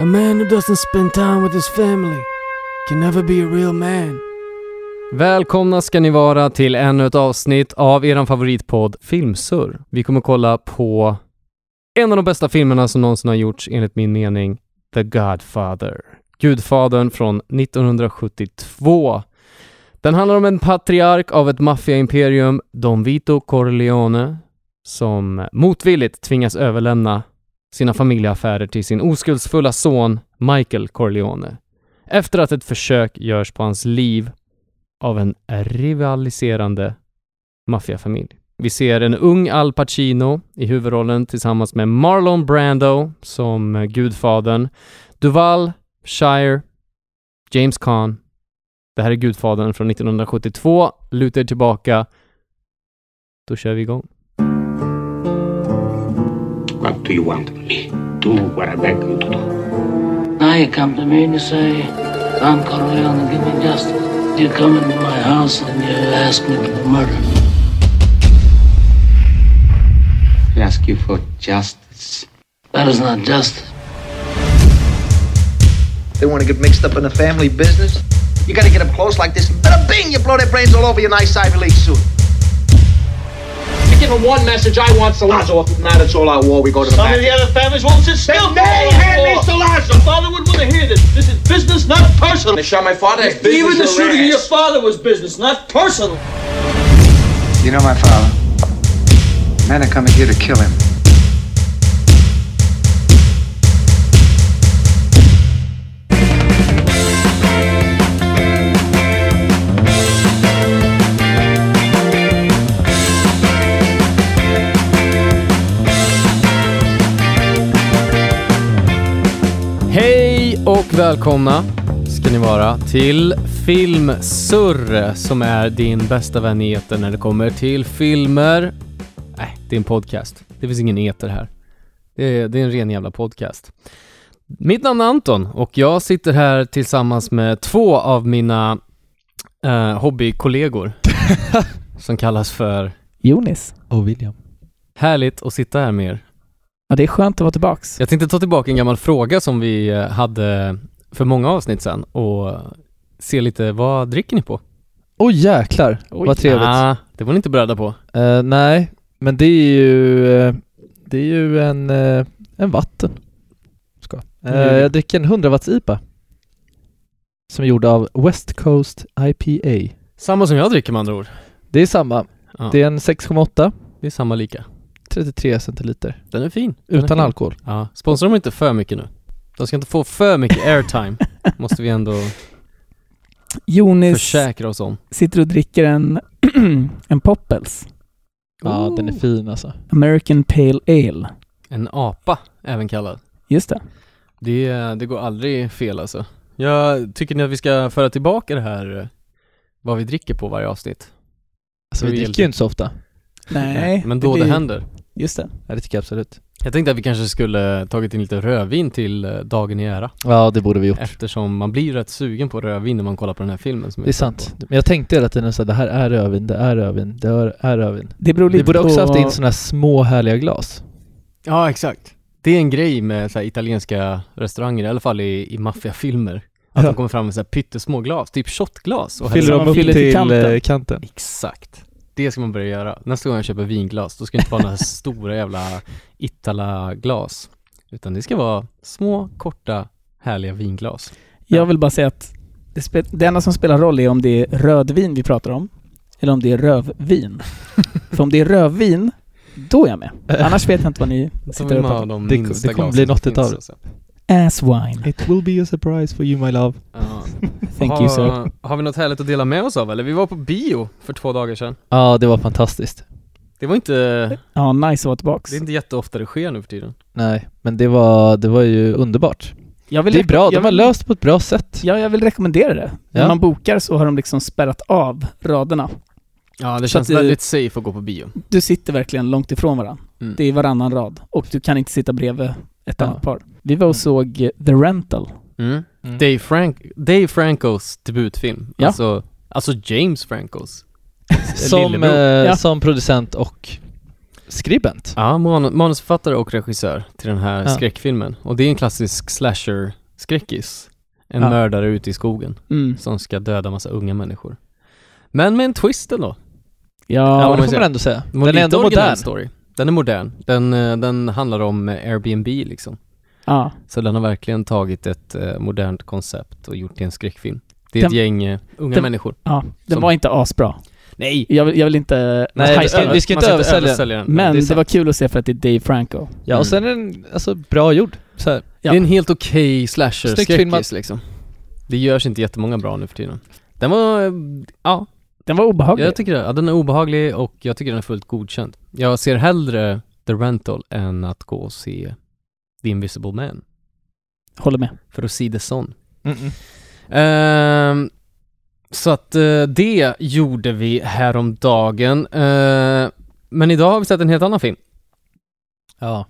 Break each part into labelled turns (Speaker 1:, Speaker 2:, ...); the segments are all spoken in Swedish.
Speaker 1: A man who doesn't spend time with his family can never be a real man.
Speaker 2: Välkomna ska ni vara till ännu ett avsnitt av er favoritpodd Filmsur. Vi kommer kolla på en av de bästa filmerna som någonsin har gjorts enligt min mening, The Godfather. Gudfadern från 1972. Den handlar om en patriark av ett maffiaimperium, Don Vito Corleone, som motvilligt tvingas överlämna sina familjeaffärer till sin oskuldsfulla son Michael Corleone. Efter att ett försök görs på hans liv av en rivaliserande maffiafamilj. Vi ser en ung Al Pacino i huvudrollen tillsammans med Marlon Brando som gudfadern, Duval, Shire, James Caan. Det här är Gudfadern från 1972. Luta er tillbaka. Då kör vi igång.
Speaker 3: What do you want of me? Do what I beg you to do.
Speaker 4: Now you come to me and you say, Don Corleone, give me justice. You come into my house and you ask me for murder.
Speaker 3: I ask you for justice.
Speaker 4: That is not justice.
Speaker 5: They want to get mixed up in the family business. You got to get up close like this, and bada bing, you blow their brains all over your nice Ivy League suit.
Speaker 6: You give him one message, I want Salazzo. If not, it's all out war. We go to the
Speaker 7: Some
Speaker 6: back.
Speaker 7: of the other families won't sit still.
Speaker 6: They hand me
Speaker 7: Salazzo. My father wouldn't want to hear this. This is business, not personal.
Speaker 6: They shot my father. It's
Speaker 7: Even the
Speaker 6: business or
Speaker 7: shooting of your
Speaker 6: ass.
Speaker 7: father was business, not personal.
Speaker 5: You know my father. Men are coming here to kill him.
Speaker 2: Hej och välkomna ska ni vara till Filmsurr som är din bästa vän i etern när det kommer till filmer. Nej, det är en podcast. Det finns ingen eter här. Det är, det är en ren jävla podcast. Mitt namn är Anton och jag sitter här tillsammans med två av mina eh, hobbykollegor som kallas för
Speaker 8: Jonis. Och William.
Speaker 2: Härligt att sitta här med er.
Speaker 8: Ja, det är skönt att vara tillbaks.
Speaker 2: Jag tänkte ta tillbaka en gammal fråga som vi eh, hade för många avsnitt sedan och se lite, vad dricker ni på?
Speaker 9: Åh jäklar, vad trevligt.
Speaker 2: Ah, det var ni inte beredda på.
Speaker 9: Eh, nej, men det är ju, eh, det är ju en, eh, en vatten. Ska. Eh,
Speaker 2: Mm.
Speaker 9: Jag dricker en 100 watts IPA. Som är gjord av West Coast IPA.
Speaker 2: Samma som jag dricker med andra ord.
Speaker 9: Det är samma.
Speaker 2: Ja.
Speaker 9: Det är en 6,8,
Speaker 2: Det är samma lika.
Speaker 9: 33 centiliter.
Speaker 2: Den är fin. Den är
Speaker 9: Utan
Speaker 2: fin.
Speaker 9: alkohol.
Speaker 2: Ja. Sponsrar de inte för mycket nu? De ska inte få för mycket airtime, måste vi ändå
Speaker 8: Jonis
Speaker 2: försäkra oss om.
Speaker 8: sitter och dricker en, en Poppels.
Speaker 9: Ja,
Speaker 2: Oh.
Speaker 9: den är fin alltså.
Speaker 8: American Pale Ale.
Speaker 2: En apa, även kallad.
Speaker 8: Just det.
Speaker 2: Det, eh, det går aldrig fel alltså. Jag tycker ni att vi ska föra tillbaka det här, eh, vad vi dricker på varje avsnitt?
Speaker 9: alltså
Speaker 2: Det
Speaker 9: vi
Speaker 2: är
Speaker 9: dricker ju inte så ofta.
Speaker 8: Nej.
Speaker 2: Men då det,
Speaker 8: blir-
Speaker 2: händer.
Speaker 8: Just det.
Speaker 9: Ja, det tycker jag absolut.
Speaker 2: Jag tänkte att vi kanske skulle tagit in lite rödvin till eh, dagen i ära
Speaker 9: Ja, det borde vi gjort.
Speaker 2: Eftersom man blir rätt sugen på rödvin när man kollar på den här filmen som vi
Speaker 9: Det är
Speaker 2: kollar
Speaker 9: sant. Men jag tänkte hela tiden så här, det här är rödvin, det är rödvin, det är- är rödvin.
Speaker 8: Det beror lite
Speaker 9: Vi borde också
Speaker 8: på...
Speaker 9: haft in sådana här små härliga glas.
Speaker 2: på. Ja exakt Det är en grej med så här, italienska restauranger, i alla fall i, i maffiafilmer Att de kommer fram med så här pyttesmå glas, typ shotglas och häller
Speaker 8: Fyller
Speaker 2: upp.
Speaker 8: de upp till till, kanten. eh,
Speaker 9: kanten.
Speaker 2: Exakt Det ska man börja göra Nästa gång jag köper vinglas, då ska det inte vara några stora jävla Itala-glas Utan det ska vara små, korta, härliga vinglas
Speaker 8: Jag vill bara säga att det, spe... det enda som spelar roll är om det är rödvin vi pratar om, eller om det är rövvin. För om det är rövvin, då är jag med. Annars vet jag inte vad ni
Speaker 2: Som
Speaker 8: sitter
Speaker 2: vill
Speaker 8: och
Speaker 2: man ha
Speaker 8: pratar
Speaker 2: de
Speaker 8: om.
Speaker 9: Det- det
Speaker 2: minsta
Speaker 9: kommer
Speaker 2: glasen
Speaker 9: bli
Speaker 2: som
Speaker 9: något
Speaker 2: finns,
Speaker 9: utav det.
Speaker 2: alltså.
Speaker 8: Ass wine.
Speaker 9: It will be a surprise for you my love.
Speaker 2: Ja.
Speaker 8: Thank
Speaker 2: har,
Speaker 8: you sir.
Speaker 2: Har vi något härligt att dela med oss av eller? Vi var på bio för två dagar sedan.
Speaker 9: Ja, det var fantastiskt.
Speaker 2: Det var inte,
Speaker 8: Ja, nice att vara tillbaks.
Speaker 2: det är inte jätteofta det sker nu för tiden.
Speaker 9: Nej, men det var, det var ju underbart.
Speaker 8: Jag vill
Speaker 9: Det är
Speaker 8: reko-
Speaker 9: bra,
Speaker 8: jag
Speaker 9: de har
Speaker 8: vill-
Speaker 9: löst på ett bra sätt.
Speaker 8: Ja, jag vill rekommendera det. När
Speaker 9: Ja.
Speaker 8: man bokar så har de liksom spärrat av raderna.
Speaker 2: Ja, det
Speaker 8: Så
Speaker 2: känns
Speaker 8: att det-
Speaker 2: väldigt safe att gå på bio.
Speaker 8: Du sitter verkligen långt ifrån varandra.
Speaker 2: Mm.
Speaker 8: Det är varannan rad. Och du kan inte sitta bredvid ett
Speaker 9: Ja.
Speaker 8: annat par. Vi var och såg eh, The Rental.
Speaker 2: Mm. Dave, Frank, Dave Francos debutfilm.
Speaker 8: Ja.
Speaker 2: Alltså, alltså James Francos.
Speaker 9: Som, eh,
Speaker 2: lillebror.
Speaker 8: Ja.
Speaker 9: som producent och skribent.
Speaker 2: Ja, man, manusförfattare och regissör till den här
Speaker 9: Ja.
Speaker 2: skräckfilmen. Och det är en klassisk slasher-skräckis. En
Speaker 9: Ja.
Speaker 2: mördare ute i skogen
Speaker 8: Mm.
Speaker 2: som ska döda massa unga människor. Men med en twist ändå.
Speaker 9: Ja,
Speaker 2: man
Speaker 9: det
Speaker 2: får
Speaker 9: får man
Speaker 2: säga.
Speaker 9: ändå säga.
Speaker 2: Det var
Speaker 9: Den är
Speaker 2: lite
Speaker 9: ändå
Speaker 2: originell
Speaker 9: modern.
Speaker 2: Story. Den är modern. Den, eh, den handlar om eh, Airbnb liksom.
Speaker 8: Ja.
Speaker 2: Så den har verkligen tagit ett eh, modernt koncept och gjort till en skräckfilm. Det är ett
Speaker 8: Den-
Speaker 2: gäng eh, unga
Speaker 8: den-
Speaker 2: människor.
Speaker 8: ja. Den
Speaker 2: Som-
Speaker 8: var inte asbra.
Speaker 2: Nej!
Speaker 8: Jag vill, jag vill inte...
Speaker 9: Nej,
Speaker 8: man
Speaker 9: vi-
Speaker 8: hypa
Speaker 9: vi
Speaker 8: den.
Speaker 9: ska
Speaker 2: Man
Speaker 9: inte översälja den.
Speaker 2: den.
Speaker 8: Men
Speaker 2: det, är
Speaker 8: det,
Speaker 2: sant.
Speaker 8: var kul att se för att det är Dave Franco.
Speaker 9: Ja, och sen är den alltså, bra gjord. Så här.
Speaker 8: ja.
Speaker 2: det är en helt okej slasher
Speaker 9: Snyggt
Speaker 2: skräckis
Speaker 9: filmat.
Speaker 2: liksom. Det görs inte jättemånga bra nu för tiden. Den var, eh, ja,
Speaker 8: Den var obehaglig.
Speaker 2: jag tycker det. Ja, den är obehaglig och jag tycker den är fullt godkänd. Jag ser hellre The Rental än att gå och se The Invisible Man.
Speaker 8: Håller med.
Speaker 2: För att se det sån.
Speaker 9: Mm-mm.
Speaker 2: Ehm, så att eh, det gjorde vi häromdagen. Eh, men idag har vi sett en helt annan film.
Speaker 9: Ja.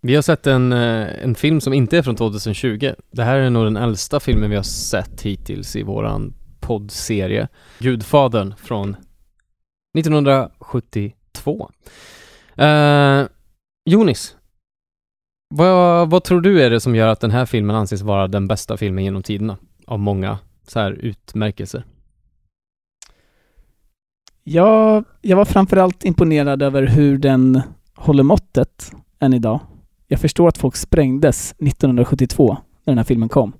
Speaker 2: Vi har sett en, eh, en film som inte är från 2020. Det här är nog den äldsta filmen vi har sett hittills i våran poddserie. Gudfadern från 1972. Eh, Jonis, vad, vad tror du är det som gör att den här filmen anses vara den bästa filmen genom tiderna? Av många så här utmärkelser.
Speaker 8: Jag, jag var framförallt imponerad över hur den håller måttet än idag. Jag förstår att folk sprängdes 1972 när den här filmen kom.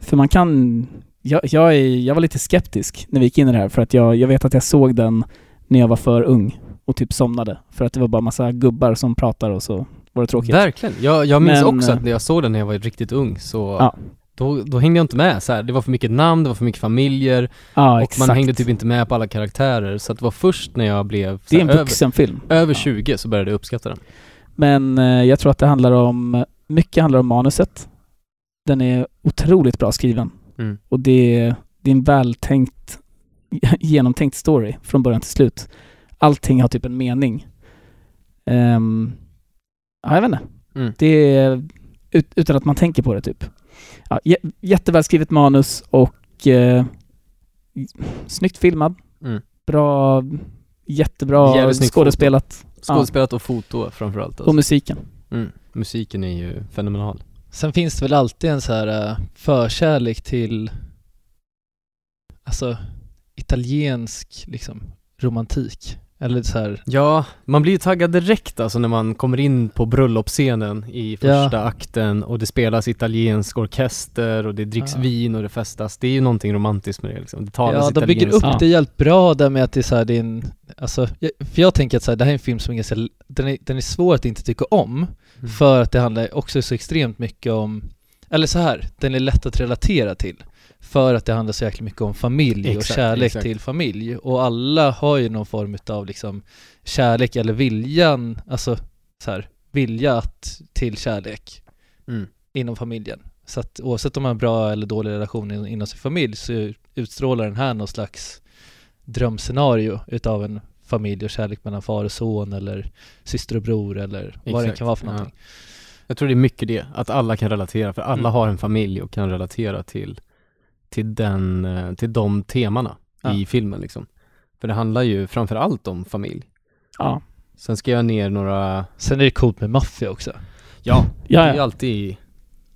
Speaker 8: För man kan... Jag, jag, är, jag var lite skeptisk när vi gick in i det här för att jag, jag vet att jag såg den när jag var för ung och typ somnade. För att det var bara massa gubbar som pratar och så var det tråkigt.
Speaker 2: Verkligen. Jag, jag minns
Speaker 8: Men,
Speaker 2: också att
Speaker 8: eh,
Speaker 2: när jag såg den när jag var riktigt ung så
Speaker 8: Ja.
Speaker 2: då, då hängde jag inte med så här. Det var för mycket namn, det var för mycket familjer,
Speaker 8: Ja,
Speaker 2: och
Speaker 8: exakt.
Speaker 2: man hängde typ inte med på alla karaktärer så att det var först när jag blev så
Speaker 8: det är
Speaker 2: här
Speaker 8: en vuxenfilm.
Speaker 2: över, över
Speaker 8: Ja.
Speaker 2: 20 så började jag uppskatta den.
Speaker 8: Men eh, jag tror att det handlar om, mycket handlar om manuset. Den är otroligt bra skriven.
Speaker 2: Mm.
Speaker 8: Och det är, det är en vältänkt, genomtänkt story från början till slut. Allting har typ en mening. Ehm, ja, jag vet inte.
Speaker 2: Mm.
Speaker 8: Det är ut, utan att man tänker på det typ. Ja, jä- jättevälskrivet manus och eh, snyggt filmad.
Speaker 2: Mm.
Speaker 8: Bra, jättebra
Speaker 2: Jävligt snyggt Alltså.
Speaker 8: skådespelat.
Speaker 2: Skådespelat och foto framförallt
Speaker 8: Och
Speaker 2: alltså.
Speaker 8: musiken.
Speaker 2: mm. Musiken är ju fenomenal.
Speaker 9: Sen finns det väl alltid en så här eh, förkärlek till alltså italiensk liksom romantik. Eller så här,
Speaker 2: Ja, man blir ju taggad direkt alltså när man kommer in på bröllopsscenen i första akten och det spelas italiensk orkester och det dricks
Speaker 9: Ja.
Speaker 2: vin och det festas. Det är ju någonting romantiskt med det liksom. Det talas
Speaker 9: ja de bygger upp
Speaker 2: italienska.
Speaker 9: det jävligt bra där med att det är så här, det är en, alltså, jag- för jag tänker att så här, det här är en film som är ganska, den är, den är svår att inte tycka om
Speaker 2: Mm.
Speaker 9: för att det handlar också så extremt mycket om, eller så här, den är lätt att relatera till för att det handlar så jäkla mycket om familj och
Speaker 2: Exakt,
Speaker 9: kärlek
Speaker 2: exakt.
Speaker 9: till familj och alla har ju någon form av liksom kärlek eller viljan, alltså så här, vilja att, till kärlek
Speaker 2: Mm.
Speaker 9: inom familjen. Så att oavsett om man har en bra eller dålig relation in, inom sin familj så utstrålar den här någon slags drömscenario utav en familj och kärlek mellan far och son eller syster och bror eller vad det
Speaker 2: Exakt,
Speaker 9: kan vara för
Speaker 2: ja.
Speaker 9: någonting.
Speaker 2: Jag tror det är mycket det, att alla kan relatera, för alla
Speaker 9: Mm.
Speaker 2: har en familj och kan relatera till, till, den, eh, till de temana i
Speaker 9: Ja.
Speaker 2: filmen liksom. För det handlar ju framför allt om familj.
Speaker 8: Ja.
Speaker 2: Sen ska jag ner några,
Speaker 9: Sen är det coolt med maffia också.
Speaker 2: ja, det
Speaker 8: Ja,
Speaker 2: är ju
Speaker 8: ja.
Speaker 2: alltid,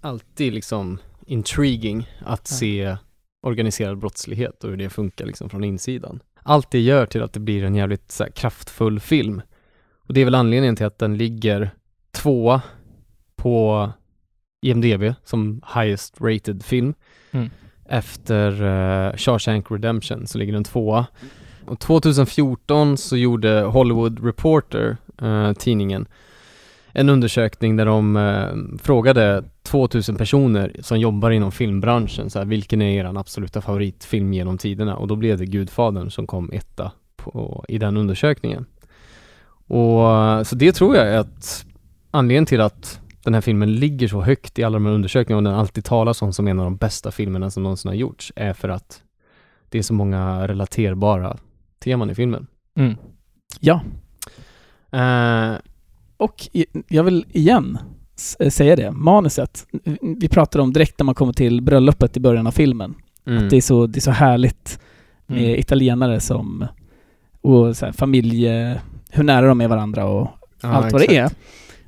Speaker 2: alltid liksom intriguing att
Speaker 9: Ja.
Speaker 2: se organiserad brottslighet och hur det funkar liksom från insidan. Allt det gör till att det blir en jävligt så här, kraftfull film. Och det är väl anledningen till att den ligger tvåa på IMDB som highest rated film.
Speaker 9: Mm.
Speaker 2: Efter eh, Shawshank Redemption så ligger den tvåa. Och 2014 så gjorde Hollywood Reporter, eh, tidningen, en undersökning där de eh, frågade 2000 personer som jobbar inom filmbranschen, så här, vilken är er absoluta favoritfilm genom tiderna? Och då blev det Gudfadern som kom etta på, i den undersökningen. Och eh, så det tror jag är att anledningen till att den här filmen ligger så högt i alla de här undersökningarna och den alltid talas om som en av de bästa filmerna som någonsin har gjorts är för att det är så många relaterbara teman i filmen.
Speaker 9: Mm.
Speaker 8: ja.
Speaker 2: Eh,
Speaker 8: Och i- jag vill igen s- eh, säga det, manuset. Vi pratade om direkt när man kommer till bröllopet i början av filmen.
Speaker 2: mm.
Speaker 8: Det, är så, det är så härligt med
Speaker 9: Mm.
Speaker 8: italienare som... Och så här, familje... Hur nära de är varandra och
Speaker 2: Ja,
Speaker 8: allt vad det
Speaker 2: exakt.
Speaker 8: är.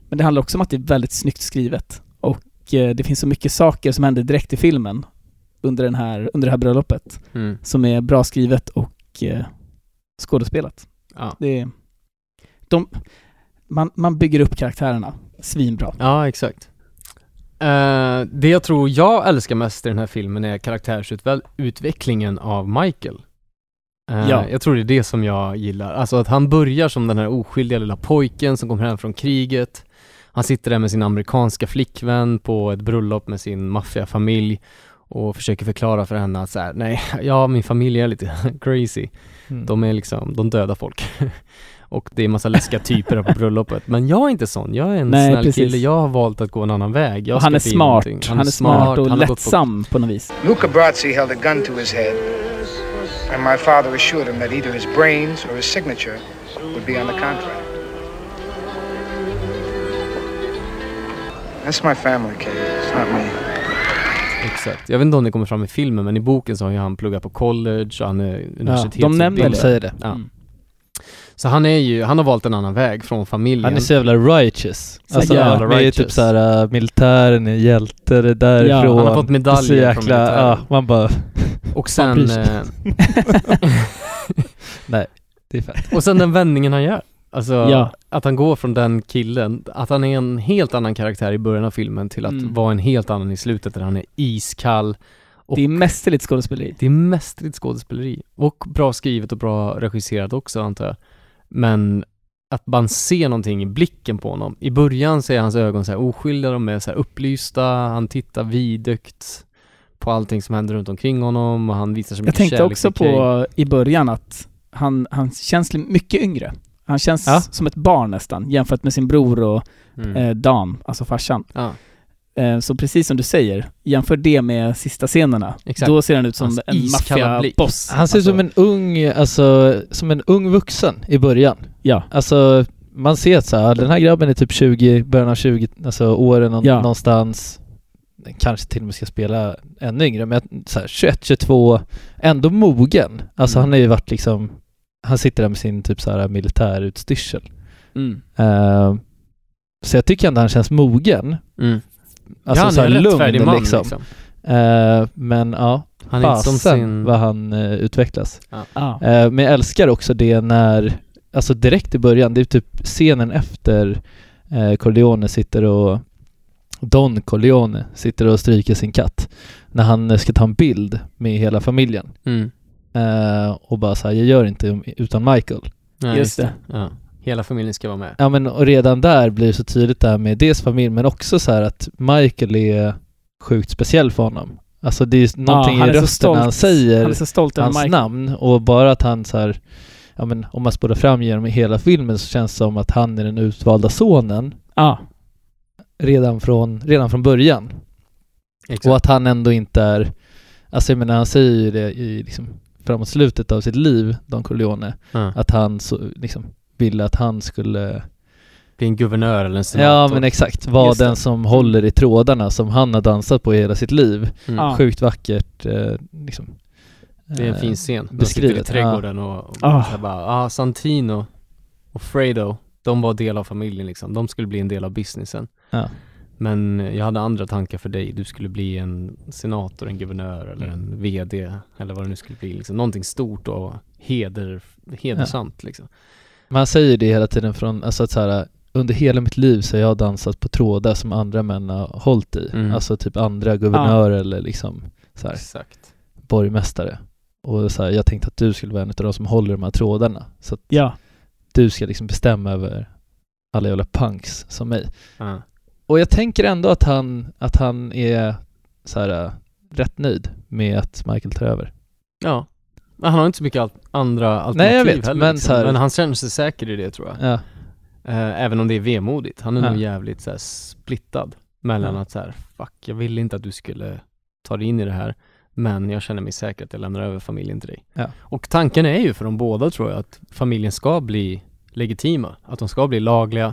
Speaker 8: Men det handlar också om att det är väldigt snyggt skrivet. Och eh, det finns så mycket saker som händer direkt i filmen under, den här, under det här bröllopet
Speaker 2: Mm.
Speaker 8: som är bra skrivet och eh, skådespelat.
Speaker 2: Ja.
Speaker 8: Det är, de, man, man bygger upp karaktärerna svinbra.
Speaker 2: ja, exakt. Eh, det jag tror jag älskar mest i den här filmen är karaktärsutvecklingen av Michael. Eh,
Speaker 8: Ja.
Speaker 2: Jag tror det är det som jag gillar. Alltså att han börjar som den här oskyldiga lilla pojken som kommer hem från kriget. Han sitter där med sin amerikanska flickvän på ett bröllop med sin maffiafamilj och försöker förklara för henne att så här, nej, ja min familj är lite crazy.
Speaker 9: Mm.
Speaker 2: De är liksom, de dödar folk. och det är massa läskiga typer här på bröllopet. Men jag är inte sån, jag är en
Speaker 8: Nej,
Speaker 2: snäll
Speaker 8: precis.
Speaker 2: kille, jag har valt att gå en annan väg. Jag
Speaker 8: Och
Speaker 2: ska
Speaker 8: han är
Speaker 2: bli
Speaker 8: smart.
Speaker 2: någonting.
Speaker 8: Han, är smart och
Speaker 2: han har gått på-
Speaker 8: lättsam på, något vis.
Speaker 10: Luca Brazzi held a gun to his head, and my father assured him that either his brains or his signature would be on the contract. That's my family, kid. It's not me.
Speaker 2: Exakt. Jag vet inte om det kommer fram i filmen, men i boken så har ju han pluggat på college och han är universitetsutbildad.
Speaker 8: de nämner
Speaker 9: De
Speaker 8: det.
Speaker 9: säger det.
Speaker 2: Ja.
Speaker 8: Mm.
Speaker 2: Så han är ju, han har valt en annan väg från familjen.
Speaker 9: Han är så jävla righteous.
Speaker 8: Så
Speaker 9: alltså,
Speaker 8: jävla
Speaker 9: han är ju
Speaker 2: righteous.
Speaker 9: typ såhär, äh, militären är hjälte, det är därifrån.
Speaker 8: Ja,
Speaker 2: han har fått medaljer
Speaker 9: så
Speaker 2: från
Speaker 9: jäkla,
Speaker 2: militären.
Speaker 9: ja, Man bara,
Speaker 2: och
Speaker 9: fan
Speaker 2: sen,
Speaker 9: bryr sig.
Speaker 2: eh,
Speaker 9: det är fett.
Speaker 2: och sen den vändningen han gör. Alltså,
Speaker 8: Ja.
Speaker 2: att han går från den killen, att han är en helt annan karaktär i början av filmen till att
Speaker 8: Mm.
Speaker 2: vara en helt annan i slutet där han är iskall. Och-
Speaker 8: Det är mästerligt skådespeleri.
Speaker 2: Det är mästerligt skådespeleri och bra skrivet och bra regisserat också antar jag. Men att man ser någonting i blicken på honom. I början så är hans ögon så här oskyldiga, de är så här upplysta, han tittar vidögt på allting som händer runt omkring honom och han visar så
Speaker 8: Jag
Speaker 2: mycket
Speaker 8: tänkte
Speaker 2: kärlek
Speaker 8: också
Speaker 2: till Kay.
Speaker 8: på i början att han, han känns li- mycket yngre. Han känns
Speaker 9: Ja.
Speaker 8: som ett barn nästan jämfört med sin bror och
Speaker 2: Mm.
Speaker 8: eh, Dan, alltså farsan.
Speaker 2: Ja.
Speaker 8: Eh, så precis som du säger, jämför det med sista scenerna.
Speaker 2: Exakt.
Speaker 8: Då ser han ut som
Speaker 2: Hans
Speaker 8: en
Speaker 2: iskalla
Speaker 8: maffiaboss. Alltså,
Speaker 9: Han ser ut som en ung, alltså, som en ung vuxen i början.
Speaker 8: Ja.
Speaker 9: Alltså, man ser att så här, den här grabben är typ 20, början av 20, alltså åren nå-
Speaker 8: Ja.
Speaker 9: någonstans. Kanske till och med ska spela ännu yngre, men så här, 21, 22, ändå mogen. Alltså
Speaker 2: Mm.
Speaker 9: han har ju varit liksom, han sitter där med sin typ så här militärutstyrsel.
Speaker 8: Mm.
Speaker 9: Eh, så jag tycker ändå han känns mogen.
Speaker 2: Mm.
Speaker 9: Alltså
Speaker 2: ja,
Speaker 9: så här
Speaker 2: han är en rättfärdig
Speaker 9: lugn
Speaker 2: man
Speaker 9: liksom.
Speaker 2: liksom.
Speaker 9: Eh, men ja,
Speaker 2: Han är inte som
Speaker 9: fasen
Speaker 2: sin...
Speaker 9: vad han eh, utvecklas.
Speaker 8: Ja.
Speaker 9: Eh, men jag älskar också det när, alltså direkt i början, det är typ scenen efter eh, Corleone sitter och Don Corleone sitter och stryker sin katt när han eh, ska ta en bild med hela familjen
Speaker 2: Mm.
Speaker 9: eh, och bara såhär, jag gör inte um, utan Michael.
Speaker 2: Ja,
Speaker 8: Just det.
Speaker 2: Ja. Hela familjen ska vara med.
Speaker 9: Ja men och redan där blir det så tydligt det här med dels familj men också så här att Michael är sjukt speciell för honom. Alltså det är någonting
Speaker 8: Ja,
Speaker 9: i
Speaker 8: är så
Speaker 9: rösten när han säger
Speaker 8: Han är så stolt över
Speaker 9: hans
Speaker 8: Michael.
Speaker 9: namn och bara att han så här, ja men om man spolar fram genom hela filmen så känns det som att han är den utvalda sonen
Speaker 8: Ja.
Speaker 9: redan från, redan från början.
Speaker 2: Exakt.
Speaker 9: Och att han ändå inte är, alltså jag menar han säger ju det i liksom framåt slutet av sitt liv, Don Corleone,
Speaker 2: ja.
Speaker 9: att han så, liksom ville att han skulle
Speaker 2: Bli en guvernör eller en senator.
Speaker 9: Ja men exakt, var
Speaker 8: Just det.
Speaker 9: den som håller i trådarna som han har dansat på i hela sitt liv.
Speaker 2: Mm.
Speaker 8: Ja.
Speaker 9: Sjukt vackert eh, liksom.
Speaker 2: Det är en
Speaker 9: Eh,
Speaker 2: fin scen. De sitter
Speaker 9: beskrivet,
Speaker 2: i trädgården och, och
Speaker 8: Ah.
Speaker 2: så här bara, ah, Santino och Fredo, de var del av familjen liksom. De skulle bli en del av businessen.
Speaker 9: Ja.
Speaker 2: Men jag hade andra tankar för dig. Du skulle bli en senator, en guvernör eller
Speaker 9: Mm.
Speaker 2: en VD eller vad det nu skulle bli. Liksom. Någonting stort och heder, hedersamt liksom.
Speaker 9: Man säger det hela tiden från, alltså att så här, under hela mitt liv så har jag dansat på trådar som andra män har hållit i.
Speaker 2: Mm.
Speaker 9: Alltså typ andra guvernörer eller liksom så här,
Speaker 2: Exakt.
Speaker 9: borgmästare. Och så här, jag tänkte att du skulle vara en av de som håller de här trådarna. Så att
Speaker 8: Ja.
Speaker 9: du ska liksom bestämma över alla jävla punks som mig.
Speaker 2: Ja.
Speaker 9: Och jag tänker ändå att han, att han är så här, äh, rätt nöjd med att Michael tar över.
Speaker 2: ja. Men han har inte så mycket al- andra alternativ
Speaker 9: Nej, jag vet,
Speaker 2: heller, liksom.
Speaker 9: men så här-
Speaker 2: men han känner sig säker i det tror jag.
Speaker 9: Ja,
Speaker 2: Eh, även om det är vemodigt. Han är
Speaker 9: Ja.
Speaker 2: nog jävligt så här, splittad mellan
Speaker 9: Ja.
Speaker 2: att så här, fuck, jag ville inte att du skulle ta dig in i det här, men jag känner mig säker att jag lämnar över familjen till dig.
Speaker 9: Ja.
Speaker 2: Och tanken är ju för de båda tror jag att familjen ska bli legitima, att de ska bli lagliga,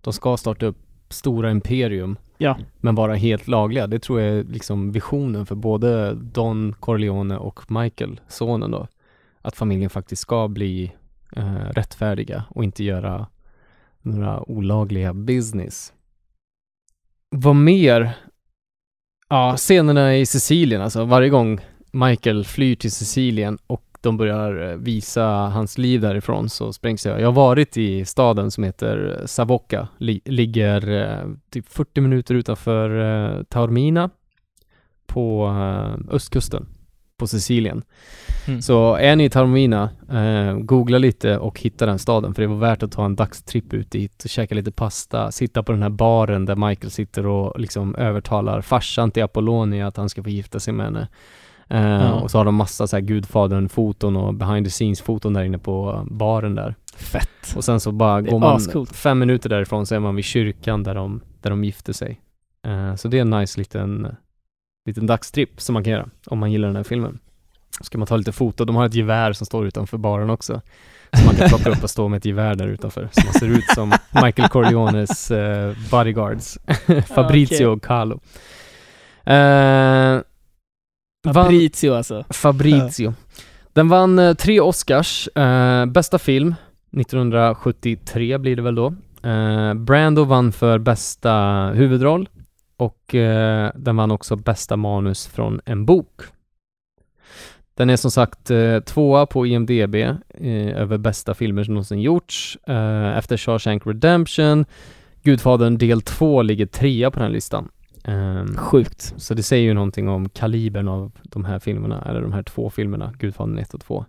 Speaker 2: de ska starta upp stora imperium,
Speaker 8: Ja.
Speaker 2: men vara helt lagliga. Det tror jag är liksom visionen för både Don Corleone och Michael, sonen då. Att familjen faktiskt ska bli eh, rättfärdiga och inte göra några olagliga business. Vad mer? Ja, scenerna i Sicilien alltså. Varje gång Michael flyr till Sicilien och de börjar eh, visa hans liv därifrån så sprängs jag. Jag har varit i staden som heter Savocca, li- ligger eh, typ 40 minuter utanför eh, Taormina på eh, östkusten på Sicilien.
Speaker 9: Mm.
Speaker 2: Så är ni i Taormina, eh, googla lite och hitta den staden för det var värt att ta en dagstripp ut dit och käka lite pasta, sitta på den här baren där Michael sitter och liksom övertalar farsan till Apollonia att han ska få gifta sig med henne. Eh,
Speaker 9: Ja.
Speaker 2: Och så har de massa så här Gudfadern-foton och behind the scenes-foton där inne på baren där.
Speaker 8: Fett.
Speaker 2: Och sen så bara
Speaker 8: Det är
Speaker 2: går man
Speaker 8: ascoolt.
Speaker 2: fem minuter därifrån så är man vid kyrkan där de, där de gifte sig. Eh, så det är en nice liten, liten dagstripp som man kan göra om man gillar den här filmen. Så kan man ta lite foto, de har ett gevär som står utanför baren också. Så man kan plocka upp och stå med ett gevär där utanför. Så man ser ut som Michael Corleones eh, bodyguards. Fabrizio
Speaker 8: Ah, Okej.
Speaker 2: och Carlo. Eh, vann-
Speaker 8: Fabrizio alltså.
Speaker 2: Fabrizio. Den vann eh, tre Oscars. Eh, bästa film, 1973 blir det väl då. Eh, Brando vann för bästa huvudroll och eh, den vann också bästa manus från en bok. Den är som sagt eh, tvåa på IMDB eh, över bästa filmer som någonsin gjorts. Eh, efter Shawshank Redemption, Gudfadern del 2 ligger trea på den här listan. Ehm,
Speaker 8: Sjukt.
Speaker 2: så det säger ju någonting om kalibern av de här filmerna, eller de här två filmerna, Gudfadern 1 och 2.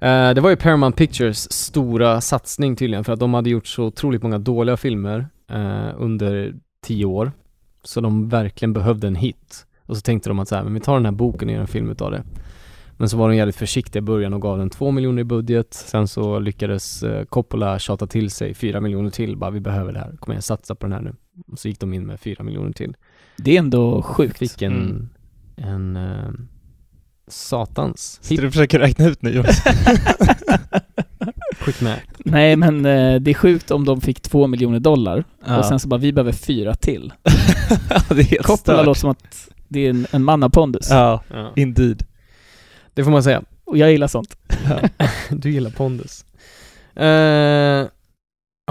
Speaker 2: Eh, Det var ju Paramount Pictures stora satsning tydligen, för att de hade gjort så otroligt många dåliga filmer eh, under tio år. Så de verkligen behövde en hit. Och så tänkte de att så här, men vi tar den här boken och gör en film utav det. Men så var de jävligt försiktiga i början och gav den två miljoner i budget. Sen så lyckades eh, Coppola tjata till sig fyra miljoner till, bara vi behöver det här, kom igen satsa på den här nu. Och så gick de in med fyra miljoner till
Speaker 8: Det är ändå sjukt.
Speaker 2: fick en,
Speaker 9: Mm.
Speaker 2: en eh, satans
Speaker 9: Så
Speaker 2: hit
Speaker 9: du försöker räkna ut nu
Speaker 2: quick med.
Speaker 8: Nej men eh, det är sjukt om de fick två miljoner dollar och sen så bara vi behöver fyra till.
Speaker 9: det är helt
Speaker 8: Coppola
Speaker 9: stört.
Speaker 8: låter som att det är en, en man av pondus.
Speaker 9: Ja,
Speaker 2: Ja.
Speaker 9: indeed.
Speaker 2: Det får man säga.
Speaker 8: Och jag gillar sånt.
Speaker 2: Du gillar pondus. Eh,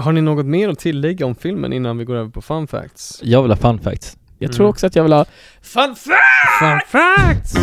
Speaker 2: har ni något mer att tillägga om filmen innan vi går över på fun facts?
Speaker 9: Jag vill ha fun facts.
Speaker 8: Jag
Speaker 2: Mm.
Speaker 8: tror också att jag vill ha Fun fact!
Speaker 2: Fun facts!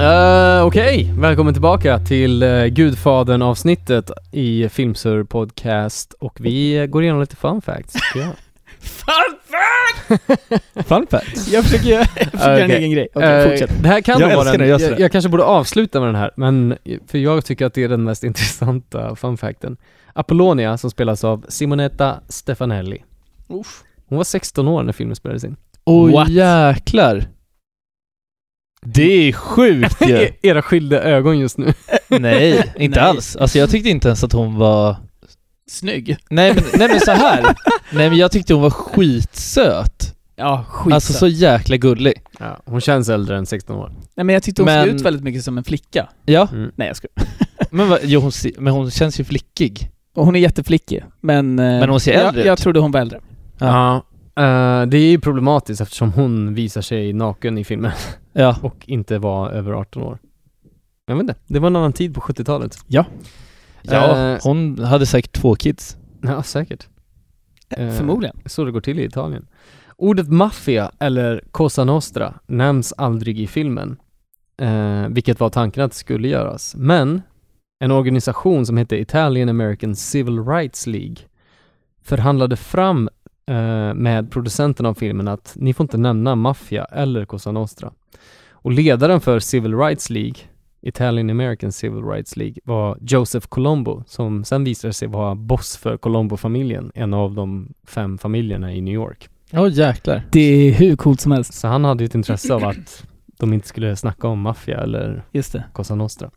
Speaker 2: Eh, Okej, välkommen tillbaka till uh, Gudfadern avsnittet i Filmsur podcast och vi eh, går igenom lite fun facts. tycker jag.
Speaker 8: Fun fact!
Speaker 9: Fun facts?
Speaker 8: Jag försöker göra, jag försöker göra en
Speaker 2: Okej.
Speaker 8: egen grej. Okej,
Speaker 2: Eh,
Speaker 8: fortsätt.
Speaker 2: Det här kan
Speaker 9: Jag
Speaker 2: nog vara
Speaker 9: älskar
Speaker 2: den,
Speaker 9: när du gör
Speaker 2: jag,
Speaker 9: sådär.
Speaker 2: jag, kanske borde avsluta med den här, men för jag tycker att det är den mest intressanta fun facten. Apollonia, som spelas av Simonetta Stefanelli.
Speaker 8: Uff.
Speaker 2: Hon var 16 år när filmen spelades in.
Speaker 9: Oj
Speaker 8: What?
Speaker 9: jäklar. Det är sjukt ju.
Speaker 2: E- Era skilda ögon just nu.
Speaker 9: Nej, inte
Speaker 8: Nej.
Speaker 9: alls. Alltså jag tyckte inte ens att hon var...
Speaker 8: Snygg.
Speaker 9: Nej men, nej, men så här. Nej men jag tyckte hon var skitsöt.
Speaker 8: Ja, skit.
Speaker 9: Alltså så jäkla gullig.
Speaker 2: Ja, hon känns äldre än 16 år.
Speaker 8: Nej men jag tyckte hon
Speaker 9: Men-
Speaker 8: såg ut väldigt mycket som en flicka.
Speaker 9: Ja,
Speaker 2: Mm.
Speaker 8: Nej jag skojar.
Speaker 9: men, va, jo, hon, se- men hon känns ju flickig.
Speaker 8: Och hon är jätteflickig. Men, eh,
Speaker 9: Men hon ser
Speaker 8: jag,
Speaker 9: äldre ut.
Speaker 8: jag trodde hon var äldre.
Speaker 2: Ja. eh, det är ju problematiskt eftersom hon visar sig naken i filmen
Speaker 9: Ja.
Speaker 2: och inte var över 18 år. Jag vet inte, det var en annan tid på 70-talet.
Speaker 9: ja
Speaker 2: Eh.
Speaker 9: hon hade säkert två kids.
Speaker 2: Ja, säkert. Eh,
Speaker 8: Förmodligen.
Speaker 2: Så det går till i Italien. Ordet maffia, eller cosa nostra, nämns aldrig i filmen. Eh, vilket var tanken att det skulle göras. Men en organisation som hette Italian American Civil Rights League förhandlade fram eh, med producenten av filmen att ni får inte nämna maffia eller cosa nostra. Och ledaren för Civil Rights League, Italian American Civil Rights League, var Joseph Colombo som sen visade sig vara boss för Colombo-familjen, en av de fem familjerna i New York.
Speaker 9: Ja jäklar.
Speaker 8: Det är hur coolt som helst.
Speaker 2: Så han hade ju ett intresse av att de inte skulle snacka om maffia eller
Speaker 8: Just det.
Speaker 2: Cosa Nostra.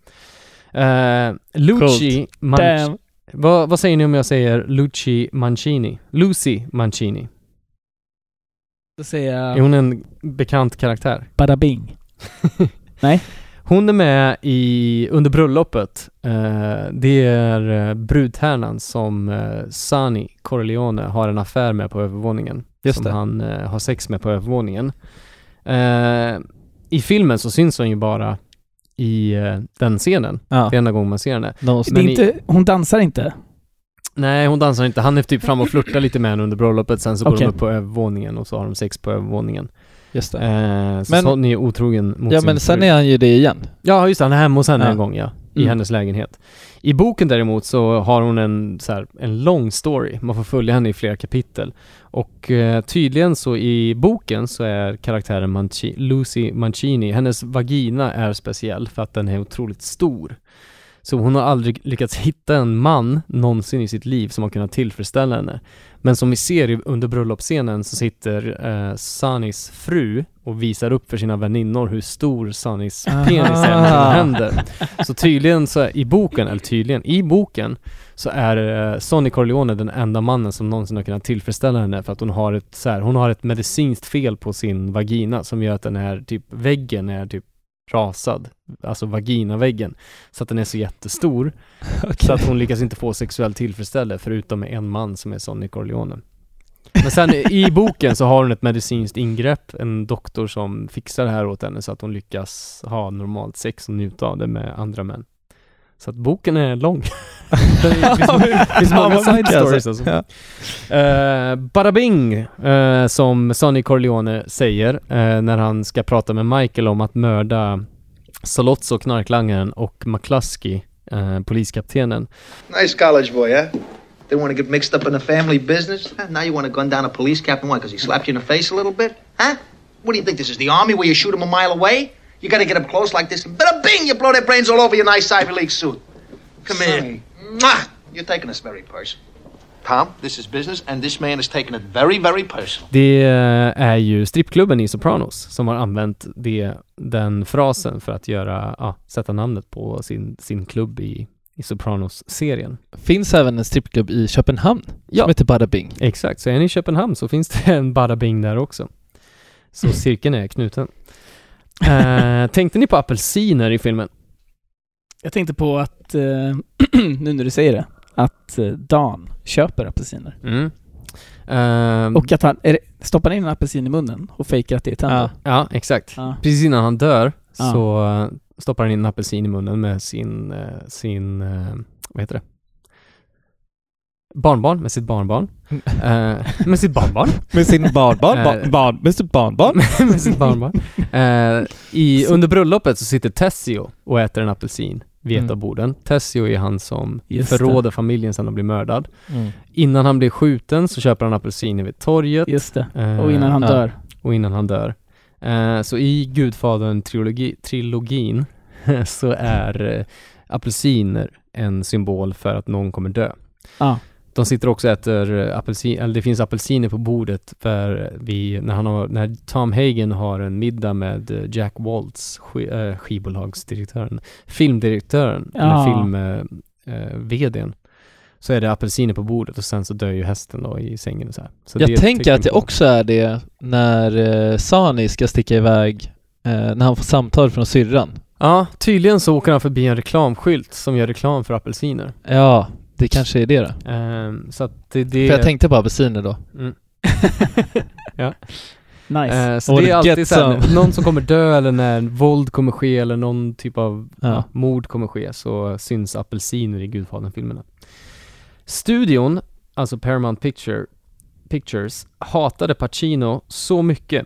Speaker 2: Eh, Lucci Mancini.
Speaker 8: Damn.
Speaker 2: Vad, vad säger ni om jag säger Lucci Mancini? Lucy Mancini.
Speaker 8: Då säger
Speaker 2: Är
Speaker 8: jag
Speaker 2: hon en bekant karaktär?
Speaker 8: badabing.
Speaker 2: Hon är med i, under bröllopet. Eh, det är eh, brudtärnan som eh, Sani Corleone har en affär med på övervåningen.
Speaker 9: Just
Speaker 2: som
Speaker 9: det.
Speaker 2: han eh, har sex med på övervåningen. Eh, I filmen så syns hon ju bara i eh, den scenen.
Speaker 9: Ja.
Speaker 2: Det är enda gången man ser henne.
Speaker 9: No,
Speaker 8: Det
Speaker 2: Men
Speaker 8: är
Speaker 2: i-
Speaker 8: inte, hon dansar inte?
Speaker 2: Nej, hon dansar inte. Han är typ fram och flörtar lite med henne under bröllopet. Sen så går
Speaker 8: Okej.
Speaker 2: de upp på övervåningen och så har de sex på övervåningen.
Speaker 9: just det.
Speaker 2: Eh, så
Speaker 9: Men-
Speaker 2: Sonny är otrogen mot
Speaker 9: Ja
Speaker 2: sin
Speaker 9: men sen
Speaker 2: fru.
Speaker 9: är han ju det igen.
Speaker 2: Ja, just det. Han är hemma hos henne
Speaker 9: Ja.
Speaker 2: en gång, ja. I
Speaker 9: Mm.
Speaker 2: hennes lägenhet. I boken däremot så har hon en, så här, en lång story. Man får följa henne i flera kapitel. Och eh, tydligen så i boken så är karaktären Manci- Lucy Mancini, hennes vagina är speciell för att den är otroligt stor. Så hon har aldrig lyckats hitta en man någonsin i sitt liv som har kunnat tillfredsställa henne. Men som vi ser i- under bröllopsscenen så sitter eh, Sanis fru och visar upp för sina väninnor hur stor Sanis penis är med sina
Speaker 9: Ah.
Speaker 2: händer. Så tydligen så är, i boken, eller tydligen, i boken så är eh, Sonny Corleone den enda mannen som någonsin har kunnat tillfredsställa henne för att hon har ett så här, hon har ett medicinskt fel på sin vagina som gör att den här typ väggen är typ rasad, alltså vaginaväggen, så att den är så jättestor så att hon lyckas inte få sexuell tillfredsställelse förutom med en man som är Sonny Corleone. Men sen i boken så har hon ett medicinskt ingrepp, en doktor som fixar det här åt henne så att hon lyckas ha normalt sex och njuta av det med andra män. Så att boken är lång. det finns, finns
Speaker 9: Fan,
Speaker 2: många
Speaker 9: vad
Speaker 2: side
Speaker 9: mycket alltså.
Speaker 2: stories alltså.
Speaker 9: Ja.
Speaker 2: Eh, Bada Bing, eh, som Sonny Corleone säger eh, när han ska prata med Michael om att mörda Salozzo, knarklangaren, och McCluskey, eh, poliskaptenen.
Speaker 5: Nice college boy, huh? They want to get mixed up in the family business? Huh? Now you want to gun down a police captain? Why? Because he slapped you in the face a little bit? Huh? What do you think? This is the army where you shoot him a mile away? You got to get up close like this. Bada bing! You blow their brains all over your nice Ivy League suit. Come
Speaker 10: Sonny.
Speaker 5: here. Mwah! You're taking this very personal. Tom, this is business, and this man is taking it very, very personal.
Speaker 2: Det är ju strippklubben i Sopranos som har använt det, den frasen för att göra, ja, sätta namnet på sin, sin klubb i, i Sopranos-serien.
Speaker 9: Finns även en strippklubb i Köpenhamn
Speaker 2: Ja.
Speaker 9: som heter Bada Bing.
Speaker 2: Exakt, så är ni i Köpenhamn så finns det en Bada Bing där också. Så
Speaker 8: Mm.
Speaker 2: cirkeln är knuten. Eh, tänkte ni på apelsiner i filmen?
Speaker 8: Jag tänkte på att, eh, nu när du säger det, att eh, Dan köper apelsiner.
Speaker 2: Ehm,
Speaker 8: Mm. Och att han, är det, stoppar han in en apelsin i munnen och fejkar att det är tänder?
Speaker 2: Ja, exakt.
Speaker 8: Ja.
Speaker 2: Precis innan han dör
Speaker 8: Ja.
Speaker 2: så eh, stoppar han in en apelsin i munnen med sin, eh, sin eh, vad heter det? Barnbarn, med sitt barnbarn. Eh, med sitt barnbarn.
Speaker 9: Med sin barnbarn,
Speaker 2: barn-
Speaker 9: barn, med sitt barnbarn.
Speaker 2: med sitt barnbarn. Eh, i, under bröllopet så sitter Tessio och äter en apelsin vid ett
Speaker 9: Mm.
Speaker 2: av borden. Tessio är han som
Speaker 8: Just det.
Speaker 2: förråder familjen sedan de blir mördad.
Speaker 9: Mm.
Speaker 2: Innan han blir skjuten så köper han apelsiner vid torget.
Speaker 8: Just det.
Speaker 2: Eh,
Speaker 8: Och innan han
Speaker 9: ja.
Speaker 8: dör.
Speaker 2: och innan han dör. Eh, så i Gudfadern-trilogin så är eh, apelsiner en symbol för att någon kommer dö.
Speaker 8: Ja.
Speaker 2: De sitter också och äter eh, apelsin, eller det finns apelsiner på bordet för vi, när, han har, när Tom Hagen har en middag med eh, Jack Waltz, sk, eh, skivbolagsdirektören, filmdirektören, eller
Speaker 8: Ja.
Speaker 2: film, eh, eh, vdn, så är det apelsiner på bordet och sen så dör ju hästen då i sängen och så här. Så det är
Speaker 9: Jag
Speaker 2: ett
Speaker 9: tänker
Speaker 2: tecken
Speaker 9: att det
Speaker 2: på-
Speaker 9: också är det när eh, Sani ska sticka iväg, eh, när han får samtal från syrran.
Speaker 2: Ja, tydligen så åker han förbi en reklamskylt som gör reklam för apelsiner.
Speaker 9: Ja, det kanske är det då.
Speaker 2: Ehm, så att det, det
Speaker 9: För jag tänkte på apelsiner då.
Speaker 2: Mm.
Speaker 8: Nice.
Speaker 2: Eh, så
Speaker 9: Och
Speaker 2: det är
Speaker 9: get
Speaker 2: alltid såhär,
Speaker 9: some.
Speaker 2: någon som kommer dö eller när våld kommer ske eller någon typ av ja,
Speaker 9: Ja.
Speaker 2: mord kommer ske så syns apelsiner i Gudfadern-filmerna. Studion, alltså Paramount Picture, Pictures, hatade Pacino så mycket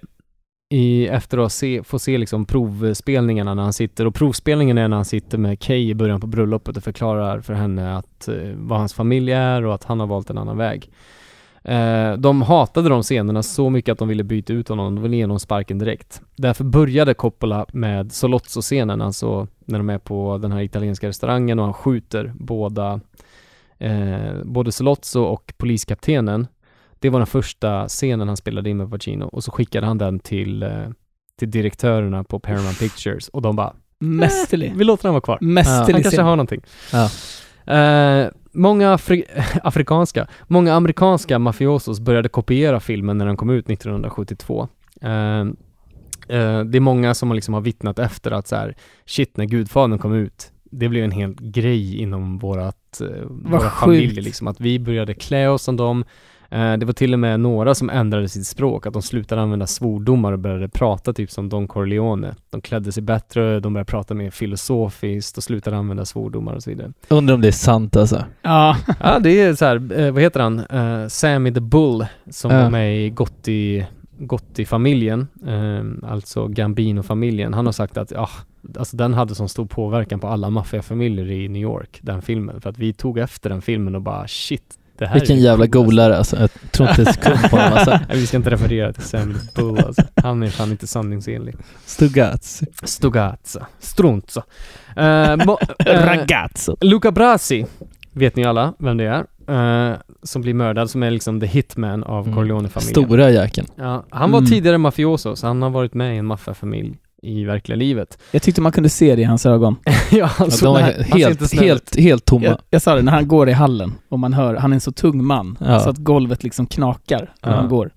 Speaker 2: i, efter att se, få se liksom provspelningarna när han sitter, och provspelningen är när han sitter med Kay i början på bröllopet och förklarar för henne att, eh, vad hans familj är och att han har valt en annan väg. Eh, de hatade de scenerna så mycket att de ville byta ut honom, de ville ge honom sparken direkt. Därför började Coppola med Solozzo-scenen, alltså när de är på den här italienska restaurangen och han skjuter båda, eh, både Solozzo och poliskaptenen. Det var den första scenen han spelade in med Pacino och så skickade han den till, eh, till direktörerna på Paramount Pictures och de bara
Speaker 8: Mästerlig.
Speaker 2: vi låter den vara kvar.
Speaker 8: Mästerlig
Speaker 2: Han kanske
Speaker 8: scen.
Speaker 2: har någonting.
Speaker 9: Ja.
Speaker 2: Eh, många afri afrikanska, många amerikanska mafiosos började kopiera filmen när den kom ut 1972. Eh, Eh, det är många som har liksom har vittnat efter att så här, shit när Gudfadern kom ut, det blev en hel grej inom vårat, eh, våra
Speaker 8: sjukt.
Speaker 2: familjer liksom, att vi började klä oss som dem. Eh, det var till och med några som ändrade sitt språk, att de slutade använda svordomar och började prata typ som Don Corleone. De klädde sig bättre, de började prata mer filosofiskt och slutade använda svordomar och så vidare.
Speaker 9: Undrar om det är sant alltså.
Speaker 8: Ja,
Speaker 2: Ja, det är så här, eh, vad heter han? Eh, Sammy the Bull som
Speaker 9: Ja.
Speaker 2: var med i Gotti, Gotti-familjen, eh, alltså Gambino-familjen. Han har sagt att ah, alltså den hade sån stor påverkan på alla maffiafamiljer i New York, den filmen. För att vi tog efter den filmen och bara shit, det här
Speaker 9: Vilken
Speaker 2: är det
Speaker 9: jävla
Speaker 2: coolaste.
Speaker 9: golare alltså. Jag tror inte en sekund på honom alltså.
Speaker 2: Nej, Vi ska inte referera till Sammy the Bull alltså. Han är fan inte sanningsenlig.
Speaker 9: Stugats.
Speaker 2: Stugazza, strunza. Eh, mo- eh,
Speaker 8: ragazzo.
Speaker 2: Luca Brasi, vet ni alla vem det är? Eh, som blir mördad, som är liksom the hitman av
Speaker 9: Mm.
Speaker 2: Corleone-familjen.
Speaker 9: Stora jäkeln.
Speaker 2: Ja, han var
Speaker 8: Mm.
Speaker 2: tidigare mafioso, så han har varit med i en maffiafamilj i verkliga livet.
Speaker 8: Jag tyckte man kunde se det i hans ögon.
Speaker 2: ja, han
Speaker 9: Ja,
Speaker 2: såg-
Speaker 9: de var
Speaker 2: han-
Speaker 9: he-
Speaker 2: han ser inte
Speaker 9: helt,
Speaker 2: snäll ut.
Speaker 9: helt, helt tomma.
Speaker 8: Jag, jag sa det, när han går i hallen och man hör, han är en så tung man
Speaker 9: Ja.
Speaker 8: så att golvet liksom knakar när
Speaker 2: Ja.
Speaker 8: han går.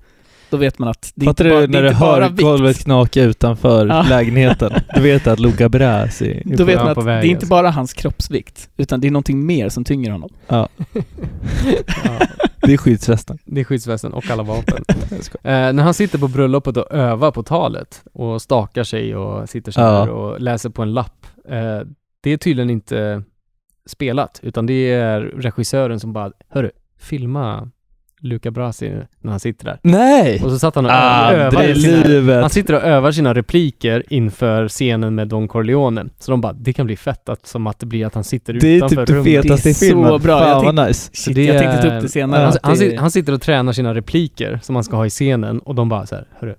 Speaker 8: Då vet man att det är inte
Speaker 9: Fattar
Speaker 8: bara,
Speaker 9: du
Speaker 8: det
Speaker 9: när
Speaker 8: är
Speaker 9: du
Speaker 8: inte bara
Speaker 9: hör
Speaker 8: vikt.
Speaker 9: golvet knaka utanför
Speaker 8: Ja.
Speaker 9: lägenheten? Du vet att Luca Bräs är...
Speaker 8: Då vet
Speaker 2: på-
Speaker 8: man
Speaker 2: på
Speaker 8: att det
Speaker 2: väg,
Speaker 8: är inte
Speaker 2: alltså.
Speaker 8: bara hans kroppsvikt, utan det är någonting mer som tynger honom.
Speaker 2: Ja,
Speaker 9: Det är skyddsvästen.
Speaker 2: det är skyddsvästen och alla vapen. Eh, när han sitter på bröllopet och övar på talet och stakar sig och sitter så här
Speaker 9: Ja.
Speaker 2: och läser på en lapp. Eh, det är tydligen inte spelat, utan det är regissören som bara, hörru, filma Luca Brasi när han sitter där.
Speaker 9: Nej!
Speaker 2: Och så satt han och
Speaker 9: Ah,
Speaker 2: övade sina Han
Speaker 9: livet.
Speaker 2: sitter och övar sina repliker inför scenen med Don Corleone. Så de bara, det kan bli fett att, som att det blir att han sitter
Speaker 9: Det är
Speaker 2: utanför
Speaker 9: typ det
Speaker 2: rummet.
Speaker 9: fetaste i
Speaker 8: Det är
Speaker 9: filmen.
Speaker 8: så bra. Jag
Speaker 9: Fan vad nice.
Speaker 2: Så
Speaker 8: Shit, jag tänkte ta upp det senare.
Speaker 2: Han,
Speaker 8: att
Speaker 2: Alltså, han,
Speaker 8: det,
Speaker 2: sit- han sitter och tränar sina repliker som han ska ha i scenen och de bara så här, hörru,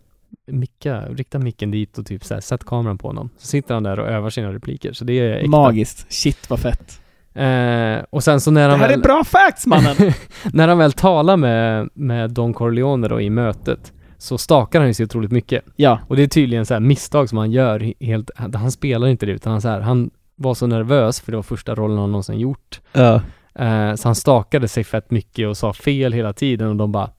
Speaker 2: micka, rikta micken dit och typ så här, sätt kameran på honom. Så sitter han där och övar sina repliker. Så det är äkta.
Speaker 8: magiskt. Shit vad fett.
Speaker 2: Eh, och sen så när
Speaker 8: Det
Speaker 2: han
Speaker 8: här
Speaker 2: väl...
Speaker 8: är bra facts mannen!
Speaker 2: när han väl talar med, med Don Corleone då i mötet så stakar han ju sig otroligt mycket.
Speaker 8: Ja.
Speaker 2: Och det är tydligen så här misstag som han gör he- helt, han, han spelar inte det utan han så här, han var så nervös för det var första rollen han någonsin gjort.
Speaker 9: Ja.
Speaker 2: Eh, så han stakade sig fett mycket och sa fel hela tiden och de bara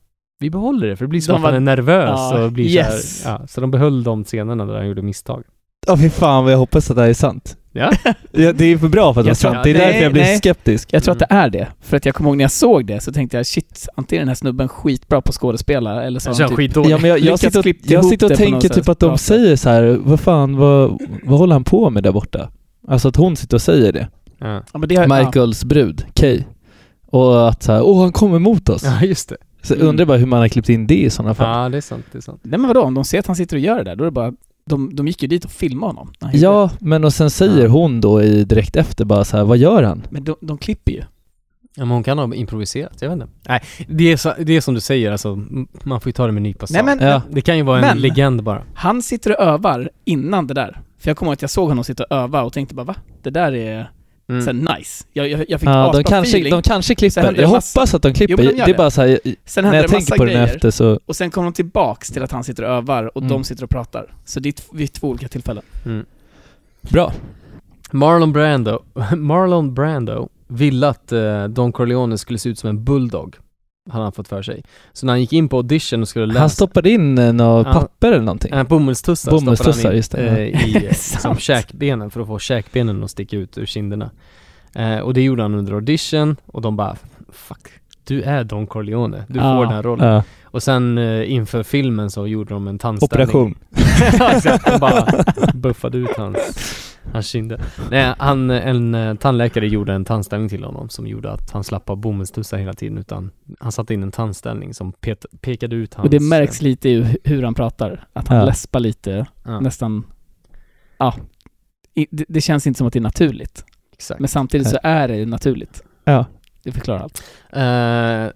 Speaker 2: vi behåller det för det blir som
Speaker 8: De
Speaker 2: att han
Speaker 8: var-
Speaker 2: är nervös
Speaker 8: Ja,
Speaker 2: och blir
Speaker 8: yes.
Speaker 2: så här, ja, Så de behöll de scenerna där han gjorde misstag.
Speaker 9: Åh fy fan vad jag hoppas att det här är sant.
Speaker 2: Ja.
Speaker 9: ja det är för bra för att vara
Speaker 2: Jag tror-
Speaker 9: sant. Det är
Speaker 2: nej,
Speaker 9: därför jag blir
Speaker 8: nej.
Speaker 9: skeptisk.
Speaker 8: Jag tror att det är det. För att jag kommer ihåg när jag såg det så tänkte jag shit, antingen är den här snubben skitbra på skådespelare eller så
Speaker 2: Så
Speaker 8: har han
Speaker 2: han
Speaker 8: typ
Speaker 2: skitdålig.
Speaker 9: Ja, men jag, jag
Speaker 8: lyckats
Speaker 9: sitter och,
Speaker 8: klippt
Speaker 9: jag
Speaker 8: ihop
Speaker 9: sitter och
Speaker 8: det på
Speaker 9: tänker
Speaker 8: något
Speaker 9: typ
Speaker 8: sätt.
Speaker 9: att de
Speaker 8: Bra sätt.
Speaker 9: säger så här, vad fan, vad, vad håller han på med där borta? Alltså att hon sitter och säger det.
Speaker 2: Ja.
Speaker 8: Ja, men det har, ja.
Speaker 9: Michaels brud, Kay. Och att så här, åh han kommer mot oss.
Speaker 2: ja, just det.
Speaker 9: Så jag undrar bara hur man har klippt in det i sådana fall.
Speaker 2: Ja, det är sant. Det är sant.
Speaker 8: Nej men vadå, om de ser att han sitter och gör det där, då är det bara, de, de gick ju dit och filmade honom. när han gjorde
Speaker 9: Ja, men och sen säger hon då i direkt efter bara så här, vad gör han?
Speaker 8: det. Men de, de klipper ju.
Speaker 2: Ja, men hon kan ha improviserat, jag vet inte. Nej, det är, så, det är som du säger alltså, m- man får ju ta det med en nypa
Speaker 8: Nej
Speaker 2: salt.
Speaker 8: men,
Speaker 9: Ja.
Speaker 2: Det kan ju vara en
Speaker 8: Men-
Speaker 2: legend bara.
Speaker 8: han sitter och övar innan det där. För jag kommer ihåg att jag såg honom sitta och öva och tänkte bara va? Det där är
Speaker 2: Mm.
Speaker 8: så här, nice. Jag, jag, jag fick
Speaker 9: Ja, de,
Speaker 8: asbra
Speaker 9: kanske,
Speaker 8: feeling.
Speaker 9: de kanske
Speaker 8: Sen händer
Speaker 9: klipper.
Speaker 8: det
Speaker 9: Jag
Speaker 8: massa-
Speaker 9: hoppas att de klipper.
Speaker 8: Jo, men de gör
Speaker 9: det är
Speaker 8: det.
Speaker 9: bara så här,
Speaker 8: Sen
Speaker 9: när
Speaker 8: händer
Speaker 9: jag
Speaker 8: det massa
Speaker 9: tänker på den
Speaker 8: grejer.
Speaker 9: efter så,
Speaker 8: Och sen kommer de tillbaks till att han sitter och övar och
Speaker 9: Mm.
Speaker 8: de sitter och pratar. Så det är t- vid två olika tillfällen.
Speaker 9: bra.
Speaker 2: Marlon Brando, Marlon Brando ville att eh, Don Corleone skulle se ut som en bulldog. Hade han fått för sig. Så när han gick in på audition och skulle läsa...
Speaker 9: Han stoppade in eh, något
Speaker 2: Ja.
Speaker 9: papper eller någonting.
Speaker 2: äh, bomullstussar stoppade
Speaker 9: Bomullstussar,
Speaker 2: han in,
Speaker 9: just det,
Speaker 2: eh, i, eh,
Speaker 8: Sant.
Speaker 2: som käkbenen för att få käkbenen att sticka ut ur kinderna. Eh, och det gjorde han under audition och de bara Fuck, du är Don Corleone. Du
Speaker 8: Ja.
Speaker 2: får den här rollen.
Speaker 9: Ja.
Speaker 2: Och sen eh, inför filmen så gjorde de en tandställning.
Speaker 9: Operation.
Speaker 2: Ja, exakt. De bara buffade ut hans, hans kinder. Nej, han, en eh, tandläkare gjorde en tandställning till honom som gjorde att han slapp ha bomullstussar hela tiden utan han satte in en tandställning som pet, pekade ut hans... eh,
Speaker 8: Och det märks lite i hu- hur han pratar. Att han
Speaker 9: Ja.
Speaker 8: läspar lite,
Speaker 2: Ja.
Speaker 8: nästan... Ja. I, det, det känns inte som att det är naturligt.
Speaker 2: Exakt.
Speaker 8: Men samtidigt så är det ju naturligt.
Speaker 9: Ja.
Speaker 8: Det förklarar allt.
Speaker 2: Eh,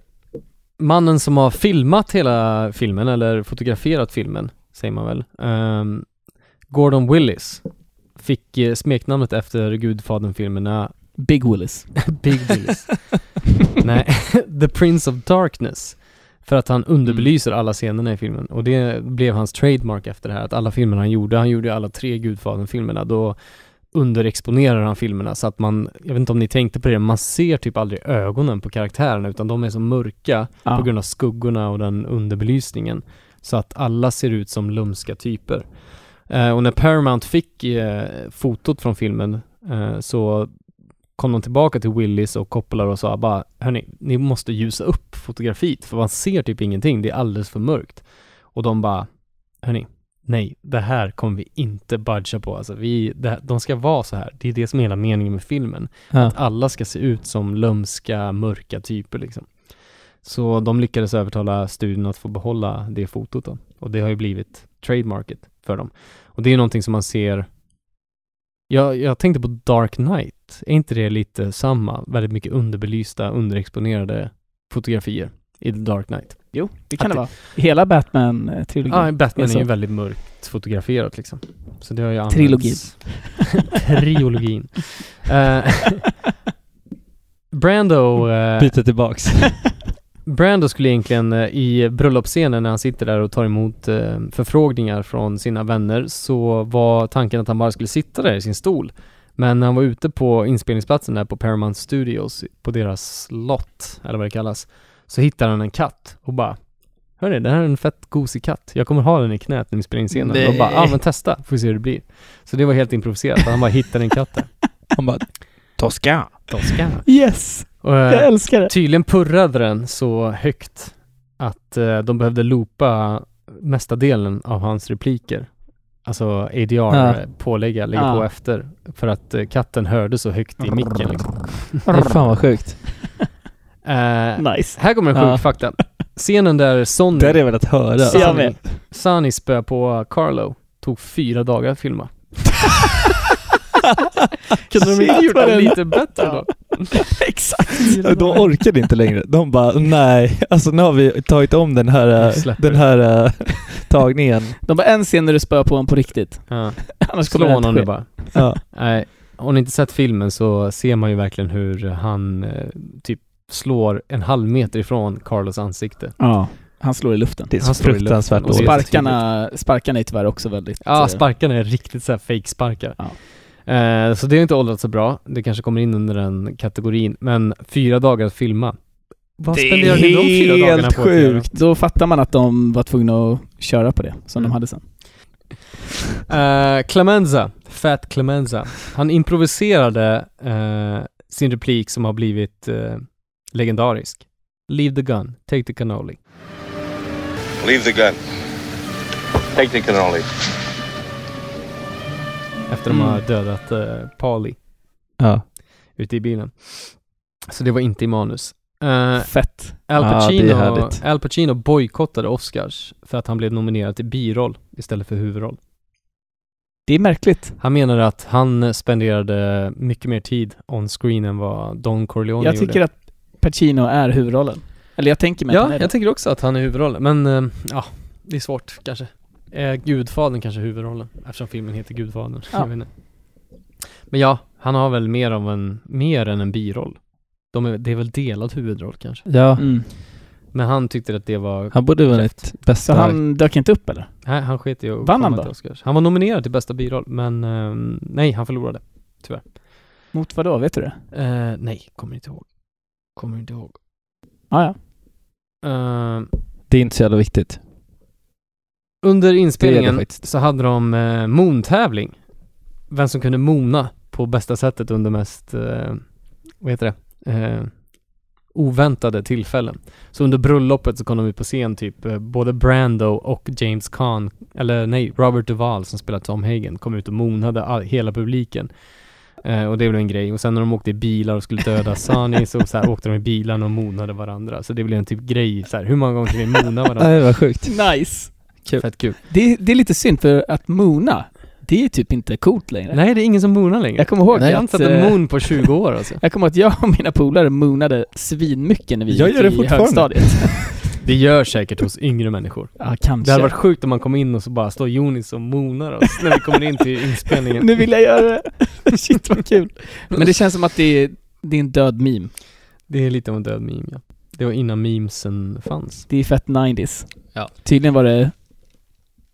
Speaker 2: mannen som har filmat hela filmen, eller fotograferat filmen, säger man väl, ehm, Gordon Willis, fick eh, smeknamnet efter Gudfadern-filmerna
Speaker 8: Big Willis.
Speaker 2: Big Willis. Nej, The Prince of Darkness. För att han underbelyser alla scenerna i filmen. Och det blev hans trademark efter det här, att alla filmer han gjorde, han gjorde ju alla tre Gudfadern-filmerna, då underexponerar han filmerna så att man, jag vet inte om ni tänkte på det, man ser typ aldrig ögonen på karaktärerna utan de är så mörka
Speaker 8: Ja.
Speaker 2: på grund av skuggorna och den underbelysningen. så att alla ser ut som lumska typer. Eh, och när Paramount fick eh, fotot från filmen eh, så kom de tillbaka till Willis och Coppola och sa bara, hörni, ni måste ljusa upp fotografiet för man ser typ ingenting, det är alldeles för mörkt. Och de bara, hörni, nej, det här kommer vi inte budga på. Alltså, vi, det, här- de ska vara så här, det är det som är hela meningen med filmen
Speaker 9: Ja.
Speaker 2: att alla ska se ut som lömska, mörka typer liksom. Så de lyckades övertala studion att få behålla det fotot då. Och det har ju blivit trademarket för dem. Och det är ju någonting som man ser jag, jag tänkte på Dark Knight. Är inte det lite samma? Väldigt mycket underbelysta, underexponerade fotografier i The Dark Knight.
Speaker 8: Jo, det
Speaker 2: Att
Speaker 8: kan det
Speaker 2: det-
Speaker 8: vara. Hela Batman-trilogin.
Speaker 2: Ja, Batman
Speaker 8: Det
Speaker 2: är,
Speaker 8: är
Speaker 2: ju
Speaker 8: så.
Speaker 2: väldigt mörkt fotograferat liksom. Så det har ju använts.
Speaker 8: Trilogin.
Speaker 2: Trilogin. Eh,
Speaker 8: Mm.
Speaker 2: Brando eh,
Speaker 9: Byta tillbaks.
Speaker 2: Brando skulle egentligen eh, i bröllopsscenen när han sitter där och tar emot eh, förfrågningar från sina vänner så var tanken att han bara skulle sitta där i sin stol. Men när han var ute på inspelningsplatsen där på Paramount Studios, på deras slott, eller vad det kallas, så hittar han en katt och bara Hörni, det här är en fett gosig katt. Jag kommer ha den i knät när vi spelar in scenen. Och
Speaker 9: Nej.
Speaker 2: bara, ja ah, men testa, får vi se hur det blir. Så det var helt improviserat, han bara hittade en katt där.
Speaker 9: Han bara Tosca.
Speaker 2: Tosca.
Speaker 8: Yes!
Speaker 2: Och, eh,
Speaker 8: Jag älskar det.
Speaker 2: Tydligen purrade den så högt att eh, de behövde loopa mesta delen av hans repliker. Alltså ADR,
Speaker 9: Ja.
Speaker 2: eh, pålägga, lägga
Speaker 8: Ja.
Speaker 2: på efter. För att eh, katten hörde så högt i micken liksom.
Speaker 9: Nej, fan vad sjukt.
Speaker 2: Eh,
Speaker 8: Nice.
Speaker 2: här kommer en sjuk
Speaker 9: Ja.
Speaker 2: fakta. Scenen där Sonny,
Speaker 9: Det hade jag velat höra.
Speaker 8: Så-
Speaker 9: Alltså,
Speaker 8: Jag med.
Speaker 2: Sonny, Sonny spö på Carlo tog fyra dagar att filma. Kunde de inte
Speaker 8: Shit,
Speaker 2: gjort
Speaker 8: vad
Speaker 2: det
Speaker 8: den-
Speaker 2: lite bättre då?
Speaker 8: Exakt.
Speaker 9: De orkade inte längre. De bara nej, alltså nu har vi tagit om den här,
Speaker 2: Vi släpper.
Speaker 9: den här eh, tagningen.
Speaker 8: De var en scen när du spöar på honom på riktigt.
Speaker 2: Ja.
Speaker 8: Annars kommer
Speaker 2: Slå
Speaker 8: det här
Speaker 2: honom
Speaker 8: inte
Speaker 2: nu
Speaker 8: ske.
Speaker 2: bara.
Speaker 9: Ja.
Speaker 2: Nej, har ni inte sett filmen så ser man ju verkligen hur han eh, typ slår en halv meter ifrån Carlos ansikte.
Speaker 8: Ja. Han slår i luften.
Speaker 9: Det är så
Speaker 2: Han slår i luften
Speaker 9: fruktansvärt
Speaker 2: och det är
Speaker 9: dåligt.
Speaker 2: så
Speaker 8: Sparkarna, sparkarna är tyvärr också väldigt...
Speaker 2: Ja,
Speaker 8: eh,
Speaker 2: sparkarna är riktigt så här fake sparkar.
Speaker 8: Ja.
Speaker 2: Eh, så det har inte åldrats så bra. Det kanske kommer in under den kategorin. Men fyra dagar att filma. Vad
Speaker 9: Det är
Speaker 2: spenderar ni de fyra
Speaker 9: helt
Speaker 2: dagarna på att göra?
Speaker 9: sjukt.
Speaker 8: Då fattar man att de var tvungna att köra på det som
Speaker 2: Mm.
Speaker 8: de hade sen.
Speaker 2: Eh, Clemenza, Fat Clemenza. Han improviserade eh, sin replik som har blivit eh, legendarisk. Leave the gun, take the cannoli.
Speaker 11: Leave the gun. Take the cannoli.
Speaker 2: Efter de
Speaker 9: Mm.
Speaker 2: har dödat eh, Pali
Speaker 9: Ja.
Speaker 2: ute i bilen. Så det var inte i manus. Eh,
Speaker 8: Fett.
Speaker 2: Al,
Speaker 9: Ja, Ah, det är
Speaker 2: Pacino,
Speaker 9: härligt.
Speaker 2: Al Pacino bojkottade Oscars för att han blev nominerad till biroll istället för huvudroll.
Speaker 8: Det är märkligt.
Speaker 2: Han menade att han spenderade mycket mer tid on screen än vad Don Corleone
Speaker 8: Jag
Speaker 2: gjorde.
Speaker 8: tycker att Pacino är huvudrollen. Eller jag tänker mig att han
Speaker 2: Ja,
Speaker 8: är det.
Speaker 2: jag tycker också att han är huvudrollen, men eh, ja, det är svårt kanske. Eh, Gudfadern kanske är huvudrollen, eftersom filmen heter Gudfadern.
Speaker 8: Ja.
Speaker 2: Jag vet inte. Men ja, han har väl mer, av en, mer än en biroll. De är, det är väl delad huvudroll kanske.
Speaker 9: Ja,
Speaker 8: Mm.
Speaker 2: Men han tyckte att det var...
Speaker 9: han borde vunnit
Speaker 8: Så
Speaker 9: bästa...
Speaker 8: han dök inte upp eller?
Speaker 2: Nej, han sket i att
Speaker 8: Vann
Speaker 2: komma
Speaker 8: han då?
Speaker 2: till Oscars. Han var nominerad till bästa biroll, men eh, nej, han förlorade.
Speaker 8: Mot vad då? Vet du det?
Speaker 2: Eh, nej, kommer inte ihåg. Kommer inte ihåg.
Speaker 8: Ah, ja.
Speaker 2: Eh,
Speaker 9: Det är inte så jävla viktigt.
Speaker 2: Under
Speaker 9: Det är det
Speaker 2: inspelningen
Speaker 9: faktiskt.
Speaker 2: så hade de eh, moontävling. Vem som kunde mona på bästa sättet under mest, eh, vad heter det, eh, oväntade tillfällen. Så under bröllopet så kom de ut på scen typ, eh, både Brando och James Caan, eller nej, Robert Duvall som spelar Tom Hagen kom ut och monade all, hela publiken. Eh, och det blev en grej. Och sen när de åkte i bilar och skulle döda Sunny så, så här, åkte de i bilarna och monade varandra. Så det blev en typ grej så här, hur många gånger kan vi mona varandra?
Speaker 9: Nej, vad sjukt.
Speaker 8: Nice.
Speaker 2: Fett kul.
Speaker 8: Det, det är lite synd för att Mona, det är typ inte coolt längre.
Speaker 2: Nej, det är ingen som moonar längre.
Speaker 8: Jag kommer ihåg
Speaker 2: Nej, jag har
Speaker 8: att...
Speaker 2: inte sett en
Speaker 8: eh,
Speaker 2: moon på 20 år alltså.
Speaker 8: Jag kommer ihåg att jag och mina polare moonade svinmycket när vi
Speaker 9: Jag
Speaker 8: gick
Speaker 9: gör det
Speaker 8: i
Speaker 9: fortfarande.
Speaker 8: högstadiet.
Speaker 2: Det gör säkert hos yngre människor.
Speaker 8: Ja, kanske.
Speaker 2: Det hade varit sjukt om man kom in och så bara står Jonis och moonar oss när vi kommer in till inspelningen.
Speaker 8: Nu vill jag göra det. Shit vad kul. Men det känns som att det är, det är en död meme.
Speaker 2: Det är lite av en död meme ja. Det var innan memesen fanns.
Speaker 8: Det är fett 90s.
Speaker 2: Ja.
Speaker 8: Tydligen var det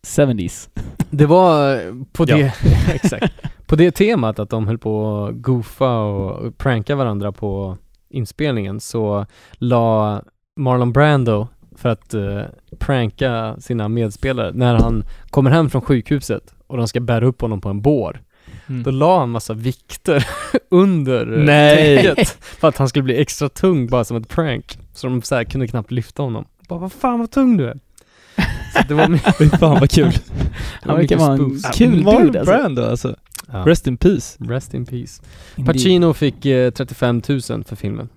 Speaker 8: 70s.
Speaker 2: Det var eh, på
Speaker 9: Ja.
Speaker 2: det, exakt. På det temat att de höll på att goofa och pranka varandra på inspelningen så la Marlon Brando för att eh, pranka sina medspelare när han kommer hem från sjukhuset och de ska bära upp honom på en bår.
Speaker 9: Mm.
Speaker 2: Då la han massa vikter under eh,
Speaker 9: Nej.
Speaker 2: täcket för att han skulle bli extra tung bara som ett prank. Så de så här kunde knappt lyfta honom. Bara, vad fan vad tung du är. Så det var
Speaker 9: Fy fan vad kul.
Speaker 2: Han verkar vara en
Speaker 8: kul
Speaker 9: Marlon
Speaker 8: dude, alltså.
Speaker 9: Brando alltså.
Speaker 2: Ja.
Speaker 9: Rest in peace.
Speaker 2: Rest in peace.
Speaker 8: Indeed.
Speaker 2: Pacino fick eh, 35 000 för filmen.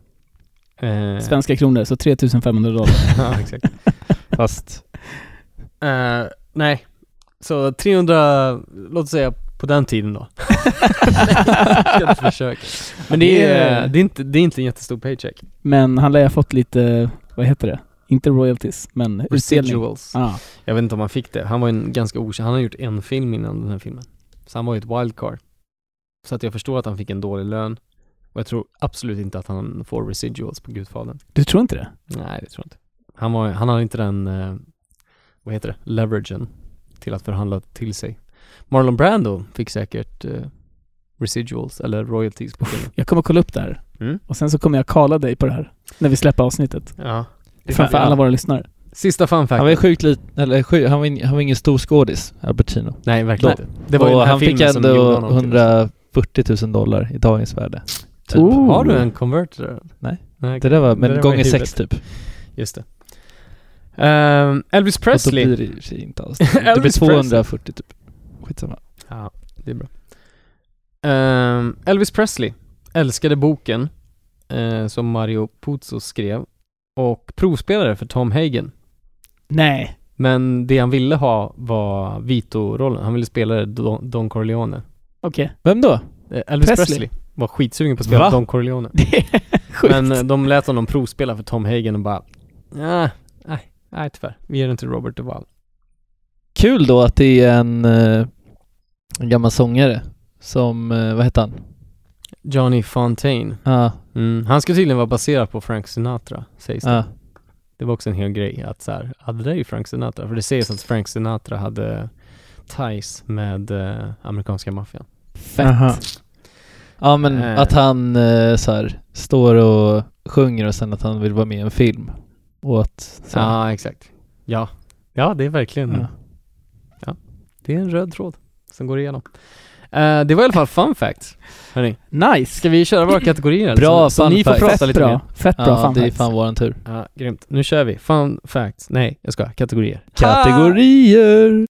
Speaker 2: Eh,
Speaker 8: Svenska kronor, så 3500 dollar.
Speaker 2: ja, exakt.
Speaker 9: Fast
Speaker 2: Eh, nej, så 300, låt oss säga på den tiden då. Jag ska inte försöka. Men det är, det, är inte, det är inte en jättestor paycheck.
Speaker 8: Men han lär ha fått lite, vad heter det? Inte royalties, men utdelning.
Speaker 2: Residuals.
Speaker 8: Ja,
Speaker 2: Jag vet inte om han fick det. Han var en ganska okänd, han har gjort en film innan den här filmen. Så han var ju ett wildcard. Så att jag förstår att han fick en dålig lön. Och jag tror absolut inte att han får residuals på Gudfadern.
Speaker 8: du tror inte det?
Speaker 2: Nej, det tror jag inte. Han, var, han hade inte den, eh, vad heter det, leveragen till att förhandla till sig. Marlon Brando fick säkert eh, residuals eller royalties på filmen.
Speaker 8: Jag kommer kolla upp det här.
Speaker 2: Mm.
Speaker 8: Och sen så kommer jag kalla dig på det här. När vi släpper avsnittet.
Speaker 2: Ja.
Speaker 8: Framför alla våra lyssnare.
Speaker 2: Sista fun fact.
Speaker 9: han var ju sjukt liten, eller sjuk, han, var in, han var ingen stor skådis, Al Pacino.
Speaker 2: Nej, verkligen inte. Det var ju
Speaker 9: Och
Speaker 2: den här
Speaker 9: han
Speaker 2: filmen
Speaker 9: fick
Speaker 2: som gjorde
Speaker 9: ändå
Speaker 2: honom till-
Speaker 9: 140 000 dollar i dagens värde. Typ.
Speaker 8: Oh.
Speaker 2: Har du en converter?
Speaker 9: Nej.
Speaker 2: Nej
Speaker 9: Det där
Speaker 2: Det
Speaker 9: var,
Speaker 2: där
Speaker 9: men
Speaker 2: var i
Speaker 9: gånger
Speaker 2: huvudet.
Speaker 9: sex typ.
Speaker 2: Just det. Ehm, Elvis Presley.
Speaker 9: Och då blir det i och för sig inte alls. Det blir
Speaker 2: Elvis
Speaker 9: 240 typ. Skitsamma.
Speaker 2: Ja, det är bra. Ehm, Elvis Presley älskade boken eh, som Mario Puzo skrev och provspelade för Tom Hagen.
Speaker 8: Nej.
Speaker 2: Men det han ville ha var Vito-rollen. Han ville spela Don, Don Corleone.
Speaker 8: Okej.
Speaker 9: Vem då?
Speaker 2: Eh, Elvis Presley.
Speaker 8: Presley.
Speaker 2: var skitsugen på att spela
Speaker 9: Va?
Speaker 2: Don Corleone.
Speaker 8: Det är sjukt.
Speaker 2: Men eh, de lät honom provspela för Tom Hagen och bara "Ah, nej, nej tyvärr. Vi ger den till Robert Duvall.
Speaker 9: Kul då att det är en, eh, en gammal sångare som, eh, vad hette han?
Speaker 2: Johnny Fontaine.
Speaker 9: Ja,
Speaker 2: Mm. Han ska tydligen vara baserad på Frank Sinatra, sägs det.
Speaker 9: ja.
Speaker 2: Det var också en hel grej att så här, hade det där är ju Frank Sinatra? För det sägs att Frank Sinatra hade ties med eh, amerikanska maffian.
Speaker 8: Fett.
Speaker 9: Aha. Ja men
Speaker 2: Eh.
Speaker 9: att han eh, så här, står och sjunger och sen att han vill vara med i en film. Och att, så
Speaker 2: Ja,
Speaker 9: här,
Speaker 2: exakt. Ja. Ja, det är verkligen,
Speaker 9: ja.
Speaker 2: det är en röd tråd som går igenom. Eh, det var i alla fall fun fact. Hörni,
Speaker 8: Nice!
Speaker 2: ska vi köra våra kategorier? eller?
Speaker 9: Bra
Speaker 2: så, så
Speaker 9: fun
Speaker 2: ni får
Speaker 9: fact.
Speaker 2: prata
Speaker 8: Fett
Speaker 2: lite mer.
Speaker 8: bra. Fett bra
Speaker 9: ja
Speaker 8: fan
Speaker 9: det är
Speaker 8: faktiskt.
Speaker 9: fan våran tur.
Speaker 2: Ja, grymt. Nu kör vi. Fun facts. Nej, jag ska. Kategorier.
Speaker 8: Ah.
Speaker 9: Kategorier!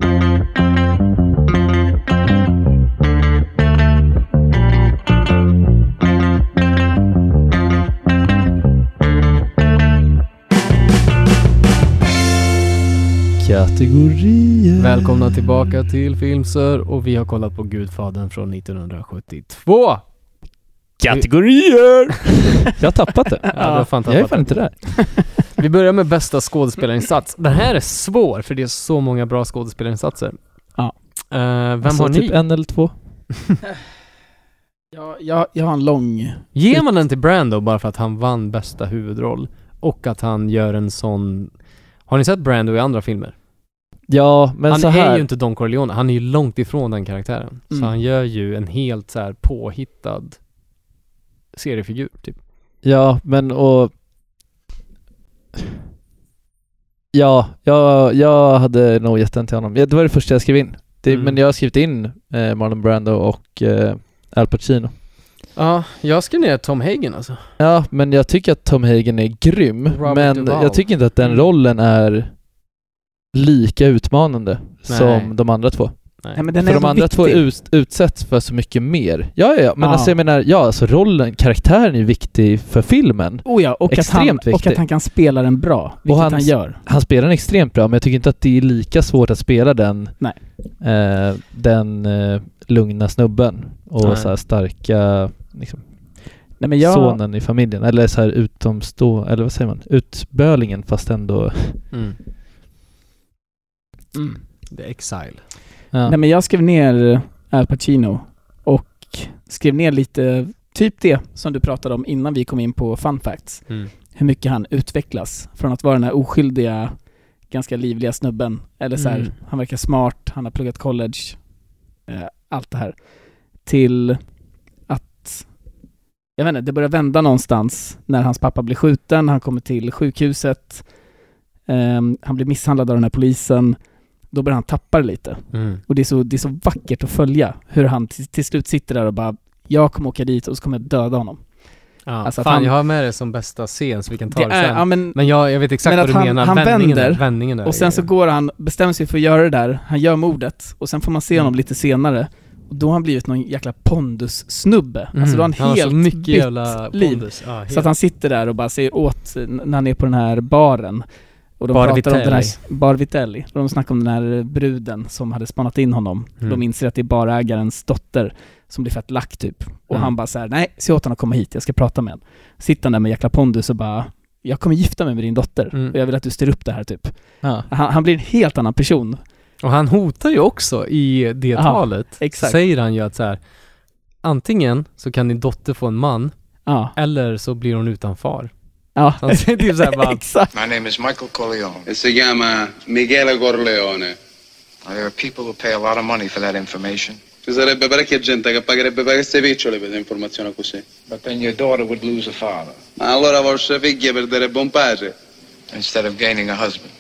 Speaker 9: Kategorier.
Speaker 2: Välkomna tillbaka till Filmsör och vi har kollat på Gudfadern från 1972.
Speaker 9: Kategorier! Jag har tappat det.
Speaker 2: Ja, du har fan
Speaker 9: Jag är
Speaker 2: tappat
Speaker 9: fan inte där.
Speaker 2: Vi börjar med bästa skådespelarinsats. Den här är svår för det är så många bra skådespelarinsatser.
Speaker 8: Ja.
Speaker 2: Eh, vem
Speaker 9: Alltså
Speaker 2: har ni?
Speaker 9: Typ en eller två.
Speaker 8: Ja, jag, jag har en lång...
Speaker 2: Ger man den till Brando bara för att han vann bästa huvudroll och att han gör en sån... Har ni sett Brando i andra filmer?
Speaker 9: Ja, men
Speaker 2: han
Speaker 9: så
Speaker 2: är
Speaker 9: här.
Speaker 2: ju inte Don Corleone, han är ju långt ifrån den karaktären. Så
Speaker 8: Mm.
Speaker 2: han gör ju en helt så här påhittad seriefigur typ.
Speaker 9: Ja, men och... Ja, jag, jag hade nog gett den till honom. Ja, det var det första jag skrev in. Det,
Speaker 2: Mm.
Speaker 9: Men jag har skrivit in eh, Marlon Brando och eh, Al Pacino.
Speaker 2: Ja, jag skrev ner Tom Hagen alltså.
Speaker 9: Ja, men jag tycker att Tom Hagen är grym.
Speaker 2: Robert
Speaker 9: men
Speaker 2: Duvall.
Speaker 9: jag tycker inte att den
Speaker 2: Mm.
Speaker 9: rollen är lika utmanande
Speaker 2: Nej.
Speaker 9: som de andra två.
Speaker 8: Nej men den är
Speaker 9: för de
Speaker 8: ändå
Speaker 9: andra
Speaker 8: viktig.
Speaker 9: två ut, utsätts för så mycket mer. Ja, ja, ja. men
Speaker 8: Ja.
Speaker 9: alltså jag menar, ja alltså rollen, karaktären är ju viktig för filmen.
Speaker 8: Oh ja, och att, han,
Speaker 9: Extremt
Speaker 8: och
Speaker 9: viktig.
Speaker 8: att han kan spela den bra, vilket
Speaker 9: han-
Speaker 8: han, gör.
Speaker 9: Han spelar den extremt bra, men jag tycker inte att det är lika svårt att spela den,
Speaker 8: Nej.
Speaker 9: eh, den eh, lugna snubben
Speaker 2: Nej.
Speaker 9: och så här starka liksom,
Speaker 8: Nej men jag...
Speaker 9: sonen i familjen. Eller så här utomstå... Eller vad säger man? Utbölingen fast ändå...
Speaker 2: Mm.
Speaker 8: Mm.
Speaker 2: The Exile.
Speaker 9: Ja.
Speaker 8: Nej men jag skrev ner Al Pacino och skrev ner lite, typ det som du pratade om innan vi kom in på fun facts.
Speaker 2: Mm.
Speaker 8: Hur mycket han utvecklas från att vara den här oskyldiga, ganska livliga snubben. Eller så här,
Speaker 2: Mm.
Speaker 8: han verkar smart, han har pluggat college, eh, allt det här. Till att, jag vet inte, det börjar vända någonstans när hans pappa blir skjuten, han kommer till sjukhuset. Eh, Ehm, han blir misshandlad av den här polisen. Då börjar han tappa det lite.
Speaker 2: Mm.
Speaker 8: Och det är, så, det är så vackert att följa hur han till, till slut sitter där och bara, jag kommer åka dit och så kommer jag döda honom.
Speaker 2: Ja,
Speaker 8: Alltså att
Speaker 2: fan
Speaker 8: han-
Speaker 2: jag har med det som bästa scen så vi kan ta det,
Speaker 8: Det är-
Speaker 2: sen.
Speaker 8: ja, men-
Speaker 2: jag, jag vet exakt
Speaker 8: men
Speaker 2: vad
Speaker 8: att
Speaker 2: du
Speaker 8: han-
Speaker 2: menar,
Speaker 8: han
Speaker 2: vändningen,
Speaker 8: vänder,
Speaker 2: där, vändningen där.
Speaker 8: Och sen så går han, bestämmer sig för att göra det där, han gör mordet och sen får man se
Speaker 2: Mm.
Speaker 8: honom lite senare och då har han blivit någon jäkla pondussnubbe.
Speaker 2: Mm,
Speaker 8: Alltså då har han,
Speaker 2: han har så
Speaker 8: helt
Speaker 2: mycket
Speaker 8: bytt
Speaker 2: jävla
Speaker 8: liv.
Speaker 2: pondus. Ja, helt.
Speaker 8: Så att han sitter där och bara säger åt eh, n- när han är på den här baren. Och de
Speaker 2: Bar
Speaker 8: pratar om den här,
Speaker 2: Vitelli.
Speaker 8: Bar Vitelli. Och de snackar om den här eh, bruden som hade spanat in honom.
Speaker 2: Mm.
Speaker 8: De inser att det är barägarens dotter som blir fett lack typ. Och
Speaker 2: Mm.
Speaker 8: han bara så här: nej, se åt honom att komma hit, jag ska prata med honom. Sitter han där med jäkla pondus och bara, jag kommer gifta mig med din dotter
Speaker 2: Mm.
Speaker 8: och jag vill att du styr upp det här typ.
Speaker 9: Ja.
Speaker 8: Han, han blir en helt annan person.
Speaker 2: Och han hotar ju också i det
Speaker 8: Ja,
Speaker 2: talet.
Speaker 8: exakt.
Speaker 2: Säger han ju att så här, antingen så kan din dotter få en man,
Speaker 8: Ja.
Speaker 2: eller så blir hon utan far.
Speaker 8: Ja.
Speaker 2: Så han säger typ så här bara,
Speaker 10: My name is Michael Corleone.
Speaker 11: E si chiama Michele Corleone.
Speaker 10: Now, there are people who pay a lot of money for that information.
Speaker 11: Ci sarebbe parecchia gente che pagherebbe per queste picciole per un'informazione così.
Speaker 10: But then your daughter would lose a father
Speaker 11: Ma allora vostra figlia perderebbe un padre.
Speaker 10: instead of gaining a husband.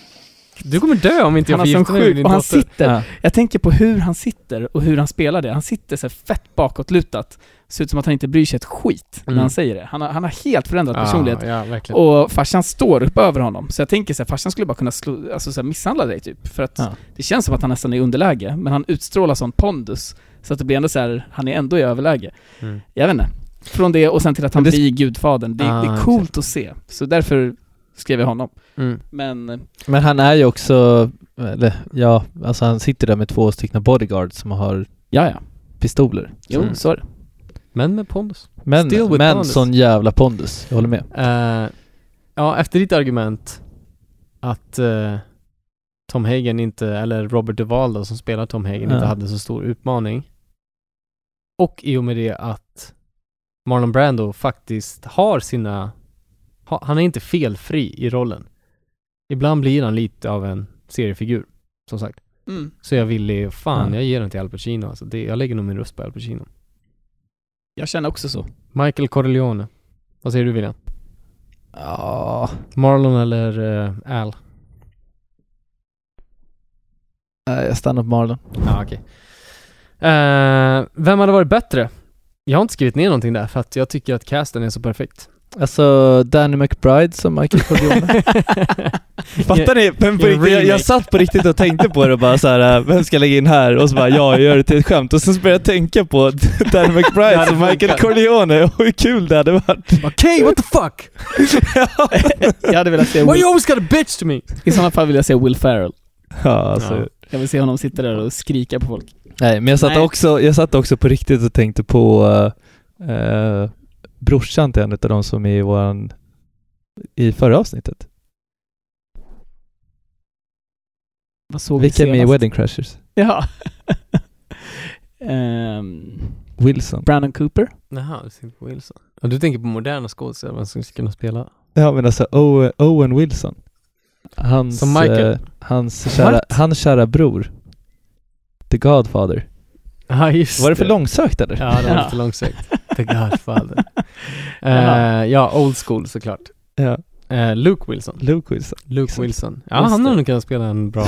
Speaker 2: du kommer dö om inte
Speaker 8: Han
Speaker 2: jag
Speaker 8: har
Speaker 2: får
Speaker 8: sån
Speaker 2: gifta mig med
Speaker 8: sjuk,
Speaker 2: din
Speaker 8: och han
Speaker 2: dotter.
Speaker 8: sitter, jag tänker på hur han sitter och hur han spelar det. Han sitter så här fett bakåtlutat. Ser ut som att han inte bryr sig ett skit
Speaker 2: Mm.
Speaker 8: när han säger det. Han har, han har helt förändrat
Speaker 2: Ja,
Speaker 8: personlighet.
Speaker 2: ja, verkligen.
Speaker 8: och farsan står upp över honom. Så jag tänker så här, farsan skulle bara kunna slå, alltså så här, misshandla dig typ. För att
Speaker 9: Ja.
Speaker 8: det känns som att han nästan är i underläge, men han utstrålar sån pondus. Så att det blir ändå så här, han är ändå i överläge.
Speaker 2: Mm.
Speaker 8: Jag vet inte. Från det och sen till att han
Speaker 2: Men det-
Speaker 8: blir gudfadern. Det, det
Speaker 2: Ah,
Speaker 8: är coolt att se. Så därför skrev jag honom.
Speaker 2: Mm.
Speaker 8: Men eh,
Speaker 9: Men han är ju också, eller ja, alltså han sitter där med två stycken bodyguards som har
Speaker 8: ja, ja.
Speaker 9: pistoler.
Speaker 8: Jo,
Speaker 2: Mm.
Speaker 8: så är det.
Speaker 2: Men med pondus.
Speaker 9: Men,
Speaker 2: Still with
Speaker 9: men
Speaker 2: pondus.
Speaker 9: sån jävla pondus, jag håller med.
Speaker 2: Eh, ja, efter ditt argument att eh, Tom Hagen inte, eller Robert Duvall då, som spelar Tom Hagen,
Speaker 9: Ja.
Speaker 2: inte hade så stor utmaning. Och i och med det att Marlon Brando faktiskt har sina, ha, han är inte felfri i rollen. Ibland blir han lite av en seriefigur, som sagt.
Speaker 8: Mm.
Speaker 2: Så jag ville, fan
Speaker 9: Ja.
Speaker 2: jag ger den till Al Pacino alltså. det, Jag lägger nog min röst på Al Pacino.
Speaker 8: Jag känner också så.
Speaker 2: Michael Corleone. Vad säger du William?
Speaker 9: Ja,
Speaker 2: Marlon eller eh, Al?
Speaker 9: eh, jag stannar på Marlon.
Speaker 2: Ja, okej. Eh, vem hade varit bättre? Jag har inte skrivit ner någonting där för att jag tycker att casten är så perfekt.
Speaker 9: Alltså Danny McBride som Michael Corleone. Fattar ni? Men på
Speaker 2: en
Speaker 9: riktigt, jag, jag
Speaker 2: remake.
Speaker 9: satt på riktigt och tänkte på det och bara så här. äh, vem ska jag lägga in här? Och så bara, ja, jag gör det till ett skämt. Och sen så började jag tänka på Dan McBride som Michael Corleone och hur kul det hade varit.
Speaker 2: Okej, what the fuck?
Speaker 8: Jag hade velat se
Speaker 2: Why
Speaker 8: Will,
Speaker 2: you always got a bitch to me?
Speaker 8: I sådana fall vill jag se Will Ferrell.
Speaker 9: Ja, alltså.
Speaker 2: Ja.
Speaker 8: Jag vill se honom sitta där och skrika på folk.
Speaker 9: Nej, men jag satt,
Speaker 8: Nej.
Speaker 9: Också, jag satt också på riktigt och tänkte på uh, brorsan till en av de som är i våran, i förra avsnittet.
Speaker 8: Vad såg
Speaker 9: Vilka är med i
Speaker 8: senast?
Speaker 9: Wedding Crashers?
Speaker 8: Ja. Ehm,
Speaker 9: Wilson.
Speaker 8: Brandon Cooper.
Speaker 2: Jaha, du tänker på Wilson. Ja, du tänker på moderna skådespelare vem som ska kunna spela.
Speaker 9: Ja men alltså Owen, Owen Wilson. Hans,
Speaker 2: Som Michael?
Speaker 9: eh, hans, kära,
Speaker 2: What?
Speaker 9: hans kära bror. The Godfather.
Speaker 2: Ja, just
Speaker 9: Var det för långsökt eller?
Speaker 2: Ja, det var
Speaker 8: Ja.
Speaker 2: lite långsökt. The Godfather.
Speaker 8: Jaha.
Speaker 2: Eh, ja, old school såklart.
Speaker 9: Ja,
Speaker 2: Eh, Luke Wilson.
Speaker 9: Luke Wilson.
Speaker 2: Luke
Speaker 9: Exakt.
Speaker 2: Wilson. Ja,
Speaker 9: Just
Speaker 2: han hade
Speaker 9: det.
Speaker 2: nog kunnat spela en bra...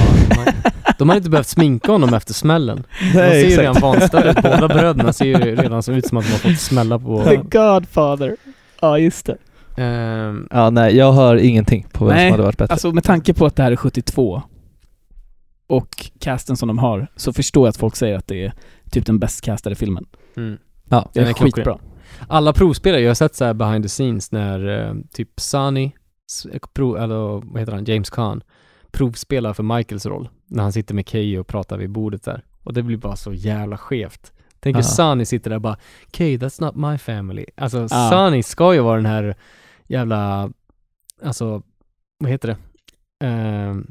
Speaker 2: De hade inte behövt sminka honom efter smällen. De ser
Speaker 9: Nej,
Speaker 2: ju
Speaker 9: exakt.
Speaker 2: redan vanstörda ut. Båda bröderna ser ju redan så ut som att de har fått smälla på...
Speaker 8: The Godfather. Ja, just det.
Speaker 2: Ehm,
Speaker 9: Ja, nej, jag har ingenting på vem
Speaker 8: Nej,
Speaker 9: som hade varit bättre.
Speaker 8: Alltså med tanke på att det här är 72 och casten som de har, så förstår jag att folk säger att det är typ den bäst castade filmen.
Speaker 2: mm.
Speaker 9: ja.
Speaker 2: Den
Speaker 8: Den är,
Speaker 2: är klockren.
Speaker 8: skitbra.
Speaker 2: Alla provspelare, jag har sett så här behind the scenes när eh, typ Sunny, s- prov, eller vad heter han, James Caan, provspelar för Michaels roll. När han sitter med Kay och pratar vid bordet där. Och det blir bara så jävla skevt. Tänk hur
Speaker 9: Ja.
Speaker 2: Sunny sitter där och bara, Kay that's not my family. Alltså
Speaker 8: Ja.
Speaker 2: Sunny ska ju vara den här jävla, alltså, vad heter det? Uh,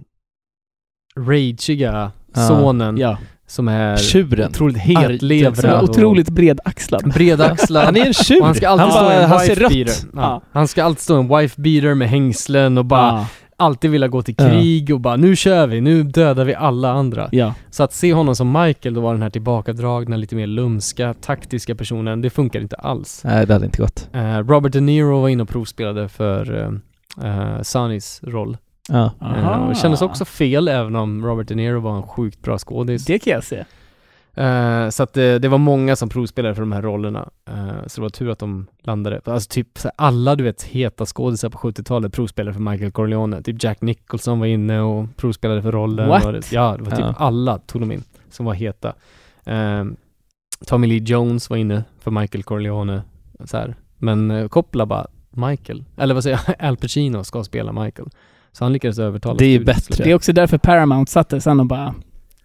Speaker 2: ragiga
Speaker 9: Ja.
Speaker 2: sonen
Speaker 8: Ja. liksom.
Speaker 2: som är
Speaker 9: Tjuren.
Speaker 2: otroligt
Speaker 9: Arg.
Speaker 8: Som
Speaker 2: hetlevrad.
Speaker 8: är
Speaker 2: och
Speaker 8: otroligt bredaxlad.
Speaker 2: Bredaxlad.
Speaker 9: Han är en tjur!
Speaker 2: Och han ska alltid
Speaker 9: Han
Speaker 2: stå
Speaker 9: bara-
Speaker 2: i en
Speaker 9: han ser
Speaker 2: wife
Speaker 9: rött.
Speaker 2: beater. Ja.
Speaker 8: Ja.
Speaker 2: Han ska alltid stå i en wife beater med hängslen och bara
Speaker 8: Ja.
Speaker 2: alltid vilja gå till
Speaker 9: Ja.
Speaker 2: krig och bara nu kör vi, nu dödar vi alla andra.
Speaker 8: ja.
Speaker 2: Så att se honom som Michael, då var den här tillbakadragna, lite mer lumska, taktiska personen, det funkar inte alls.
Speaker 9: Nej, det hade inte gått.
Speaker 2: Eh, Robert De Niro var inne och provspelade för uh, Sunnys eh, roll
Speaker 8: Ja.
Speaker 2: Eh, och Det kändes också fel även om Robert De Niro var en sjukt bra skådis.
Speaker 8: Det kan jag se.
Speaker 2: Eh, så att det, det var många som provspelade för de här rollerna. Eh, så det var tur att de landade. Alltså typ så här, alla du vet heta skådisar på 70-talet provspelade för Michael Corleone. Typ Jack Nicholson var inne och provspelade för rollen.
Speaker 8: What?
Speaker 2: Och det, ja, det var typ
Speaker 8: Ja.
Speaker 2: alla tog de in som var heta. Eh, Tommy Lee Jones var inne för Michael Corleone. Så här. Men eh, Coppola bara, Michael, eller vad säger jag, Al Pacino ska spela Michael. Så han lyckades övertala
Speaker 9: Det är ju
Speaker 2: studion.
Speaker 9: bättre.
Speaker 8: Det är också därför Paramount satte sen och bara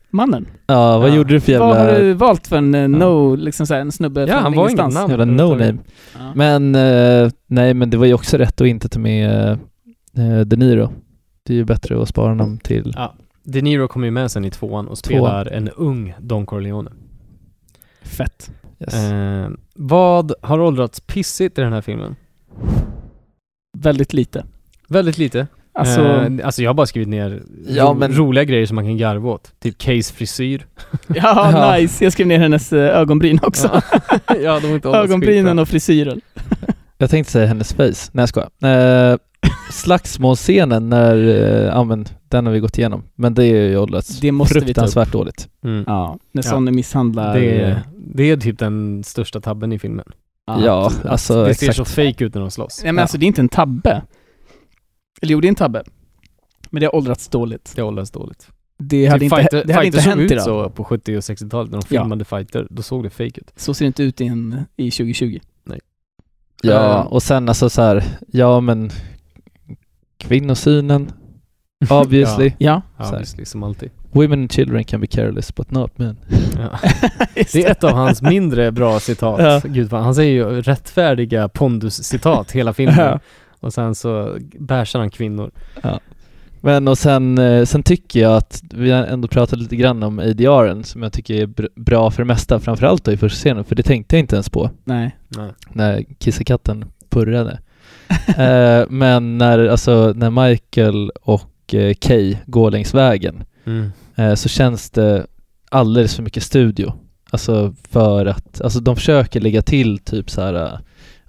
Speaker 8: Mannen,
Speaker 9: Ja, vad gjorde du för jävla...
Speaker 8: vad har du valt för en eh, no, liksom så här, en snubbe
Speaker 2: Ja,
Speaker 8: från
Speaker 2: han var
Speaker 8: ingenstans?
Speaker 2: ingen namn.
Speaker 9: Jävla no-name.
Speaker 8: Ja.
Speaker 9: Men, eh, nej men det var ju också rätt att inte ta med eh, De Niro. Det är ju bättre att spara honom till...
Speaker 2: De Niro kom ju med sen i tvåan och spelar en ung Don Corleone.
Speaker 8: Fett.
Speaker 9: Yes.
Speaker 2: Eh, vad har åldrats pissigt i den här filmen?
Speaker 8: Väldigt lite.
Speaker 2: Väldigt lite.
Speaker 8: Alltså,
Speaker 2: eh, alltså jag har bara skrivit ner
Speaker 9: Ja,
Speaker 2: ro-
Speaker 9: men-
Speaker 2: roliga grejer som man kan garva åt. Typ Case frisyr.
Speaker 8: ja,
Speaker 9: ja.
Speaker 8: nice. Jag skrev ner hennes eh, ögonbryn också.
Speaker 2: ja, de har inte åldrats
Speaker 8: Ögonbrynen
Speaker 2: skitbra.
Speaker 8: och frisyren.
Speaker 9: Jag tänkte säga hennes face. Nej jag skojar. Eh, slagsmålscenen när, eh, ja men den har vi gått igenom. Men det är ju åldrats
Speaker 8: Det måste vi ta upp.
Speaker 9: fruktansvärt dåligt.
Speaker 2: Mm.
Speaker 8: Ja, när
Speaker 2: Ja.
Speaker 8: Sonny misshandlar...
Speaker 2: Det,
Speaker 8: eh,
Speaker 2: är, det är typ den största tabben i filmen.
Speaker 8: Ja,
Speaker 9: ja,
Speaker 8: absolut.
Speaker 9: alltså
Speaker 2: det ser
Speaker 9: exakt.
Speaker 2: så fake ut när de slåss.
Speaker 8: Nej men alltså det är inte en tabbe. Eller jo, det är en tabbe. Men det har åldrats dåligt.
Speaker 2: Det åldras dåligt.
Speaker 8: Det hade
Speaker 2: Typ
Speaker 8: inte,
Speaker 2: fighter,
Speaker 8: det hade
Speaker 2: fighter
Speaker 8: inte
Speaker 2: såg
Speaker 8: hänt
Speaker 2: ut
Speaker 8: idag. Så.
Speaker 2: så på 70 och 60-talet när de
Speaker 8: Ja.
Speaker 2: filmade fighter. Då såg det fake ut.
Speaker 8: ser det inte ut i, en, i 2020.
Speaker 9: Ja, och sen alltså så här, ja men kvinnosynen, obviously.
Speaker 8: Ja.
Speaker 9: Så här.
Speaker 2: Ja, visst, som alltid.
Speaker 9: Women and children can be careless but not men.
Speaker 2: Ja. Det är ett av hans mindre bra citat.
Speaker 9: Ja.
Speaker 2: Gud, vad- han säger ju rättfärdiga pondus-citat hela filmen.
Speaker 9: Ja.
Speaker 2: Och sen så bärsar han kvinnor.
Speaker 9: Men och sen, eh, sen tycker jag att vi har ändå pratat lite grann om ADRen som jag tycker är br- bra för det mesta, framförallt då i första scenen, för det tänkte jag inte ens på
Speaker 8: Nej.
Speaker 2: Nej.
Speaker 9: när kissekatten purrade. eh, men när, alltså, när Michael och eh, Kay går längs vägen
Speaker 2: Mm.
Speaker 9: eh, så känns det alldeles för mycket studio. Alltså för att, alltså de försöker lägga till typ så här, eh,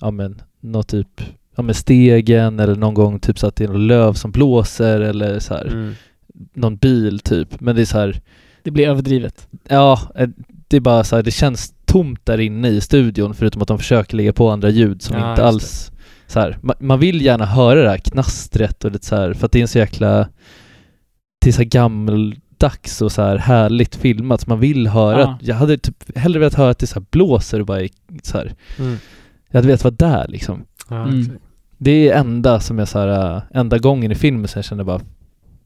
Speaker 9: ja men något typ, ja men stegen eller någon gång typ så att det är något löv som blåser eller så här
Speaker 2: Mm.
Speaker 9: någon bil typ, men det är så här,
Speaker 8: Det blir överdrivet.
Speaker 9: ja, eh, det är bara så här, det känns tomt där inne i studion förutom att de försöker lägga på andra ljud som
Speaker 2: Ja,
Speaker 9: inte
Speaker 2: just
Speaker 9: alls, så här, man, man vill gärna höra det här knastret och lite så här, för att det är en så jäkla, det är så här gammeldags och så här härligt filmat, så man vill höra,
Speaker 8: Ja.
Speaker 9: att, jag hade typ hellre velat höra att det så här blåser och bara är så här,
Speaker 2: Mm.
Speaker 9: jag hade velat vara där liksom.
Speaker 2: Ja,
Speaker 8: Mm.
Speaker 2: exakt.
Speaker 9: Det är enda som jag så här, eh, enda gången i filmen som jag kände bara,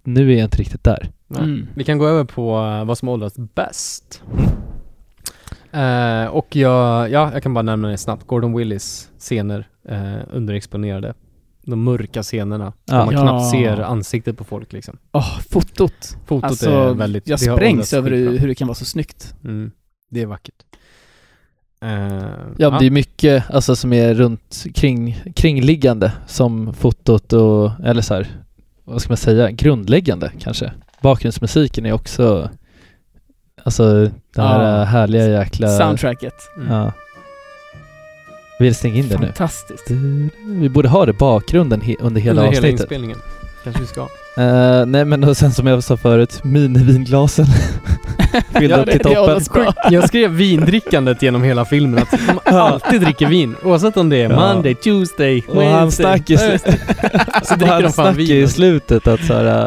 Speaker 9: nu är jag inte riktigt där.
Speaker 2: Nej.
Speaker 8: Mm.
Speaker 2: Vi kan gå över på eh, vad som åldrats bäst. Eh, och jag, ja, jag kan bara nämna det snabbt. Gordon Willis scener, eh, underexponerade. De mörka scenerna, där
Speaker 9: Ja.
Speaker 2: man
Speaker 8: Ja.
Speaker 2: knappt ser ansiktet på folk liksom.
Speaker 8: Åh, fotot.
Speaker 2: Fotot är
Speaker 8: Alltså,
Speaker 2: väldigt...
Speaker 8: jag
Speaker 2: det har åldrats
Speaker 8: sprängs över
Speaker 2: skitbra.
Speaker 8: hur, hur det kan vara så snyggt.
Speaker 2: Mm. Det är vackert. Eh,
Speaker 9: Ja, men det är mycket alltså, som är runt kring, kringliggande som fotot och, eller så här, vad ska man säga, grundläggande kanske. Bakgrundsmusiken är också, alltså den här
Speaker 8: Ja.
Speaker 9: härliga jäkla...
Speaker 8: Soundtracket.
Speaker 9: Ja. Vi vill stänga in det nu.
Speaker 8: Fantastiskt.
Speaker 9: Vi borde ha det bakgrunden he- under hela
Speaker 2: under hela
Speaker 9: avsnittet.
Speaker 2: inspelningen. Kanske vi ska.
Speaker 9: Eh, nej men och sen som jag sa förut, minivinglasen. Fyllda upp till
Speaker 8: det har
Speaker 9: toppen.
Speaker 8: åldrats bra.
Speaker 2: Jag skrev vindrickandet genom hela filmen, att de alltid dricker vin. Oavsett om det är
Speaker 9: Ja.
Speaker 2: Monday, Tuesday,
Speaker 9: Och han snack i, sl-
Speaker 2: Så dricker
Speaker 9: och
Speaker 2: de
Speaker 9: han
Speaker 2: fan
Speaker 9: snack i
Speaker 2: vin.
Speaker 9: slutet att såhär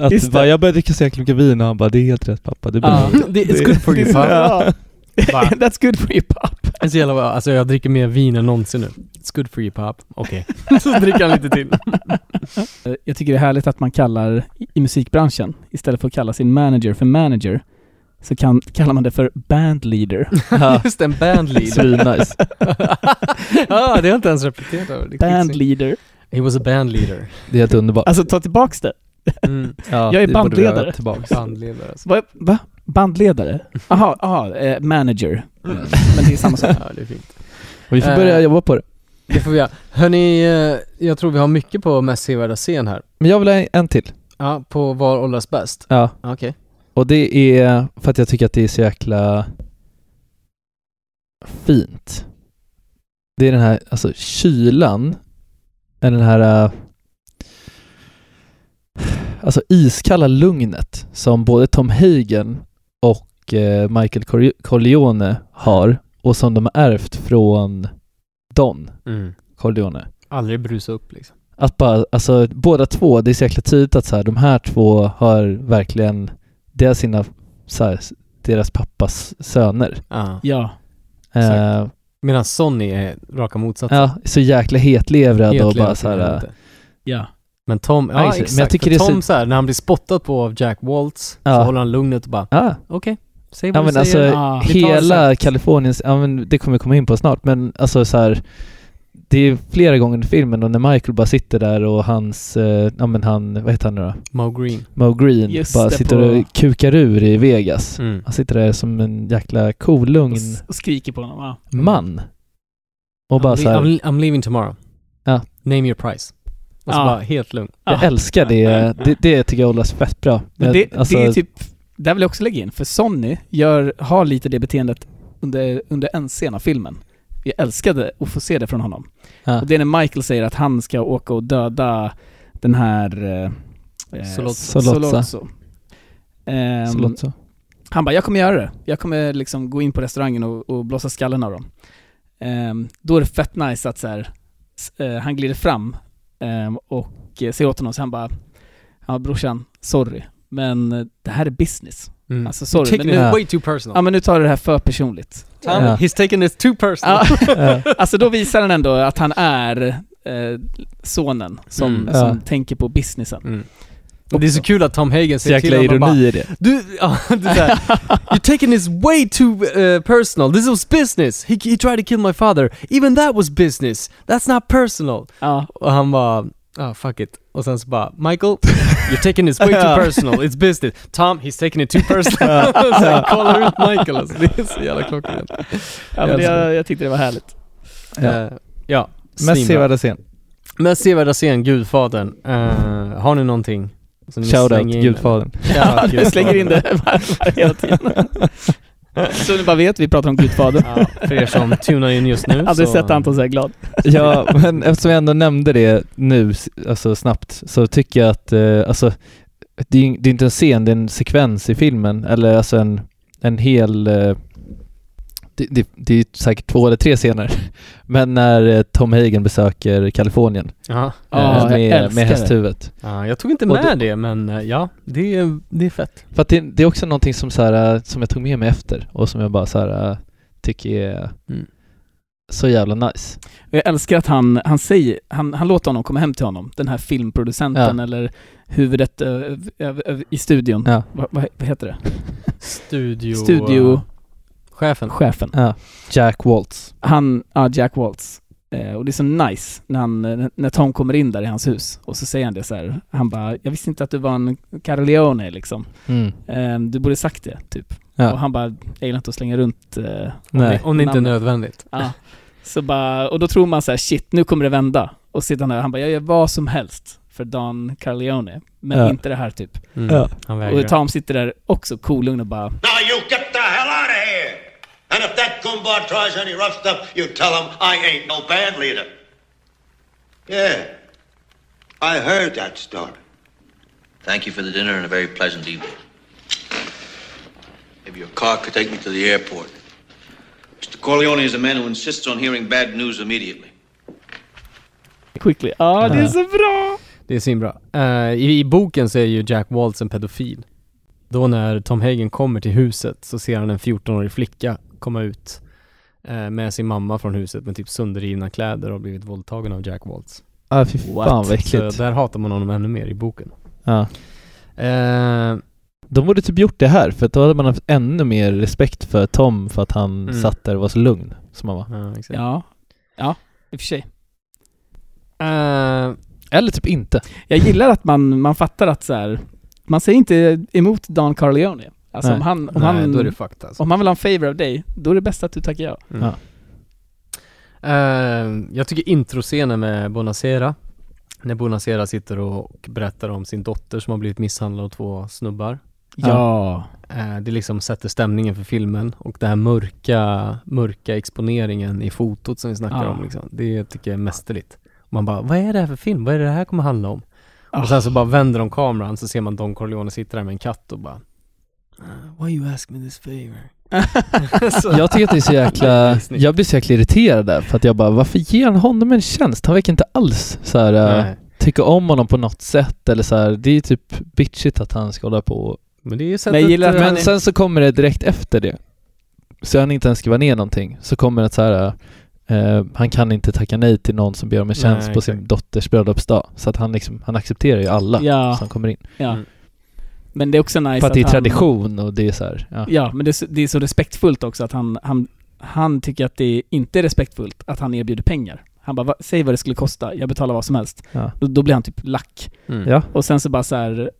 Speaker 9: äh,
Speaker 8: Just
Speaker 9: att
Speaker 8: det.
Speaker 9: bara, jag började dricka så jäkla mycket vin och han bara det är helt rätt pappa, det blir
Speaker 8: Ja.
Speaker 9: bra."
Speaker 2: Det är good for you pop.
Speaker 8: Ja.
Speaker 2: Va?
Speaker 8: That's good for you pop.
Speaker 2: Det är så jävla bra. Alltså jag dricker mer vin än någonsin nu. It's good for you pop. Okej. Så dricker han lite till.
Speaker 8: Eh, Jag tycker det är härligt att man kallar, i- i musikbranschen, istället för att kalla sin manager för manager, så kan, kallar man det för bandleader.
Speaker 9: Ja.
Speaker 2: Just en bandleader.
Speaker 9: Svinnice.
Speaker 2: Ja, det har jag inte ens reflekterat över. Det är skitsnyggt.
Speaker 8: Bandleader.
Speaker 2: He was a bandleader.
Speaker 9: Det är helt underbart.
Speaker 8: Alltså ta tillbaks det.
Speaker 2: Mm.
Speaker 9: Ja,
Speaker 8: jag är
Speaker 9: det borde vi
Speaker 8: bandledare.
Speaker 9: göra Tillbaks.
Speaker 2: Bandledare alltså.
Speaker 8: Va? Va? Bandledare? Aha, aha eh, manager. Men det är samma sak.
Speaker 2: Mm. Ja, det är fint.
Speaker 9: Och vi får börja
Speaker 2: Eh.
Speaker 9: jobba på det.
Speaker 2: Det får vi göra. Hörni, eh, jag tror vi har mycket på mest sevärda scen här.
Speaker 9: Men jag vill ha en, en till.
Speaker 2: Ja, på var åldras bäst.
Speaker 9: Ja.
Speaker 2: Okej.
Speaker 9: Och det är för att jag tycker att det är så jäkla fint. Det är den här, alltså kylan, eller den här, äh, alltså iskalla lugnet som både Tom Hagen och eh, Michael Corle- Corleone har och som de har ärvt från Don
Speaker 2: Mm.
Speaker 9: Corleone.
Speaker 2: Aldrig brusa upp liksom.
Speaker 9: Att bara, alltså båda två, det är så jäkla tydligt att så här, de här två har verkligen, det är sina, så här, deras pappas söner.
Speaker 8: Ja.
Speaker 9: Eh,
Speaker 2: Medan Sonny är raka motsatsen.
Speaker 9: ja, så jäkla hetlevrad och
Speaker 2: Egentligen
Speaker 9: bara så här, eh,
Speaker 2: inte.
Speaker 8: Ja.
Speaker 2: Men Tom,
Speaker 9: Ja,
Speaker 2: ja,
Speaker 9: just det. Men
Speaker 2: exakt.
Speaker 9: jag tycker
Speaker 2: För
Speaker 9: det är så-
Speaker 2: Tom så... här, när han blir spottad på av Jack Waltz,
Speaker 9: Ja.
Speaker 2: så håller han lugnet och bara
Speaker 9: ja,
Speaker 2: okej, säg
Speaker 9: Ja
Speaker 2: vad
Speaker 9: men
Speaker 2: du
Speaker 9: alltså
Speaker 2: säger. Vi tar det
Speaker 9: hela
Speaker 2: sen.
Speaker 9: Kaliforniens, ja men det kommer vi komma in på snart, men alltså så här det är flera gånger i filmen och när Michael bara sitter där och hans, eh, ja men han, vad heter han nu då?
Speaker 2: Mo Green.
Speaker 9: Mo Green
Speaker 8: Just
Speaker 9: bara
Speaker 8: det,
Speaker 9: sitter
Speaker 8: på-
Speaker 9: och kukar ur i Vegas.
Speaker 2: Mm.
Speaker 9: Han sitter där som en jäkla kolugn
Speaker 8: Och, s- och skriker på honom. Ja.
Speaker 9: man. Och bara
Speaker 2: I'm,
Speaker 9: så
Speaker 2: le-
Speaker 9: här,
Speaker 2: I'm, I'm leaving tomorrow.
Speaker 9: Ja.
Speaker 2: Name your price. Och så
Speaker 8: Ja.
Speaker 2: bara helt lugn.
Speaker 9: jag
Speaker 8: Ah.
Speaker 9: älskar det, det, det tycker jag hållas fett bra.
Speaker 8: Men det,
Speaker 9: alltså,
Speaker 8: det är typ, där vill jag också lägga in, för Sonny gör, har lite det beteendet under, under en scen av filmen. Jag älskade att få se det från honom.
Speaker 9: Ja.
Speaker 8: Och det är när Michael säger att han ska åka och döda den här... eh, eh,
Speaker 2: Solozzo.
Speaker 9: Solozzo.
Speaker 8: Ehm,
Speaker 9: så låter så.
Speaker 8: han bara, jag kommer göra det. Jag kommer liksom gå in på restaurangen och, och blåsa skallen av dem. Ehm, då är det fett nice att så här, s- eh, han glider fram ehm, och eh, säger åt honom, så han bara, ja brorsan, sorry, men eh, det här är business.
Speaker 2: Mm.
Speaker 8: Alltså sorry, men
Speaker 2: Taking
Speaker 8: nu,
Speaker 2: it
Speaker 9: Ja.
Speaker 2: way too personal.
Speaker 8: ja, men nu tar du det här för personligt.
Speaker 9: Ja.
Speaker 2: He's taking it too personal.
Speaker 8: Ja,
Speaker 9: Ja.
Speaker 8: alltså då visar han ändå att han är eh, sonen som,
Speaker 2: Mm.
Speaker 8: som
Speaker 9: Ja.
Speaker 8: tänker på businessen.
Speaker 2: Mm. Men Det är så kul att Tom Hagen
Speaker 9: Så
Speaker 2: säger till
Speaker 9: jäkla
Speaker 2: honom bara,
Speaker 9: ironi i det.
Speaker 2: Du, ja, det är såhär, You're taking this way too uh, personal. This was business. He, he tried to kill my father. Even that was business. That's not personal.
Speaker 8: Ja.
Speaker 2: Och han bara, ah fuck it. Och sen så bara, Michael, you're taking this way too personal. It's business. Tom, he's taking it too personal. så han kollar ut Michael alltså. Det är så jävla klockrent.
Speaker 8: Ja, men det, jag, jag tyckte det var härligt.
Speaker 9: Ja.
Speaker 2: Ja. Eh, ja.
Speaker 9: Mest
Speaker 2: svinbra.
Speaker 9: sevärda scen.
Speaker 2: Mest sevärda scen, Gudfadern. Eh, har ni någonting? som ni vill
Speaker 9: Shoutout
Speaker 2: slänga in?
Speaker 9: Gudfadern.
Speaker 2: Shoutout
Speaker 8: Du slänger in det hela tiden. Så ni bara vet, vi pratar om Gudfadern.
Speaker 2: Ja, för er som tunar in just nu
Speaker 8: Aldrig
Speaker 2: så...
Speaker 8: sett Anton så här glad.
Speaker 9: Ja, men eftersom jag ändå nämnde det nu, s- alltså snabbt, så tycker jag att, eh, alltså, det är, ju- det är inte en scen, det är en sekvens i filmen, eller alltså en, en hel, eh, det, det, det är ju säkert två eller tre scener, men när eh, Tom Hagen besöker Kalifornien
Speaker 2: Ja.
Speaker 8: Ja,
Speaker 9: eh,
Speaker 8: jag
Speaker 9: med,
Speaker 8: älskar
Speaker 9: med
Speaker 8: det.
Speaker 9: hästhuvudet.
Speaker 2: Ja, jag tog inte
Speaker 9: Och
Speaker 2: med det, men eh, ja, det är, det är fett.
Speaker 9: För att det, det är också någonting som, så här, eh, som jag tog med mig efter och som jag bara så här, eh, tycker är
Speaker 2: Mm.
Speaker 9: så jävla nice.
Speaker 8: Och Jag älskar att han, han säger, han, han låter honom komma hem till honom, den här filmproducenten eller huvudet ö, ö, ö, i studion.
Speaker 9: Ja.
Speaker 8: Va, va, vad heter det?
Speaker 2: Studio...
Speaker 8: Studiochefen.
Speaker 2: Chefen.
Speaker 9: Jack Waltz.
Speaker 8: Han, ja, Jack Waltz. Eh, och det är så nice när, han, eh, när Tom kommer in där i hans hus och så säger han det så här. Han bara, jag visste inte att du var en Carleone liksom.
Speaker 9: Mm.
Speaker 8: Eh, du borde sagt det, typ.
Speaker 9: Ja.
Speaker 8: Och han bara, jag gillar inte att slänga runt eh,
Speaker 9: Nej.
Speaker 2: Om det inte är
Speaker 8: Namnet.
Speaker 2: nödvändigt.
Speaker 8: Ja. Så bara, och då tror man så här, shit, nu kommer det vända. Och sitter han där, han bara, jag gör vad som helst för Don Carleone, men
Speaker 9: Ja.
Speaker 8: inte det här typ.
Speaker 2: Mm.
Speaker 9: Ja.
Speaker 2: Han
Speaker 8: Och
Speaker 2: vägrar.
Speaker 8: Tom sitter där också kolugn och bara,
Speaker 12: Now you get the hell out of here! And if that Kumbar tries any rough stuff, you tell him I ain't no band leader. Yeah, I heard that story.
Speaker 13: Thank you for the dinner and a very pleasant evening. Maybe your car could take me to the airport. Mr. Corleone is a man who insists on hearing bad news immediately.
Speaker 8: quickly, ja det är så bra!
Speaker 2: Det är svinbra. Eh, i, I boken så är ju Jack Waltz en pedofil. Då när Tom Hagen kommer till huset så ser han en 14-årig flicka komma ut eh, med sin mamma från huset med typ sönderrivna kläder och blivit våldtagen av Jack Waltz.
Speaker 9: Ah, fy fan vad
Speaker 2: Så
Speaker 9: äckligt.
Speaker 2: där hatar man honom ännu mer i boken.
Speaker 9: Ja.
Speaker 2: Eh,
Speaker 9: De borde typ gjort det här, för då hade man haft ännu mer respekt för Tom för att han
Speaker 2: Mm.
Speaker 9: satt där och var så lugn som han var.
Speaker 2: ja, exakt.
Speaker 8: Ja, ja, i och för sig.
Speaker 2: Eh,
Speaker 9: Eller typ inte.
Speaker 8: Jag gillar att man, man fattar att så här, man säger inte emot Don Carleone. Alltså
Speaker 9: Nej.
Speaker 8: om han, om,
Speaker 2: nej,
Speaker 8: han,
Speaker 2: då är det fucked alltså.
Speaker 8: om han vill ha en favor av dig, då är det bäst att du tackar ja.
Speaker 2: Mm.
Speaker 9: Ja.
Speaker 2: Eh, jag tycker introscenen med Bonacera, när Bonacera sitter och berättar om sin dotter som har blivit misshandlad av två snubbar.
Speaker 8: Ja.
Speaker 2: Eh, det liksom sätter stämningen för filmen och den här mörka, mörka exponeringen i fotot som vi snackar
Speaker 8: Ja.
Speaker 2: om liksom, det tycker jag är mästerligt. Och Man bara, vad är det här för film? Vad är det här kommer handla om? Och sen så bara vänder de kameran så ser man Don Corleone sitta där med en katt och bara "Ah, Why you ask me this favor?
Speaker 9: Jag tycker att det är så jäkla, jag blir så jäkla irriterad där för att jag bara, varför ger han honom en tjänst? Han verkar inte alls så här, eh,
Speaker 2: Nej.
Speaker 9: tycka om honom på något sätt eller så här, det är typ bitchigt att han ska hålla på
Speaker 2: Men det är ju sättet- Men gillar att han
Speaker 9: Men
Speaker 2: är-
Speaker 9: sen så kommer det direkt efter det, så han inte ens skriver ner någonting, så kommer det att så här, eh, han kan inte tacka nej till någon som ber om en tjänst
Speaker 2: Nej,
Speaker 9: på sin dotters bröllopsdag. Så att han liksom, han accepterar ju alla
Speaker 8: Ja.
Speaker 9: som kommer in.
Speaker 8: Ja. Men det är också nice
Speaker 9: För att det är
Speaker 8: han-
Speaker 9: tradition och det är så här, ja.
Speaker 8: Ja, men det är, så, det är så respektfullt också att han, han, han tycker att det inte är respektfullt att han erbjuder pengar. Han bara, "Va- säg vad det skulle kosta, jag betalar vad som helst.
Speaker 9: Ja.
Speaker 8: Då, då blir han typ lack.
Speaker 9: Mm. Ja.
Speaker 8: Och sen så bara så här,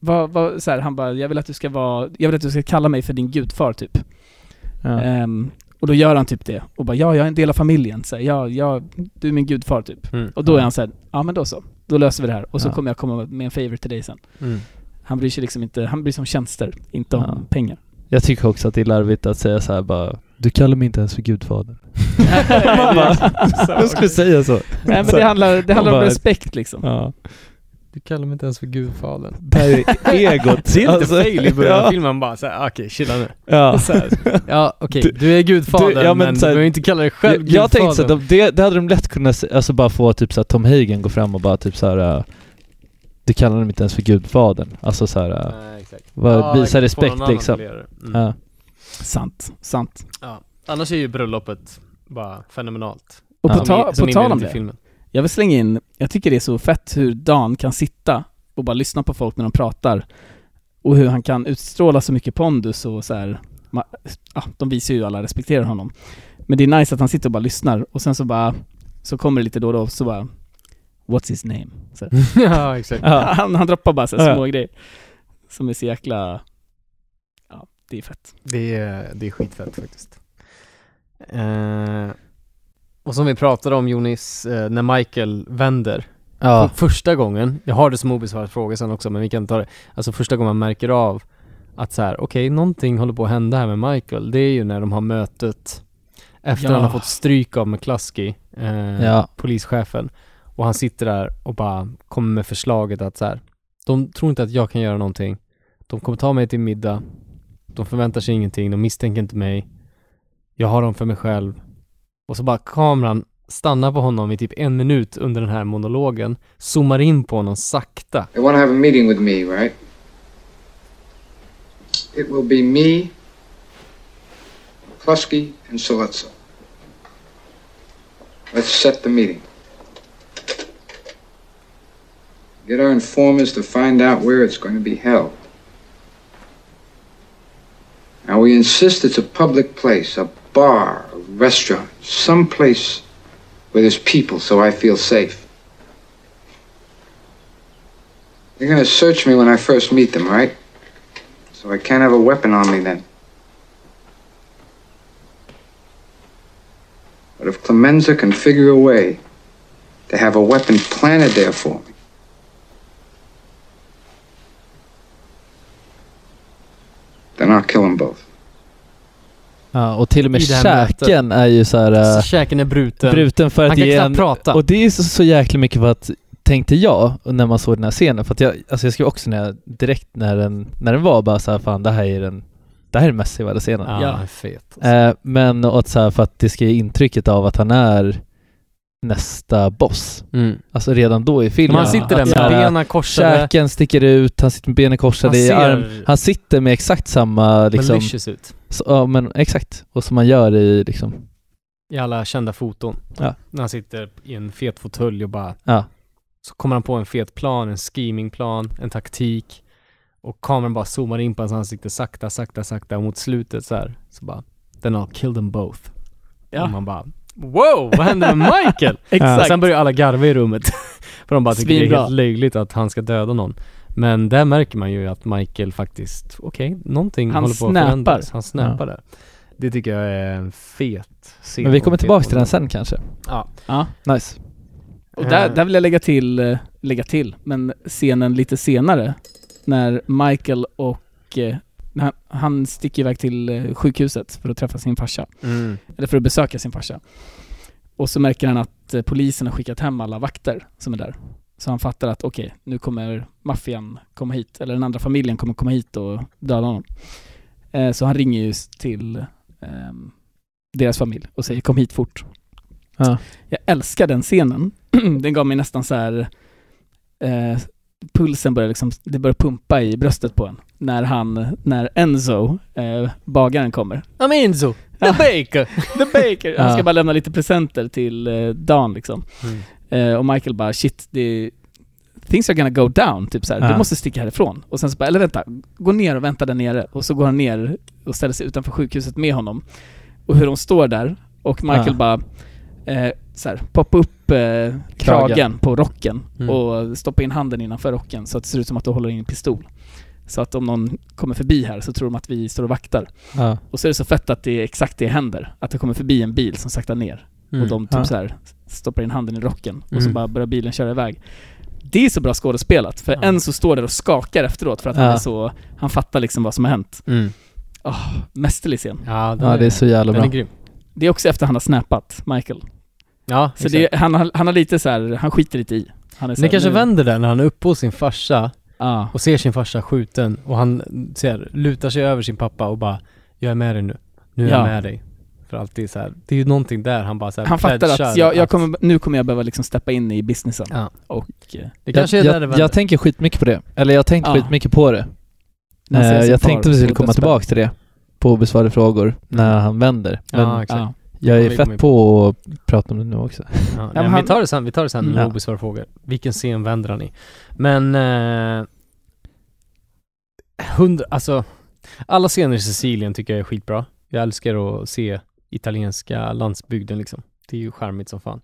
Speaker 8: vad, vad, så här, han bara, jag vill att du ska vara, jag vill att du ska kalla mig för din gudfar typ.
Speaker 9: Ja.
Speaker 8: Ehm, och då gör han typ det. Och bara, ja, jag är en del av familjen. Så här, ja, ja, du är min gudfar typ.
Speaker 2: Mm.
Speaker 8: Och då är
Speaker 2: Ja.
Speaker 8: han så här, ja men då så. Då löser vi det här. Och så
Speaker 2: Ja.
Speaker 8: kommer jag komma med en favor till dig sen.
Speaker 2: Mm.
Speaker 8: Han bryr sig liksom inte, han bryr sig om tjänster, inte om
Speaker 9: Ja.
Speaker 8: pengar.
Speaker 9: Jag tycker också att det är larvigt att säga så här bara Du kallar mig inte ens för gudfader.
Speaker 8: Man
Speaker 9: bara,
Speaker 8: Så,
Speaker 9: jag skulle säga så.
Speaker 8: Nej men
Speaker 9: Så
Speaker 8: det
Speaker 9: här,
Speaker 8: handlar, det
Speaker 9: man
Speaker 8: handlar om
Speaker 9: bara-
Speaker 8: respekt liksom.
Speaker 9: Ja.
Speaker 2: Du kallar mig inte ens för gudfadern.
Speaker 9: Det här är egot.
Speaker 2: Ser inte
Speaker 9: Alltså,
Speaker 2: fail i början av
Speaker 9: ja.
Speaker 2: filmen bara såhär, okej chilla nu.
Speaker 9: Ja.
Speaker 2: Så här, ja okej, du är gudfadern
Speaker 9: ja,
Speaker 2: men,
Speaker 9: men så här-
Speaker 2: du behöver inte kalla dig själv
Speaker 9: jag, jag tänkte så att
Speaker 2: gudfadern.
Speaker 9: de, det, det hade de lätt kunnat, se- alltså bara få typ så att Tom Hagen gå fram och bara typ så här. äh, Du kallar dem inte ens för gudfadern. Alltså så här, äh,
Speaker 2: Nej, exakt.
Speaker 9: vad-
Speaker 2: Ja,
Speaker 9: visa
Speaker 2: få
Speaker 9: respekt
Speaker 2: någon annan
Speaker 9: liksom.
Speaker 2: att göra det. Mm.
Speaker 9: Ja.
Speaker 8: Sant, sant.
Speaker 2: Ja. Annars är ju bröllopet bara fenomenalt.
Speaker 8: Och på,
Speaker 2: Som
Speaker 8: ta,
Speaker 2: i- som
Speaker 8: på tal om
Speaker 2: inledning till
Speaker 8: det. Jag vill slänga in, jag tycker det är så fett hur Dan kan sitta och bara lyssna på folk när de pratar. Och hur han kan utstråla så mycket pondus och så här, ma, ja, de visar ju alla respekterar honom. Men det är nice att han sitter och bara lyssnar och sen så bara, så kommer det lite då och då så bara What's his name? Så här.
Speaker 2: Ja, exakt.
Speaker 9: Ja.
Speaker 8: Han, han droppar bara så här
Speaker 9: Ja.
Speaker 8: små grejer Som är så jäkla... Ja, det är fett.
Speaker 2: Det är, det är skitfett faktiskt. Eh, och som vi pratade om Jonis, eh, när Michael vänder.
Speaker 9: Ja.
Speaker 2: För första gången, jag har det som obesvarad fråga sen också men vi kan ta det. Alltså första gången man märker av att så här, okej någonting håller på att hända här med Michael. Det är ju när de har mötet efter
Speaker 9: Ja.
Speaker 2: han har fått stryk av McCluskey, eh,
Speaker 9: Ja.
Speaker 2: polischefen. Och han sitter där och bara kommer med förslaget att så här, de tror inte att jag kan göra någonting. De kommer ta mig till middag. De förväntar sig ingenting. De misstänker inte mig. Jag har dem för mig själv. Och så bara kameran stannar på honom i typ en minut under den här monologen. Zoomar in på honom sakta.
Speaker 10: They want to have a meeting with me, right? It will be me, Plusky, and Saluzzo. Let's set the meeting. Get our informers to find out where it's going to be held. Now, we insist it's a public place, a bar, a restaurant, someplace where there's people so I feel safe. They're gonna search me when I first meet them, right? So I can't have a weapon on me then. But if Clemenza can figure a way to have a weapon planted there for me, then I'll kill them both.
Speaker 9: Ja, och till och med
Speaker 2: I det här
Speaker 9: käken
Speaker 2: mötet.
Speaker 9: är ju så här,
Speaker 2: Så
Speaker 9: äh,
Speaker 2: käken är bruten.
Speaker 9: bruten för att
Speaker 2: han kan
Speaker 9: ge
Speaker 2: knappt
Speaker 9: en,
Speaker 2: prata.
Speaker 9: Och det är så, så jäkla mycket för att, tänkte jag när man såg den här scenen, för att jag, alltså jag skrev också när jag, direkt när den, när den var bara så här, fan det här är den, det här är den mest sevärda scenen.
Speaker 2: Ja, ja. fet.
Speaker 9: Eh, men och att så här, för att det ska ge intrycket av att han är nästa boss.
Speaker 2: Mm.
Speaker 9: Alltså redan då i filmen.
Speaker 2: Men han sitter där
Speaker 9: Att
Speaker 2: med
Speaker 9: så här,
Speaker 2: benen korsade.
Speaker 9: Käken sticker ut, han sitter med benen korsade
Speaker 2: Han
Speaker 9: i
Speaker 2: ser-
Speaker 9: arm. Han sitter med exakt samma liksom...
Speaker 2: Malicious ut.
Speaker 9: Så, ja men exakt. Och som man gör i liksom...
Speaker 2: I alla kända foton.
Speaker 9: Ja.
Speaker 2: När han sitter i en fet fåtölj och bara
Speaker 9: Ja.
Speaker 2: Så kommer han på en fet plan, en schemingplan, en taktik och kameran bara zoomar in på hans ansikte sakta, sakta, sakta och mot slutet så här så bara Then I'll kill them both.
Speaker 8: Ja.
Speaker 2: Och man bara Wow, vad hände med Michael?
Speaker 8: Exakt.
Speaker 2: Och Sen börjar alla garva i rummet. För de bara tycker det är
Speaker 8: Svinbra.
Speaker 2: helt löjligt att han ska döda någon. Men där märker man ju att Michael faktiskt, okej, någonting
Speaker 8: Han
Speaker 2: håller på
Speaker 8: snappar.
Speaker 2: att förändras. Han snappar där. Det tycker jag är en fet scen.
Speaker 9: Men vi
Speaker 2: och
Speaker 9: kommer
Speaker 2: en fet
Speaker 9: tillbaka till den
Speaker 2: monolog.
Speaker 9: sen kanske.
Speaker 2: Ja.
Speaker 8: Ja.
Speaker 9: Nice.
Speaker 8: Och där,
Speaker 2: Eh.
Speaker 8: där vill jag lägga till, eh, lägga till, men scenen lite senare när Michael och eh, när han, han sticker iväg till eh, sjukhuset för att träffa sin farsa.
Speaker 2: Mm.
Speaker 8: Eller för att besöka sin farsa. Och så märker han att eh, polisen har skickat hem alla vakter som är där. Så han fattar att okej, nu kommer maffian komma hit, eller den andra familjen kommer komma hit och döda honom. Eh, så han ringer ju s- till ehm, deras familj och säger kom hit fort.
Speaker 9: Ja.
Speaker 8: Jag älskar den scenen. den gav mig nästan så här eh, pulsen börjar liksom, det börjar pumpa i bröstet på en. När han, när Enzo, eh, bagaren kommer.
Speaker 2: I'm Enzo, the baker.
Speaker 8: the baker. Han ska
Speaker 2: Ja.
Speaker 8: bara lämna lite presenter till eh, Dan liksom.
Speaker 9: Mm.
Speaker 8: Eh, och Michael bara shit, det, things are gonna go down, typ såhär. Du
Speaker 9: Ja.
Speaker 8: måste sticka härifrån. Och sen så bara, eller vänta, gå ner och vänta där nere. Och så går han ner och ställer sig utanför sjukhuset med honom. Och hur de står där och Michael
Speaker 9: Ja.
Speaker 8: bara eh, så här, poppa upp eh, kragen. på rocken
Speaker 9: Mm.
Speaker 8: och stoppa in handen innanför rocken så att det ser ut som att du håller i en pistol. Så att om någon kommer förbi här så tror de att vi står och vaktar.
Speaker 9: Ja.
Speaker 8: Och så är det så fett att det är exakt det händer. Att det kommer förbi en bil som saktar ner.
Speaker 9: Mm.
Speaker 8: Och de typ
Speaker 9: Ja.
Speaker 8: så här stoppar in handen i rocken och så
Speaker 9: Mm.
Speaker 8: bara börjar bilen köra iväg. Det är så bra skådespelat, för en så står där och skakar efteråt för att han
Speaker 9: Ja.
Speaker 8: är så, han fattar liksom vad som har hänt.
Speaker 2: Mm.
Speaker 8: Åh, mästerlig scen.
Speaker 2: Ja,
Speaker 9: den Ja, det är är- så jävla den bra. är grym.
Speaker 8: Det är också efter han har snappat Michael.
Speaker 2: Ja,
Speaker 8: Så
Speaker 2: exakt.
Speaker 8: det, är- han, har, han har lite så här, han skiter lite i. Han är så
Speaker 2: Ni
Speaker 8: här,
Speaker 2: kanske
Speaker 8: nu-
Speaker 2: vänder den när han är uppe hos sin farsa
Speaker 8: Ja.
Speaker 2: och ser sin farsa skjuten och han ser, lutar sig över sin pappa och bara Jag är med dig nu. Nu är
Speaker 8: Ja.
Speaker 2: jag med dig. För alltid så här. det är ju någonting där han bara så här
Speaker 8: Han fattar
Speaker 2: pledgar
Speaker 8: att jag, jag kommer, nu kommer jag behöva liksom steppa in i businessen.
Speaker 2: Ja.
Speaker 8: Och... eh,
Speaker 9: jag, jag, jag tänker skitmycket på det. Eller jag tänkte
Speaker 8: Ja.
Speaker 9: skitmycket på det.
Speaker 8: När han
Speaker 9: Eh,
Speaker 8: ser sin
Speaker 9: jag
Speaker 8: far
Speaker 9: tänkte att vi skulle
Speaker 8: på
Speaker 9: komma
Speaker 8: dödsbädden.
Speaker 9: tillbaka till det på obesvarade frågor när han vänder. Men
Speaker 2: Ja, exakt. Ja.
Speaker 9: jag
Speaker 2: Ja,
Speaker 9: är
Speaker 2: vi kommer in
Speaker 9: fett på att prata om det nu också.
Speaker 2: Ja,
Speaker 8: men
Speaker 2: nej, men
Speaker 8: han-
Speaker 2: vi tar det sen, vi tar det sen
Speaker 8: Mm.
Speaker 2: med
Speaker 8: Ja.
Speaker 2: obesvarade frågor. Vilken scen vänder han i? Men... Eh, hundra, alltså... Alla scener i Sicilien tycker jag är skitbra. Jag älskar att se italienska landsbygden liksom. Det är ju charmigt som fan.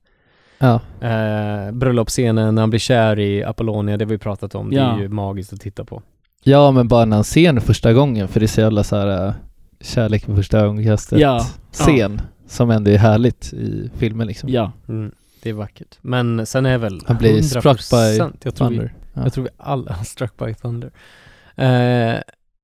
Speaker 9: Ja.
Speaker 2: Eh, bröllopsscenen när han blir kär i Apollonia, det har vi pratat om. Det
Speaker 9: Ja.
Speaker 2: är ju magiskt att titta på.
Speaker 9: Ja, men bara när han ser den första gången, för det är så jävla så här äh, kärlek med första ögonkastet
Speaker 2: Ja.
Speaker 9: scen som ändå är härligt i filmen liksom.
Speaker 8: Ja.
Speaker 2: Mm, det är vackert. Men sen är väl
Speaker 9: Han blir struck by
Speaker 2: jag tror
Speaker 9: thunder.
Speaker 2: Vi,
Speaker 9: Ja.
Speaker 2: Jag tror vi alla, struck by thunder. Eh,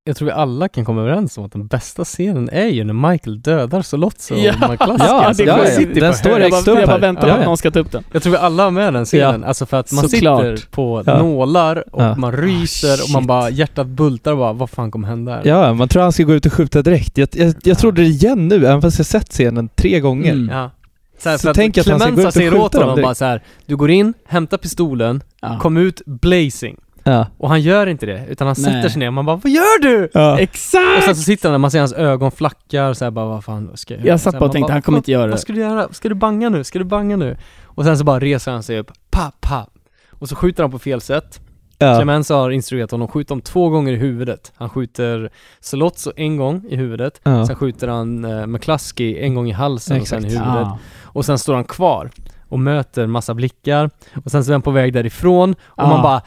Speaker 2: jag tror vi alla kan komma överens om att den bästa scenen är ju när Michael dödar Solozzo
Speaker 8: Ja,
Speaker 2: och McCluskey.
Speaker 8: ja, alltså, det är- den
Speaker 2: på
Speaker 9: står
Speaker 2: hög.
Speaker 9: högst upp
Speaker 8: Jag bara
Speaker 9: här.
Speaker 8: väntar
Speaker 9: Ja,
Speaker 8: på att
Speaker 9: ja.
Speaker 8: någon ska ta upp den.
Speaker 2: Jag tror vi alla har med den scenen, alltså för att man
Speaker 8: Såklart.
Speaker 2: sitter på
Speaker 9: Ja.
Speaker 2: nålar och
Speaker 9: Ja.
Speaker 2: man ryser och man bara, hjärtat bultar och bara, vad fan kommer hända här?
Speaker 9: Ja, man tror han ska gå ut och skjuta direkt. Jag, jag, jag trodde det igen nu, även fast jag sett scenen tre gånger.
Speaker 2: Mm. Ja. Så, här,
Speaker 9: Så
Speaker 2: för
Speaker 9: tänk
Speaker 2: att
Speaker 9: att han ska gå ut
Speaker 2: Clemenza
Speaker 9: och
Speaker 2: säger
Speaker 9: skjuta
Speaker 2: åt
Speaker 9: dem
Speaker 2: honom
Speaker 9: direkt.
Speaker 2: bara så här, du går in, hämtar pistolen, kom ut blazing.
Speaker 9: Ja.
Speaker 2: Och han gör inte det, utan han
Speaker 9: Nej.
Speaker 2: sätter sig ner och man bara Vad gör du?
Speaker 9: Ja.
Speaker 2: Exakt! Och sen så sitter han där, man ser hans ögon flackar och så här bara Vad fan ska jag göra?"
Speaker 8: Jag satt
Speaker 2: Så här,
Speaker 8: bara och
Speaker 2: man
Speaker 8: tänkte, han kommer
Speaker 2: "Vad-
Speaker 8: inte göra det."
Speaker 2: Vad ska du göra? Ska du banga nu? Ska du banga nu? Och sen så bara reser han sig upp, pa, pa. Och så skjuter han på fel sätt
Speaker 9: Ja.
Speaker 2: Clemens har instruerat honom, skjut dem två gånger i huvudet. Han skjuter Solotso en gång i huvudet,
Speaker 9: Ja.
Speaker 2: sen skjuter han eh, McCluskey en gång i halsen och sen i
Speaker 9: Exakt.
Speaker 2: huvudet.
Speaker 9: Ah.
Speaker 2: Och sen står han kvar och möter massa blickar och sen så är han på väg därifrån och
Speaker 9: Ah.
Speaker 2: man bara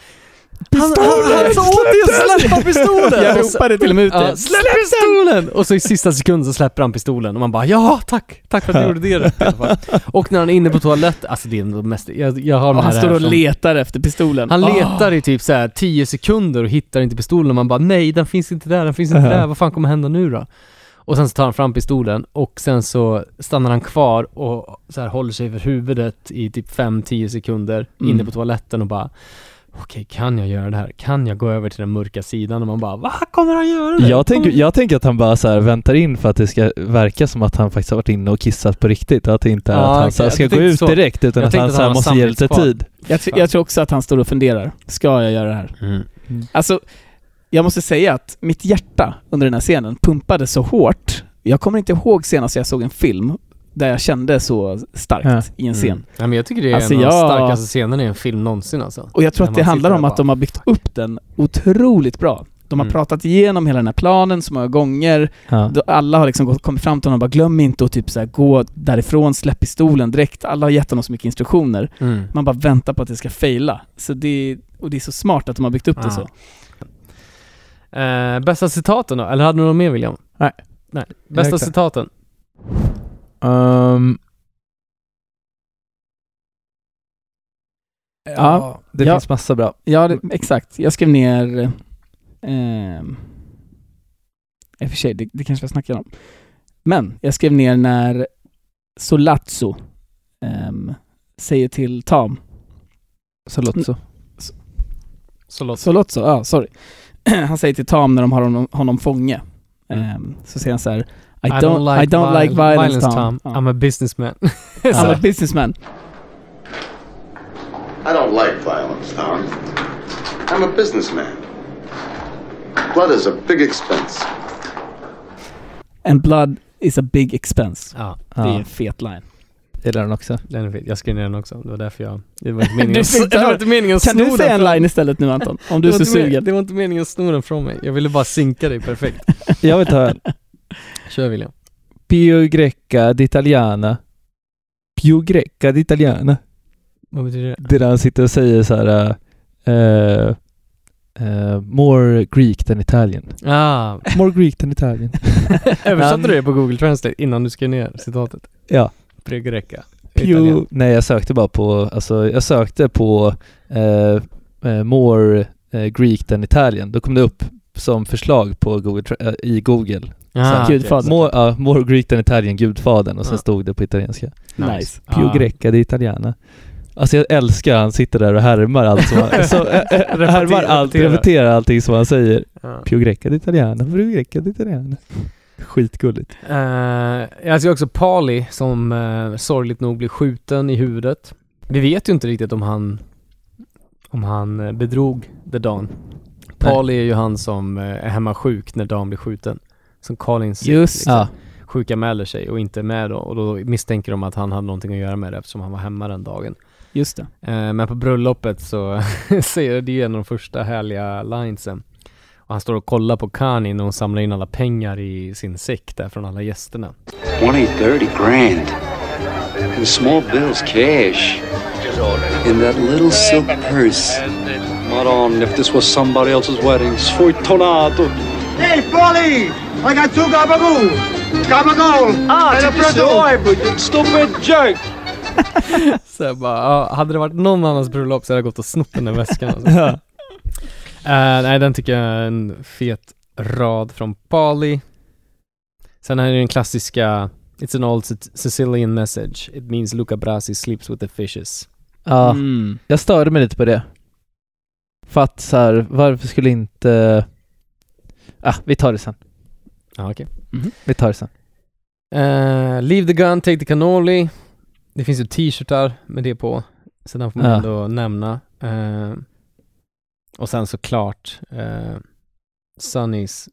Speaker 9: Pistolen!
Speaker 2: Han sa åt dig
Speaker 9: Släpp
Speaker 2: att
Speaker 9: den!
Speaker 2: släppa pistolen!
Speaker 9: Jag ropade till och med ut det.
Speaker 2: Ja, släpp pistolen! Och så i sista sekund så släpper han pistolen och man bara ja, tack! Tack för att du gjorde det rätt i alla fall. Och när han är inne på toaletten, alltså det är nog mest, jag, jag har den
Speaker 8: Och han
Speaker 2: här
Speaker 8: står och
Speaker 2: från-
Speaker 8: letar efter pistolen.
Speaker 2: han
Speaker 8: Ah.
Speaker 2: letar i typ så här 10 sekunder och hittar inte pistolen och man bara nej den finns inte där, den finns inte
Speaker 9: Ja.
Speaker 2: där, vad fan kommer hända nu då? Och sen så tar han fram pistolen och sen så stannar han kvar och så här håller sig för huvudet i typ 5-10 sekunder
Speaker 9: Mm.
Speaker 2: inne på toaletten och bara Okej, kan jag göra det här? Kan jag gå över till den mörka sidan? Och man bara va? Kommer han göra det?
Speaker 9: Jag tänker, jag tänker att han bara så här väntar in för att det ska verka som att han faktiskt har varit inne och kissat på riktigt. Att det inte är att han
Speaker 8: okej.
Speaker 9: så här, ska
Speaker 8: Jag
Speaker 9: gå
Speaker 8: tänkte
Speaker 9: ut
Speaker 8: så.
Speaker 9: direkt utan
Speaker 8: Jag
Speaker 9: att
Speaker 8: tänkte
Speaker 9: han, så här,
Speaker 8: har
Speaker 9: måste ge lite
Speaker 8: samvetskval.
Speaker 9: tid.
Speaker 8: Jag, tr- jag tror också att han står och funderar. Ska jag göra det här?
Speaker 2: Mm.
Speaker 8: Alltså, jag måste säga att mitt hjärta under den här scenen pumpade så hårt. Jag kommer inte ihåg senast jag såg en film där jag kände så starkt i en scen.
Speaker 2: Mm. Ja, men jag tycker det är
Speaker 8: Alltså,
Speaker 2: en av de
Speaker 8: jag-
Speaker 2: starkaste scenerna i en film någonsin alltså.
Speaker 8: Och jag tror
Speaker 2: När
Speaker 8: att det
Speaker 2: man
Speaker 8: handlar
Speaker 2: sitter
Speaker 8: om
Speaker 2: där
Speaker 8: att de har byggt upp den otroligt bra. De har
Speaker 2: Mm.
Speaker 8: pratat igenom hela den här planen så många gånger.
Speaker 9: Ja.
Speaker 8: Då Alla har liksom gått, kommit fram till honom och bara glöm inte att typ så här, gå därifrån, släpp pistolen direkt. Alla har gett honom så mycket instruktioner.
Speaker 2: Mm.
Speaker 8: Man bara väntar på att det ska fejla. Så det, och det är så smart att de har byggt upp det
Speaker 2: Ja.
Speaker 8: så.
Speaker 2: Eh, bästa citaten då? Eller hade du något mer William?
Speaker 9: Nej.
Speaker 2: Nej. Bästa
Speaker 9: Jag-
Speaker 2: citaten?
Speaker 9: Ehm. ja, det
Speaker 8: Ja.
Speaker 9: finns massa bra.
Speaker 8: Ja, det, exakt. Jag skrev ner... ehm, I och för sig, det, det kanske jag snackar om. Men, jag skrev ner när Solazzo ehm, säger till Tam...
Speaker 9: Solazzo?
Speaker 2: Solotso.
Speaker 8: Solotso, ja, sorry. Han säger till Tam när de har honom, honom fånge, ehm, så säger han så här I don't, I don't
Speaker 2: vi-
Speaker 8: like violence, Tom.
Speaker 2: I'm a businessman.
Speaker 8: I'm a
Speaker 2: Alltså.
Speaker 8: businessman.
Speaker 14: I don't like violence, Tom. I'm a businessman. Blood is a big expense.
Speaker 8: And blood is a big expense.
Speaker 2: Ja,
Speaker 8: det är
Speaker 2: en
Speaker 8: fet line.
Speaker 9: Gillar den också.
Speaker 2: Den är fin. Jag skrev ner den också. Det var därför jag... Det var inte meningen,
Speaker 8: Du
Speaker 2: att-
Speaker 8: fick
Speaker 2: det
Speaker 8: ta-
Speaker 2: var inte meningen att
Speaker 8: Kan
Speaker 2: sno
Speaker 8: du säga
Speaker 2: den
Speaker 8: en
Speaker 2: från-
Speaker 8: line istället nu Anton? Om
Speaker 2: Det
Speaker 8: du är
Speaker 2: var
Speaker 8: så
Speaker 2: inte men-
Speaker 8: sugen.
Speaker 2: Det var inte meningen att sno den från mig. Jag ville bara sinka dig perfekt.
Speaker 9: Jag vill ta en.
Speaker 2: Kör William.
Speaker 9: Pio Greca d'Italiana. Pio Greca d'Italiana.
Speaker 2: Vad betyder det?
Speaker 9: Det är där han sitter och säger så här... eh, eh, more Greek than Italian.
Speaker 2: Ah.
Speaker 9: More Greek than Italian.
Speaker 2: Översatte du det på Google Translate innan du skrev ner citatet?
Speaker 9: Ja.
Speaker 2: Bryggeräcka.
Speaker 9: Pew, nej jag sökte bara på, alltså jag sökte på eh, eh, more eh, Greek than Italian. Då kom det upp som förslag på Google, Tra- eh, i Google.
Speaker 2: Ah,
Speaker 9: Så här,
Speaker 2: okej. Gudfadern.
Speaker 9: More, ja, more Greek than Italian, Gudfadern. Och sen
Speaker 2: Ja.
Speaker 9: stod det på italienska.
Speaker 2: Nice. Nice.
Speaker 9: Pio
Speaker 2: Ah.
Speaker 9: Greca di Italiana. Alltså jag älskar han sitter där och härmar allt som han, så, äh, äh, härmar allt,
Speaker 2: Repetera.
Speaker 9: repeterar allting som han säger.
Speaker 2: Ja.
Speaker 9: Pio Greca di Italiana, Pio Greca di Italiana. Skitgulligt.
Speaker 2: Eh, jag ser också Pali som eh, sorgligt nog blir skjuten i huvudet. Vi vet ju inte riktigt om han, om han eh, bedrog The Dan. Pali är ju han som eh, är hemma sjuk när Dan blir skjuten. Som Collins
Speaker 8: Just
Speaker 9: ja.
Speaker 2: sjukanmäler sig och inte är med då. Och då misstänker de att han hade någonting att göra med det eftersom han var hemma den dagen.
Speaker 8: Just det.
Speaker 2: Eh, Men på bröllopet så ser det ju en av de första härliga linesen. Och han står och kollar på Kani när hon samlar in alla pengar i sin säck där från alla gästerna.
Speaker 15: 20, 30 grand. In small bills, cash. In that little silk purse. Maron, if this was somebody else's wedding, sfortunato.
Speaker 16: Hey, Polly! I got two gabagoo! Gabagoo! Ah, and a proto Stupid jerk!
Speaker 2: Så jag bara, ja, hade det varit någon annans bröllop så hade jag gått och snott den där väskan. Alltså. Eh, nej, den tycker jag är en fet rad från Bali. Sen är det den klassiska It's an old Sic- Sicilian message. It means Luca Brasi sleeps with the fishes.
Speaker 9: Ja,
Speaker 8: Mm.
Speaker 9: jag störde mig lite på det. För att så här, varför skulle inte... Ah, vi tar det sen.
Speaker 2: Ja, okej.
Speaker 8: Mhm.
Speaker 9: Vi tar det sen.
Speaker 2: Eh, leave the gun, take the cannoli. Det finns ju t-shirtar med det på. Så den får man
Speaker 9: Ja.
Speaker 2: ändå nämna. Eh, och sen såklart uh, Sunnys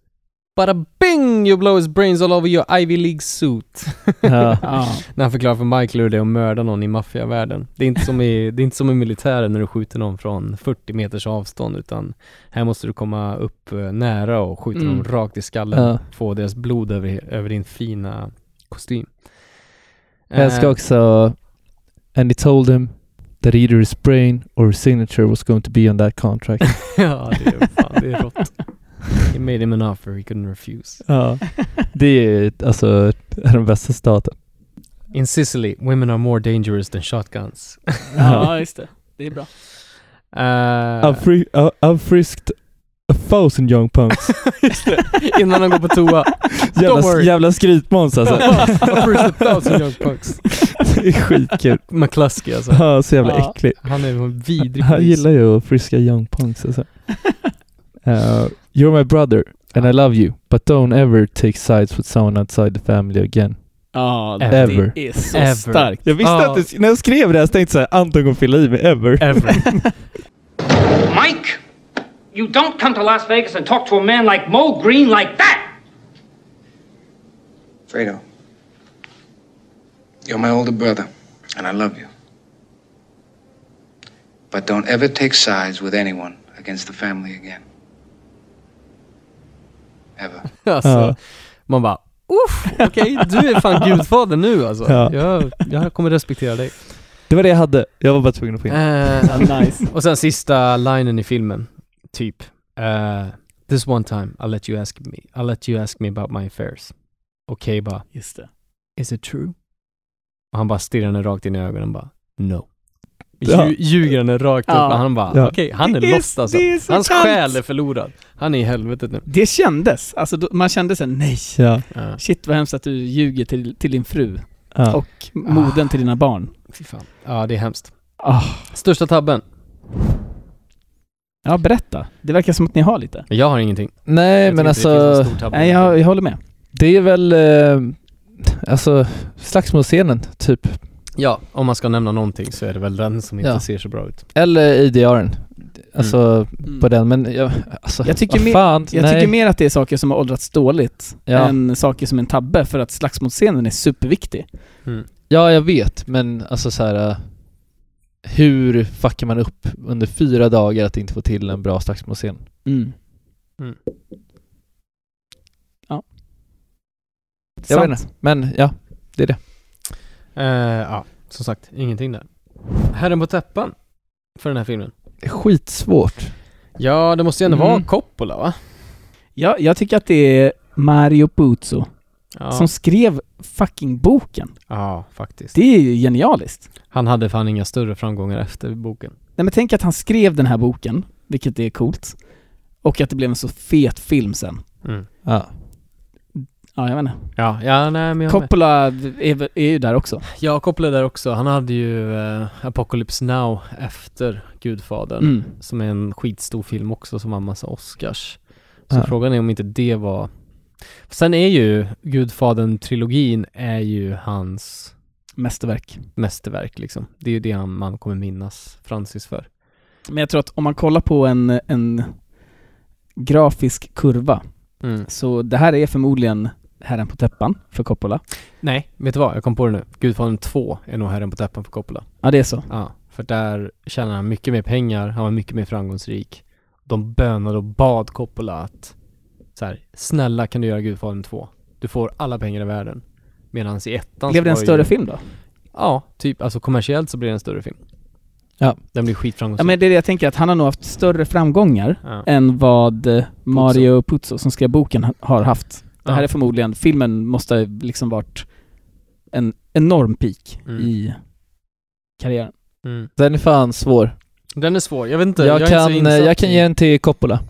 Speaker 2: Bada bing! You blow his brains all over your Ivy League suit.
Speaker 9: Ja.
Speaker 8: Ja.
Speaker 2: När han förklarar för Michael hur det är att mörda någon i maffiavärlden. Det är inte som i, det är inte som i militären när du skjuter någon från 40 meters avstånd utan här måste du komma upp eh, nära och skjuta
Speaker 9: Mm.
Speaker 2: dem rakt i skallen.
Speaker 9: Ja.
Speaker 2: Få deras blod över, över din fina kostym.
Speaker 9: Jag ska
Speaker 2: Eh,
Speaker 9: också... And he told him that either his brain or his signature was going to be on that contract.
Speaker 2: ja, det är, fan, det är rått. He made him an offer he couldn't refuse.
Speaker 9: ja. Det är alltså är den bästa staten.
Speaker 2: In Sicily, women are more dangerous than shotguns.
Speaker 8: Ja, just det. Det är bra.
Speaker 2: Eh,
Speaker 9: I've, free, I- I've frisked a thousand young punks.
Speaker 2: innan han går på toa. Don't
Speaker 9: jävla,
Speaker 2: worry.
Speaker 9: jävla skrytmåns alltså.
Speaker 2: I've frisked a thousand young punks.
Speaker 9: det är skitkul.
Speaker 2: McCluskey alltså.
Speaker 9: Ja, så jävla
Speaker 2: Ja.
Speaker 9: äcklig.
Speaker 2: Han är en vidrig
Speaker 9: Han
Speaker 2: polis.
Speaker 9: gillar ju att friska young punks alltså. Uh, you're my brother and I love you but don't ever take sides with someone outside the family again.
Speaker 8: Ja,
Speaker 9: Ever.
Speaker 8: det är så
Speaker 9: Ever.
Speaker 8: starkt.
Speaker 9: Jag visste
Speaker 8: Ja.
Speaker 9: att det, när jag skrev det här så tänkte jag såhär, Anton kommer fylla i med ever.
Speaker 17: Mike, you don't come to Las Vegas and talk to a man like Mo Green like that.
Speaker 14: Fredo, you're my older brother, and I love you. But don't ever take sides with anyone against the family again. Ever.
Speaker 2: Alltså,
Speaker 14: Ja.
Speaker 2: man bara Uff, okej, du är fan gudfader nu alltså.
Speaker 9: Ja.
Speaker 2: Jag, jag kommer respektera dig.
Speaker 9: Det var det jag hade. Jag var bara tvungen att få in.
Speaker 2: Eh,
Speaker 8: nice.
Speaker 2: Och sen sista linen i filmen, typ. eh, This one time I'll let you ask me, I'll let you ask me about my affairs. Okej bara,
Speaker 8: Just det.
Speaker 2: is it true? Och han bara stirrar henne rakt in i ögonen bara, no.
Speaker 9: Ja.
Speaker 2: Lju- Ljuger henne rakt upp
Speaker 8: Ja.
Speaker 2: och han bara,
Speaker 8: Ja.
Speaker 2: okej, han är
Speaker 8: Det är-
Speaker 2: lost alltså.
Speaker 8: det är så
Speaker 2: Hans
Speaker 8: kallt.
Speaker 2: själ är förlorad. Han är i helvetet nu.
Speaker 8: Det kändes. Alltså, då, man kände sen nej.
Speaker 9: Ja.
Speaker 8: Shit vad hemskt att du ljuger till, till din fru.
Speaker 9: Ja.
Speaker 8: Och moden till dina barn.
Speaker 2: Fy fan. Ja, det är hemskt.
Speaker 8: Ah.
Speaker 2: Största tabben?
Speaker 8: Ja, berätta. Det verkar som att ni har lite.
Speaker 2: Jag har ingenting.
Speaker 9: Nej,
Speaker 8: Jag
Speaker 9: men
Speaker 8: tycker inte det
Speaker 9: alltså...
Speaker 8: finns en stor tabbe. Nej, jag- håller med.
Speaker 9: Det är väl, eh, alltså, slagsmålscenen, typ.
Speaker 2: Ja, om man ska nämna någonting så är det väl den som inte
Speaker 9: Ja.
Speaker 2: ser så bra ut.
Speaker 9: Eller IDR'n. Alltså, på den, men jag, alltså,
Speaker 8: Mm. Jag tycker,
Speaker 9: vad
Speaker 8: mer,
Speaker 9: fan,
Speaker 8: jag
Speaker 9: nej.
Speaker 8: tycker mer att det är saker som har åldrats dåligt
Speaker 9: Ja.
Speaker 8: än saker som är en tabbe, för att slagsmålscenen är superviktig.
Speaker 9: Ja, jag vet, men alltså så här. eh, Hur fuckar man upp under fyra dagar att inte få till en bra slagsmålscen?
Speaker 8: Mm.
Speaker 2: Mm.
Speaker 9: Jag
Speaker 2: Sant.
Speaker 9: vet inte, men ja, det är det.
Speaker 2: Eh, ja, som sagt, ingenting där. Herren på täppan för den här filmen.
Speaker 9: Skitsvårt.
Speaker 2: Ja, det måste ju ändå
Speaker 8: Mm.
Speaker 2: vara Coppola va?
Speaker 8: Ja, jag tycker att det är Mario Puzo
Speaker 2: Ja.
Speaker 8: som skrev fucking boken.
Speaker 2: Ja, faktiskt.
Speaker 8: Det är ju genialiskt.
Speaker 2: Han hade fan inga större framgångar efter boken.
Speaker 8: Nej men tänk att han skrev den här boken, vilket är coolt, och att det blev en så fet film sen.
Speaker 2: Mm.
Speaker 9: Ja.
Speaker 8: Ja, jag vet inte.
Speaker 2: Ja, ja nej men jag
Speaker 8: Coppola är, väl- är ju där också.
Speaker 2: Ja, Coppola är där också. Han hade ju eh, Apocalypse Now efter Gudfadern,
Speaker 8: Mm.
Speaker 2: som är en skitstor film också som vann massa Oscars. Så
Speaker 9: Ja.
Speaker 2: frågan är om inte det var... Sen är ju Gudfadern-trilogin är ju hans
Speaker 8: mästerverk.
Speaker 2: Mästerverk liksom. Det är ju det han, man kommer minnas Francis för.
Speaker 8: Men jag tror att om man kollar på en, en grafisk kurva,
Speaker 2: Mm.
Speaker 8: så det här är förmodligen Herren på täppan för Coppola.
Speaker 2: Nej, vet du vad? Jag kom på det nu. Gudfadern 2 är nog Herren på täppan för Coppola.
Speaker 8: Ja, det är så.
Speaker 2: Ja, för där tjänade han mycket mer pengar, han var mycket mer framgångsrik. De bönade och bad Coppola att så här, snälla kan du göra Gudfadern 2? Du får alla pengar i världen. Medan i ettan så
Speaker 8: Blev det en
Speaker 2: var ju-
Speaker 8: större film då?
Speaker 2: Ja, typ alltså kommersiellt så blir det en större film.
Speaker 9: Ja.
Speaker 2: Den blir
Speaker 8: Ja
Speaker 2: skitframgångsrik.
Speaker 8: men det är det jag tänker, att han har nog haft större framgångar
Speaker 2: Ja.
Speaker 8: än vad eh, Mario Puzo som skrev boken ha- har haft. Det här
Speaker 2: Ja.
Speaker 8: är förmodligen, filmen måste ha liksom varit en enorm peak
Speaker 2: Mm.
Speaker 8: i karriären.
Speaker 2: Mm.
Speaker 9: Den är fan svår.
Speaker 2: Den är svår, jag vet inte.
Speaker 9: Jag,
Speaker 2: är
Speaker 9: kan, äh, eh,
Speaker 2: inte så insatt
Speaker 9: jag kan
Speaker 2: i-
Speaker 9: ge den till Coppola.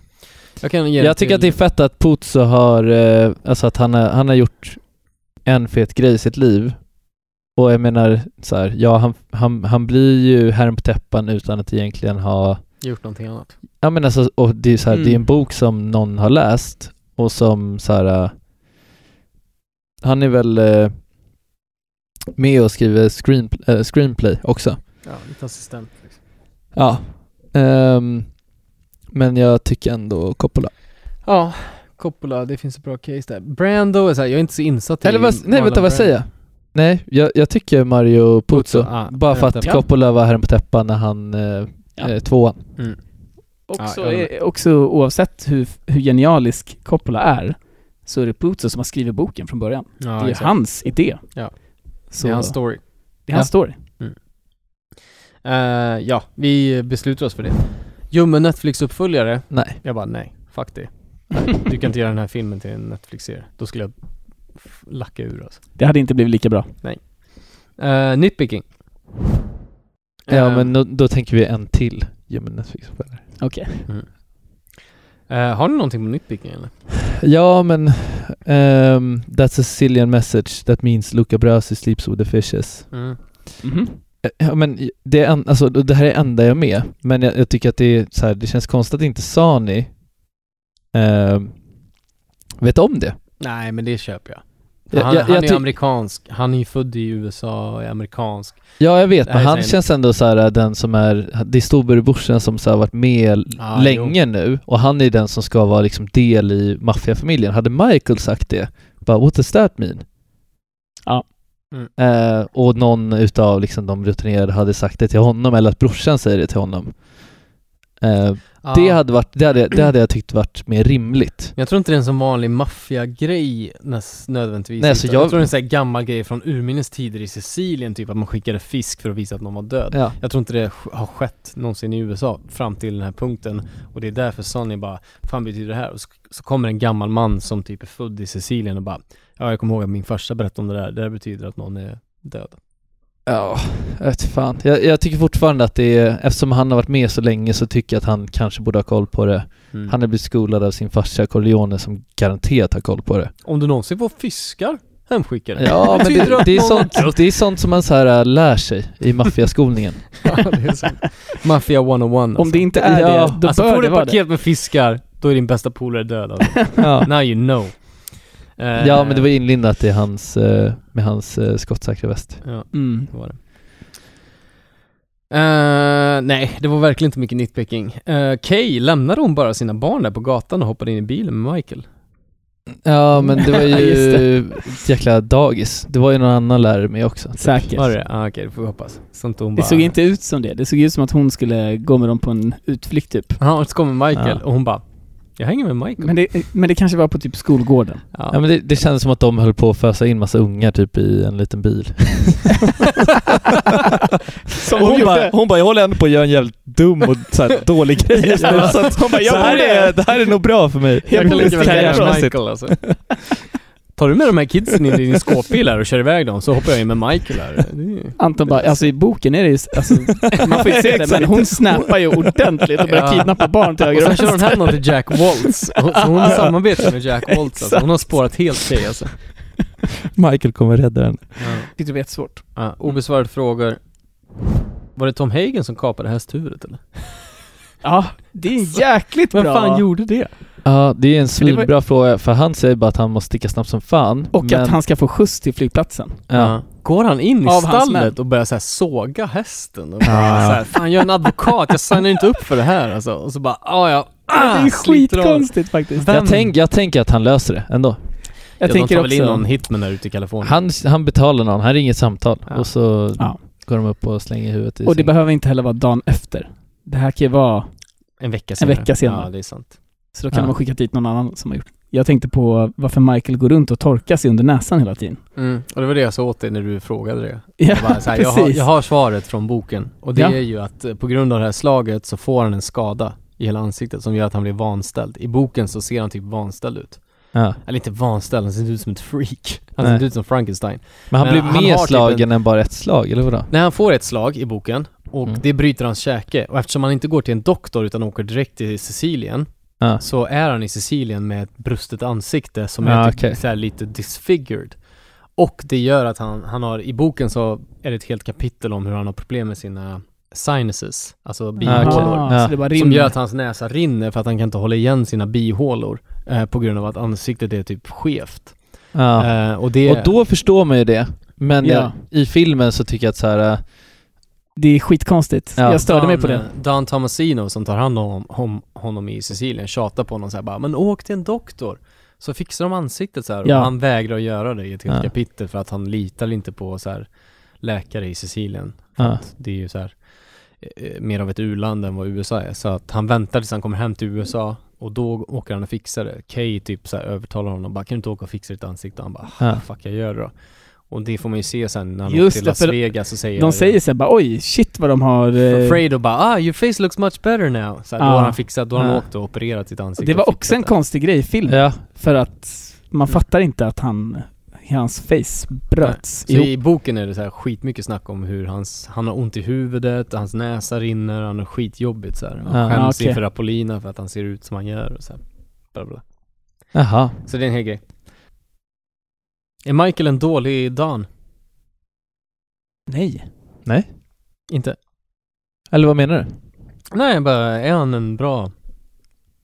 Speaker 2: jag kan ge den
Speaker 9: Jag tycker att det är fett att Puzo har, eh, alltså att han har, han har gjort en fet grej i sitt liv. Och jag menar så här, ja han, han, han blir ju herren på täppan utan att egentligen ha,
Speaker 2: Gjort någonting annat.
Speaker 9: ja men alltså, och det är ju så här,
Speaker 2: Mm.
Speaker 9: det är en bok som någon har läst och som så här, eh, han är väl eh, med och skriver screen, eh, screenplay också.
Speaker 2: Ja, lite assistent liksom.
Speaker 9: Ja. Ehm, men jag tycker ändå Coppola.
Speaker 2: Ja, Coppola, det finns ett bra case där. Brando är så här, jag är inte så insatt i...
Speaker 9: Eller vad, nej vänta vad säger jag? Nej, jag, jag tycker Mario Puzo.
Speaker 2: Puzo, ah,
Speaker 9: bara för
Speaker 2: Herren på
Speaker 9: att
Speaker 2: täppan.
Speaker 9: Coppola var herren på täppan när han, eh, eh, tvåan.
Speaker 2: Mm.
Speaker 8: Också,
Speaker 2: Ja, jag
Speaker 8: är, också oavsett hur, hur genialisk Coppola är, så är det Puzo som har skrivit boken från början.
Speaker 2: Ja,
Speaker 8: det är ju
Speaker 2: exakt.
Speaker 8: hans idé.
Speaker 2: Ja.
Speaker 8: Så-
Speaker 2: Det är hans story.
Speaker 8: Det är hans
Speaker 2: Ja.
Speaker 8: story.
Speaker 2: Eh, ja, vi beslutar oss för det. Ljummen Netflix-uppföljare?
Speaker 9: Nej.
Speaker 2: Jag bara nej, fuck det. Du kan inte göra den här filmen till en Netflix-serie. Då skulle jag f- lacka ur alltså.
Speaker 8: Det hade inte blivit lika bra.
Speaker 2: Mm. Uh, nitpicking.
Speaker 9: Ja
Speaker 2: Eh,
Speaker 9: men då, då tänker vi en till Human Netflix
Speaker 8: Okej.
Speaker 2: eh, har ni någonting på nitpicking eller?
Speaker 9: Ja men, ehm, that's a Sicilian message that means Luca Brasi sleeps with the fishes.
Speaker 2: Mm.
Speaker 8: Mhm.
Speaker 9: Eh, Ja, men det, är en, alltså, det här är enda jag är med, men jag, jag tycker att det, är så här, det känns konstigt att inte Sani ehm, vet om det.
Speaker 2: Nej, men det köper jag.
Speaker 9: Ja,
Speaker 2: Han,
Speaker 9: jag-
Speaker 2: han
Speaker 9: jag
Speaker 2: är
Speaker 9: ty-
Speaker 2: amerikansk. Han är ju född i USA och är amerikansk.
Speaker 9: Ja, jag vet,
Speaker 2: Det
Speaker 9: men
Speaker 2: här är
Speaker 9: han
Speaker 2: sen-
Speaker 9: känns ändå så här äh, den som är, det är storebrorsan som så här varit med
Speaker 2: Ja,
Speaker 9: länge nu och han är den som ska vara liksom del i maffiafamiljen. Hade Michael sagt det, bara what does that mean?
Speaker 8: Ja.
Speaker 9: Eh, och någon utav liksom de rutinerade hade sagt det till honom eller att brorsan säger det till honom. Eh,
Speaker 2: Ja.
Speaker 9: det, hade varit, det, hade, det hade jag tyckt varit mer rimligt.
Speaker 2: Jag tror inte det är en sån vanlig maffiagrej näs- nödvändigtvis.
Speaker 9: Nej, så
Speaker 2: utan jag...
Speaker 9: jag-
Speaker 2: tror det är en sån här gammal grej från urminnes tider i Sicilien, typ att man skickade fisk för att visa att någon var död.
Speaker 9: Ja.
Speaker 2: Jag tror inte det sk- har skett någonsin i USA fram till den här punkten. Och det är därför Sonny bara, fan betyder det här? Och så, så kommer en gammal man som typ är född i Sicilien och bara, ja jag kommer ihåg att min farsa berättade om det där, det där betyder att någon är död.
Speaker 9: Ja, jag vet fan. Jag, jag tycker fortfarande att det är, eftersom han har varit med så länge så tycker jag att han kanske borde ha koll på det.
Speaker 2: Mm.
Speaker 9: Han har blivit skolad av sin farsa Corleone som garanterat har koll på det.
Speaker 2: Om du någonsin får fiskar? Han skickade.
Speaker 9: Ja, men
Speaker 2: Betyder
Speaker 9: det, det, är
Speaker 2: att någon-
Speaker 9: sånt, det är sånt som man så här äh, lär sig i maffiaskolningen.
Speaker 2: Mafia 101 alltså.
Speaker 8: Om det inte är det, då
Speaker 2: alltså,
Speaker 8: bör
Speaker 2: får
Speaker 8: det
Speaker 2: du
Speaker 8: vara
Speaker 2: ett paket med fiskar, då är din bästa polare död alltså.
Speaker 9: Ja.
Speaker 2: Now you know. Eh,
Speaker 9: Ja, men det var inlindat i hans, eh, med hans eh, skottsäkra väst.
Speaker 2: Ja,
Speaker 8: Mm.
Speaker 2: det var det. Eh, nej, det var verkligen inte mycket nitpicking. Uh, Kay, lämnade hon bara sina barn där på gatan och hoppade in i bilen med Michael?
Speaker 9: Ja, men det var
Speaker 2: Just
Speaker 9: ju ett jäkla dagis. Det var ju någon annan lärare med också. typ.
Speaker 8: Säkert.
Speaker 2: Var det? Ah, Okej, det får vi hoppas. Så inte hon
Speaker 8: Det
Speaker 2: bara...
Speaker 8: såg inte ut som det. Det såg ut som att hon skulle gå med dem på en utflykt typ.
Speaker 2: Ja, och så kommer Michael
Speaker 9: Ja.
Speaker 2: och hon bara Jag hänger med Michael.
Speaker 8: Men det, men det kanske var på typ skolgården.
Speaker 2: Ja.
Speaker 9: Ja, men det, det kändes som att de höll på att fösa in massa ungar typ i en liten bil.
Speaker 8: Som
Speaker 9: hon, bara, hon bara, jag håller ändå på att göra en jävligt dum och så här, dålig grej just nu.
Speaker 8: Ja.
Speaker 9: Så att,
Speaker 8: Hon bara, jag
Speaker 9: så här
Speaker 8: borde-
Speaker 9: är, det här är nog bra för mig.
Speaker 8: Jag
Speaker 2: kan lika väl hänga med
Speaker 9: Karriärmässigt.
Speaker 2: Michael alltså. Tar du med de här kidsen in i din skåpbil här och kör iväg dem så hoppar jag in med Michael här. Det är ju-
Speaker 8: Anton bara, alltså i boken är det ju, alltså, man får inte se det, men hon snappar ju ordentligt och börjar
Speaker 2: Ja.
Speaker 8: kidnappa barn till
Speaker 2: Och
Speaker 8: höger
Speaker 2: sen kör hon
Speaker 8: vänster.
Speaker 2: hem dem till Jack Waltz. Hon, så hon samarbetar med Jack Waltz alltså. Hon har spårat helt Kay alltså.
Speaker 9: Michael kommer rädda den.
Speaker 8: Tyckte det
Speaker 2: typ
Speaker 8: var jättesvårt.
Speaker 2: Ja, obesvarade frågor. Var det Tom Hagen som kapade hästhuvudet eller?
Speaker 8: Ja, det är en jäkligt
Speaker 2: Alltså, Vem
Speaker 8: bra.
Speaker 2: fan gjorde det?
Speaker 9: Ja, det är en
Speaker 8: det var-
Speaker 9: svinbra fråga, för han säger bara att han måste sticka snabbt som fan.
Speaker 8: Och
Speaker 9: men-
Speaker 8: att han ska få skjuts till flygplatsen.
Speaker 9: Ja.
Speaker 2: Går han in i
Speaker 8: Av hans män.
Speaker 2: stallet och börjar så här såga hästen? Och bara,
Speaker 9: Ja, ja.
Speaker 2: så här, fan jag är en advokat, jag signar inte upp för det här alltså. Och så bara, ah, ja ah,
Speaker 8: det är
Speaker 2: sliter av honom.
Speaker 8: skitkonstigt faktiskt.
Speaker 2: Vem-
Speaker 9: Jag, tänk, jag tänker att han löser det ändå.
Speaker 8: Jag
Speaker 2: ja, de
Speaker 8: tänker
Speaker 2: tar väl in någon
Speaker 8: också,
Speaker 2: hitman där ute i Kalifornien.
Speaker 9: Han, han betalar någon, han ringer ett samtal
Speaker 2: Ja.
Speaker 9: och så
Speaker 8: Ja.
Speaker 9: går de upp och slänger huvudet i
Speaker 8: och det
Speaker 9: sängen.
Speaker 8: behöver inte heller vara dagen efter. Det här kan ju vara,
Speaker 2: en vecka
Speaker 8: En
Speaker 2: senare.
Speaker 8: vecka senare.
Speaker 2: Ja, det är sant.
Speaker 8: så då kan
Speaker 9: Ja.
Speaker 8: de ha skickat dit någon annan som har gjort Jag tänkte på varför Michael går runt och torkar sig under näsan hela tiden.
Speaker 2: Mm. Och det var det jag sa åt dig när du frågade det.
Speaker 8: Ja,
Speaker 2: Jag, bara, så här, jag, har,
Speaker 8: precis.
Speaker 2: jag har svaret från boken och det
Speaker 8: Ja.
Speaker 2: är ju att eh, på grund av det här slaget så får han en skada i hela ansiktet som gör att han blir vanställd. I boken så ser han typ vanställd ut.
Speaker 9: ja.
Speaker 2: Eller inte vanställd, han ser ut som ett freak. Han ser
Speaker 9: Nej.
Speaker 2: inte ut som Frankenstein.
Speaker 9: Men han
Speaker 2: Men
Speaker 9: blir
Speaker 2: han har
Speaker 9: mer
Speaker 2: typ
Speaker 9: slagen än bara ett slag, eller vadå?
Speaker 2: När han får ett slag i boken och
Speaker 9: Mm.
Speaker 2: det bryter hans käke och eftersom han inte går till en doktor utan åker direkt till Sicilien
Speaker 9: Ja.
Speaker 2: så är han i Sicilien med ett brustet ansikte som
Speaker 9: Ja,
Speaker 2: är typ
Speaker 9: Ah, okej.
Speaker 2: så här lite disfigured. Och det gör att han, han har, i boken så är det ett helt kapitel om hur han har problem med sina sinuses, alltså bihålor.
Speaker 8: Ah,
Speaker 9: Ja.
Speaker 8: Så det bara
Speaker 2: Som gör
Speaker 8: rinner.
Speaker 2: att hans näsa rinner för att han kan inte hålla igen sina bihålor eh, på grund av att ansiktet är typ skevt.
Speaker 9: Ja.
Speaker 2: Eh, och det...
Speaker 9: Ah. Och då förstår man ju det. Men
Speaker 8: Ja.
Speaker 9: jag, i filmen så tycker jag att så här, äh,
Speaker 8: Det är skitkonstigt.
Speaker 9: Ja.
Speaker 8: Jag störde mig på
Speaker 2: Dan- eh,
Speaker 8: det.
Speaker 2: Dan Tomasino som tar hand om, om honom i Sicilien tjatar på honom så här bara, men åk till en doktor. Så fixar de ansiktet så här
Speaker 8: Ja.
Speaker 2: och han vägrar göra det i ett helt
Speaker 9: Ja.
Speaker 2: kapitel för att han litar inte på så här läkare i Sicilien.
Speaker 9: ja.
Speaker 2: Det är ju så här eh, mer av ett u-land än vad USA är. Så att han väntar tills han kommer hem till USA och då åker han och fixar det. Kay typ så här övertalar honom bara, kan du inte åka och fixa ditt ansikte? Han bara, "Ah,
Speaker 9: Ja.
Speaker 2: fuck jag gör det då. Och det får man ju se sen när han
Speaker 8: Just
Speaker 2: åker till
Speaker 8: det,
Speaker 2: Las
Speaker 8: för
Speaker 2: Vegas och säger
Speaker 8: De säger såhär bara oj, shit vad de har... eh,
Speaker 2: Fredo bara ah, your face looks much better now. Så här,
Speaker 8: Ja.
Speaker 2: Då har han fixat, då har han
Speaker 9: Ja.
Speaker 2: åkt och opererat sitt ansikte.
Speaker 8: Det var
Speaker 2: och
Speaker 8: också
Speaker 2: fixat
Speaker 8: en
Speaker 2: det.
Speaker 8: konstig grej i filmen.
Speaker 9: ja.
Speaker 8: För att man fattar inte att han, hans face bröts
Speaker 2: Så
Speaker 8: ihop.
Speaker 2: i boken är det så här skitmycket snack om hur hans, han har ont i huvudet, hans näsa rinner, han har skitjobbigt så här. Han
Speaker 9: Ja,
Speaker 2: skäms
Speaker 8: okej.
Speaker 2: inför Apollina för att han ser ut som han gör och så här. Bla, bla.
Speaker 9: Jaha.
Speaker 2: Så det är en hel grej. Är Michael en dålig Dan?
Speaker 8: Nej.
Speaker 2: Inte?
Speaker 9: Eller vad menar du?
Speaker 2: Nej, jag bara, är han en bra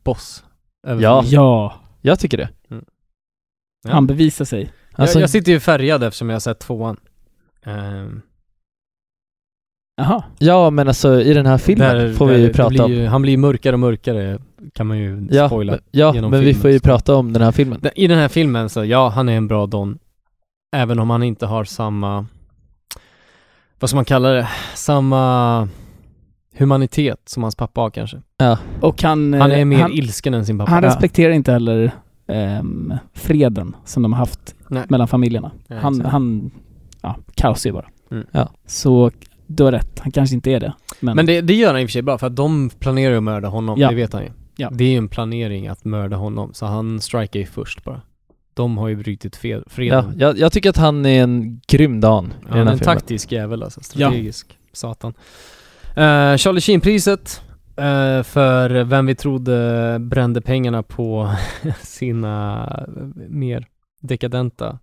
Speaker 2: boss? Över-
Speaker 9: Ja.
Speaker 8: Ja,
Speaker 9: Jag tycker det.
Speaker 2: Ja.
Speaker 8: han bevisar sig.
Speaker 9: Alltså,
Speaker 2: jag, jag sitter ju färgad eftersom jag har sett tvåan. Ehm,
Speaker 8: Jaha.
Speaker 9: Ja, men alltså i den här filmen
Speaker 2: Där-
Speaker 9: får
Speaker 2: där-
Speaker 9: vi ju
Speaker 2: det
Speaker 9: prata
Speaker 2: blir
Speaker 9: om.
Speaker 2: ju, Han blir ju mörkare och mörkare, kan man ju
Speaker 9: Ja,
Speaker 2: spoila.
Speaker 9: men- ja men
Speaker 2: genom
Speaker 9: vi
Speaker 2: filmen.
Speaker 9: får ju prata om den här filmen.
Speaker 2: Den- I den här filmen så, ja, han är en bra Don. Även om han inte har samma, vad ska man kalla det, samma humanitet som hans pappa har kanske.
Speaker 8: Och han... eh,
Speaker 2: Han är mer
Speaker 8: han,
Speaker 2: ilsken än sin pappa.
Speaker 8: han
Speaker 2: Ja.
Speaker 8: respekterar inte heller ehm, freden som de har haft
Speaker 2: Nej.
Speaker 8: mellan familjerna.
Speaker 2: Ja,
Speaker 8: han,
Speaker 2: exakt.
Speaker 8: han... Ja, kaos är ju bara.
Speaker 2: Mm.
Speaker 9: Ja.
Speaker 8: Så du har rätt, han kanske inte är det. Men,
Speaker 2: Men det, det gör han i och för sig bra, för att de planerar ju att mörda honom,
Speaker 8: Ja.
Speaker 2: det vet han ju.
Speaker 8: Ja.
Speaker 2: Det är ju en planering att mörda honom, så han strikar ju först bara. De har ju brutit fe-
Speaker 9: Ja,
Speaker 2: freden.
Speaker 9: jag, jag tycker att han är en grym Dan i den
Speaker 2: han är
Speaker 9: här
Speaker 2: en
Speaker 9: filmen.
Speaker 2: taktisk jävel alltså, strategisk. Satan. Eh, Charlie Sheen-priset eh, för vem vi trodde brände pengarna på sina mer eh, dekadenta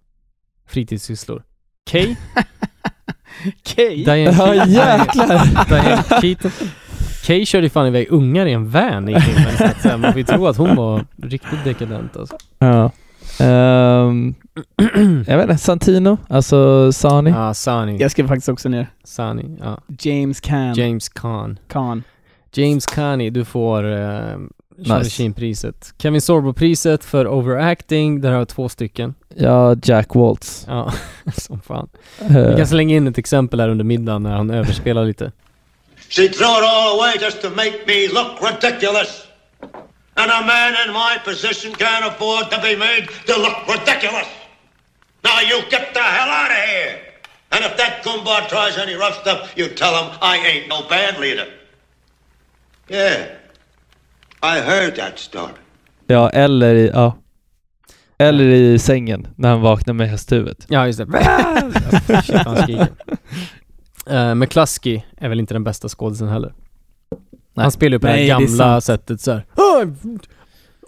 Speaker 2: fritidssysslor. Kay.
Speaker 8: Kay?
Speaker 2: Diane
Speaker 8: Ja,
Speaker 2: Keaton.
Speaker 8: jäklar.
Speaker 2: Diane Keaton. Kay körde ju fan iväg ungar i en van i filmen, så att, så här, man får ju tro att hon var riktigt dekadent alltså.
Speaker 9: Ja. Ehm, jag vet inte, Santino, alltså Sani.
Speaker 2: Ja, Sani.
Speaker 8: Jag skrev faktiskt också ner.
Speaker 2: Sani, Ah, ja.
Speaker 8: James Caan.
Speaker 2: James Caan.
Speaker 8: Caan.
Speaker 2: James Caaney, du får eh, Charlie
Speaker 9: Nice.
Speaker 2: Sheen-priset. Kevin Sorbo-priset för overacting, där har jag två stycken.
Speaker 9: Ja, Jack Waltz.
Speaker 2: Ja, som fan.
Speaker 9: Eh.
Speaker 2: Vi kan slänga in ett exempel här under middagen när han överspelar lite.
Speaker 12: She threw it all away just to make me look ridiculous. And a man in my position can't afford to be made to look ridiculous. Now you get the hell out of here. And if that Gumbar tries any rough stuff, you tell him I ain't no band leader. Yeah. I heard that story.
Speaker 9: Ja, eller i, ja. Eller i sängen när han vaknar med hästhuvudet.
Speaker 2: Ja, just det. Shit, han skriker. Eh, McCluskey är väl inte den bästa skådisen heller. Han spelar ju på
Speaker 1: Nej,
Speaker 2: det
Speaker 1: det är
Speaker 2: här gamla
Speaker 1: sant.
Speaker 2: sättet såhär.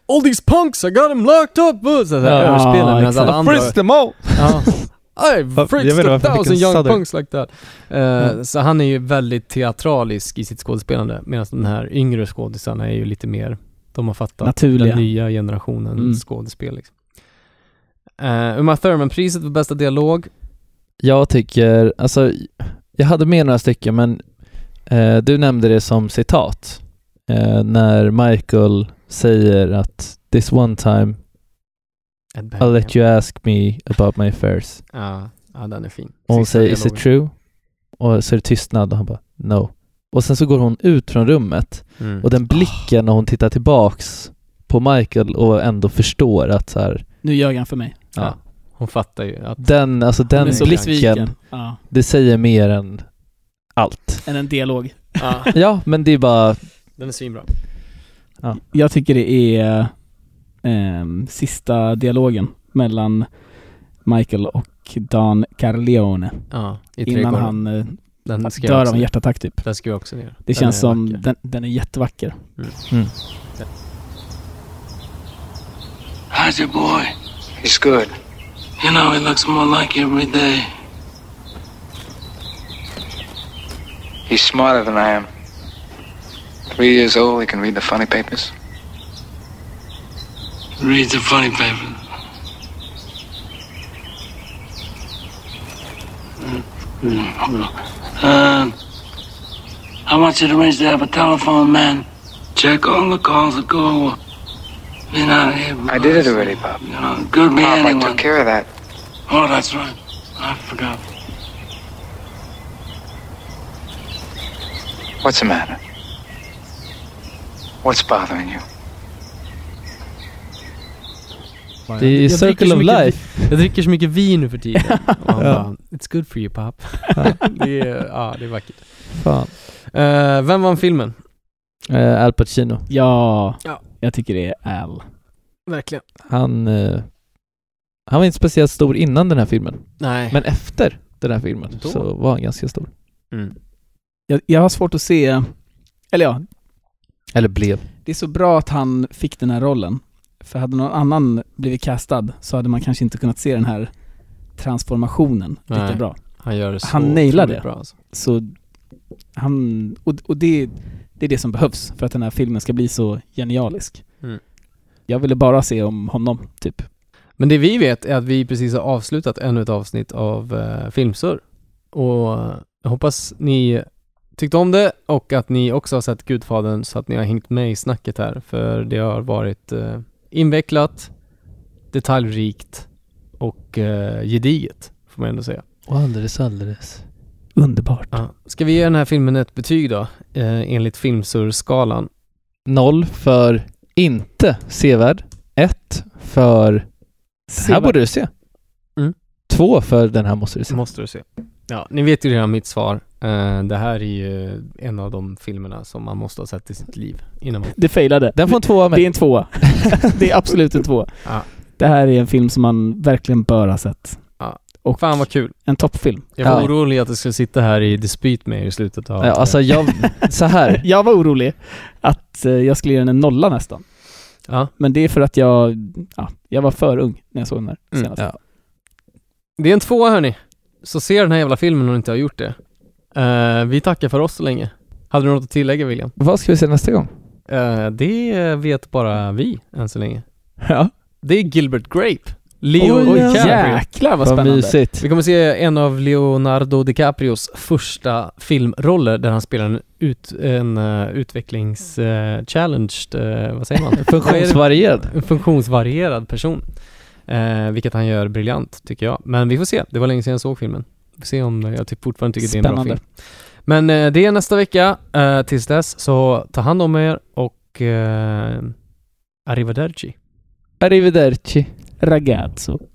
Speaker 2: All these punks, I got them locked up! Så så här,
Speaker 9: Ja,
Speaker 2: överspelar medan
Speaker 9: exakt.
Speaker 2: alla andra...
Speaker 9: I frisked them all!
Speaker 2: Ja. I
Speaker 9: Jag vet inte
Speaker 2: frisked a
Speaker 9: varför jag fick
Speaker 2: thousand
Speaker 9: en
Speaker 2: young
Speaker 9: southern.
Speaker 2: punks like that. Eh,
Speaker 9: Mm.
Speaker 2: Så han är ju väldigt teatralisk i sitt skådespelande medan den här yngre skådisarna är ju lite mer, de har fattat
Speaker 8: Naturliga.
Speaker 2: den nya generationen
Speaker 8: Mm.
Speaker 2: skådespel liksom. Eh, Uma Thurman-priset för bästa dialog.
Speaker 9: Jag tycker, alltså jag hade med några stycken men eh, du nämnde det som citat eh, när Michael säger att this one time
Speaker 2: Ed Beck.
Speaker 9: I'll let you ask me about my affairs.
Speaker 2: Ja, ja den är fin.
Speaker 9: Och hon
Speaker 2: Sista
Speaker 9: säger is it
Speaker 2: dialogen.
Speaker 9: true? Och så är det tystnad och han bara no. Och sen så går hon ut från rummet
Speaker 2: Mm.
Speaker 9: och den blicken när hon tittar tillbaks på Michael och ändå förstår att så här,
Speaker 8: Nu ljög han för mig.
Speaker 9: ja.
Speaker 2: Ja. Hon fattar ju att...
Speaker 9: Den, alltså
Speaker 8: Hon
Speaker 9: den
Speaker 8: är så besviken.
Speaker 9: blicken,
Speaker 8: Ja.
Speaker 9: det säger mer än allt.
Speaker 8: Än en dialog.
Speaker 2: Ja,
Speaker 9: Ja, men det är bara
Speaker 2: den är svinbra.
Speaker 8: Jag tycker det är ehm, sista dialogen mellan Michael och Dan Carleone.
Speaker 2: Ja, i
Speaker 8: Innan
Speaker 2: trädgården.
Speaker 8: han eh,
Speaker 2: Den ska jag
Speaker 8: dör
Speaker 2: också
Speaker 8: av en
Speaker 2: ner.
Speaker 8: hjärtattack typ.
Speaker 2: Den ska jag också ner.
Speaker 8: Det
Speaker 2: Den
Speaker 8: känns
Speaker 2: är
Speaker 8: som,
Speaker 2: vacker.
Speaker 8: den, den är jättevacker.
Speaker 9: Mm.
Speaker 4: How's your boy?
Speaker 16: He's good.
Speaker 4: You know, he looks more like you every day.
Speaker 10: He's smarter than I am. Three years old, he can read the funny papers.
Speaker 4: Reads the funny papers. Uh, I want you to arrange to have a telephone man. Check all the calls that go over. Be not here.
Speaker 10: I did it already, Pop.
Speaker 4: You know, good be
Speaker 10: Pop, I
Speaker 4: anyone.
Speaker 10: took care of that.
Speaker 4: Oh, that's right. I forgot.
Speaker 10: What's the matter? What's bothering you?
Speaker 9: Det är
Speaker 2: Jag dricker
Speaker 9: circle
Speaker 2: så
Speaker 9: of
Speaker 2: mycket-
Speaker 9: life.
Speaker 2: Jag dricker så mycket vin nu för tiden. Och han
Speaker 9: Ja.
Speaker 2: bara, It's good for you pop. det, är, ja, det är vackert.
Speaker 9: Fan.
Speaker 2: Eh, vem vann filmen?
Speaker 9: Eh, Al Pacino.
Speaker 8: Ja,
Speaker 2: Ja.
Speaker 8: jag tycker det är Al.
Speaker 2: Verkligen.
Speaker 9: Han, eh, han var inte speciellt stor innan den här filmen.
Speaker 2: Nej.
Speaker 9: Men efter den här filmen
Speaker 2: Då?
Speaker 9: så var han ganska stor.
Speaker 2: Mm.
Speaker 8: Jag, jag har svårt att se, eller ja,
Speaker 9: Eller blev.
Speaker 8: det är så bra att han fick den här rollen. För hade någon annan blivit castad så hade man kanske inte kunnat se den här transformationen
Speaker 2: Nej.
Speaker 8: lika bra.
Speaker 2: Han gör det så
Speaker 8: Han nailar
Speaker 2: otroligt
Speaker 8: det.
Speaker 2: bra alltså.
Speaker 8: Så han, och, och det, det är det som behövs för att den här filmen ska bli så genialisk.
Speaker 2: Mm.
Speaker 8: Jag ville bara se om honom, typ.
Speaker 2: Men det vi vet är att vi precis har avslutat ännu ett avsnitt av uh, Filmsur. Och eh, jag hoppas ni tyckte om det och att ni också har sett Gudfadern så att ni har hängt med i snacket här. För det har varit eh, invecklat, detaljrikt och eh, gediget, får man ändå säga.
Speaker 9: Och alldeles, alldeles.
Speaker 8: Underbart.
Speaker 2: Ja. Ska vi ge den här filmen ett betyg då, eh, enligt Filmsur-skalan?
Speaker 9: Noll för inte sevärd. Ett för den här
Speaker 2: Sevärd.
Speaker 9: borde du se.
Speaker 2: Mm.
Speaker 9: Två för den här måste du se.
Speaker 2: Måste du se. Ja, ni vet ju redan mitt svar. Eh, det här är ju en av de filmerna som man måste ha sett i sitt liv innan man
Speaker 8: Det failade.
Speaker 9: Den får en tvåa av
Speaker 8: Det är
Speaker 9: mig.
Speaker 8: en tvåa. det är absolut en tvåa.
Speaker 2: Ja.
Speaker 8: Det här är en film som man verkligen bör ha sett.
Speaker 2: Ja.
Speaker 8: Och
Speaker 2: Fan vad kul.
Speaker 8: en toppfilm.
Speaker 2: Jag var
Speaker 9: Ja.
Speaker 2: orolig att du skulle sitta här i dispyt med er i slutet av...
Speaker 9: Ja, alltså jag, så här.
Speaker 8: Jag var orolig att eh, jag skulle ge den en nolla nästan.
Speaker 2: Ja.
Speaker 8: Men det är för att jag, ja, jag var för ung när jag såg den här
Speaker 2: Mm,
Speaker 8: senast.
Speaker 9: ja.
Speaker 2: Det är en tvåa hörni. Så se den här jävla filmen om ni inte har gjort det. Eh, vi tackar för oss så länge. Hade du något att tillägga William?
Speaker 18: Vad ska vi se nästa gång?
Speaker 2: Eh, det vet bara vi än så länge.
Speaker 18: Ja.
Speaker 2: Det är Gilbert Grape. Leo
Speaker 18: Oj,
Speaker 2: DiCaprio.
Speaker 18: jäklar, vad Vad spännande. mysigt.
Speaker 2: Vi kommer se en av Leonardo DiCaprios första filmroller där han spelar en, ut, en eh, utvecklings-challenged, eh, vad säger man?
Speaker 9: Funktionsvarierad.
Speaker 2: En funktionsvarierad person. Eh, vilket han gör briljant tycker jag. Men vi får se, det var länge sedan jag såg filmen. Vi får se om jag typ fortfarande tycker det är en bra
Speaker 9: Spännande.
Speaker 2: film. Men eh, det är nästa vecka. Eh, tills dess så ta hand om er och eh, arrivederci.
Speaker 18: Arrivederci.
Speaker 8: Ragazzo.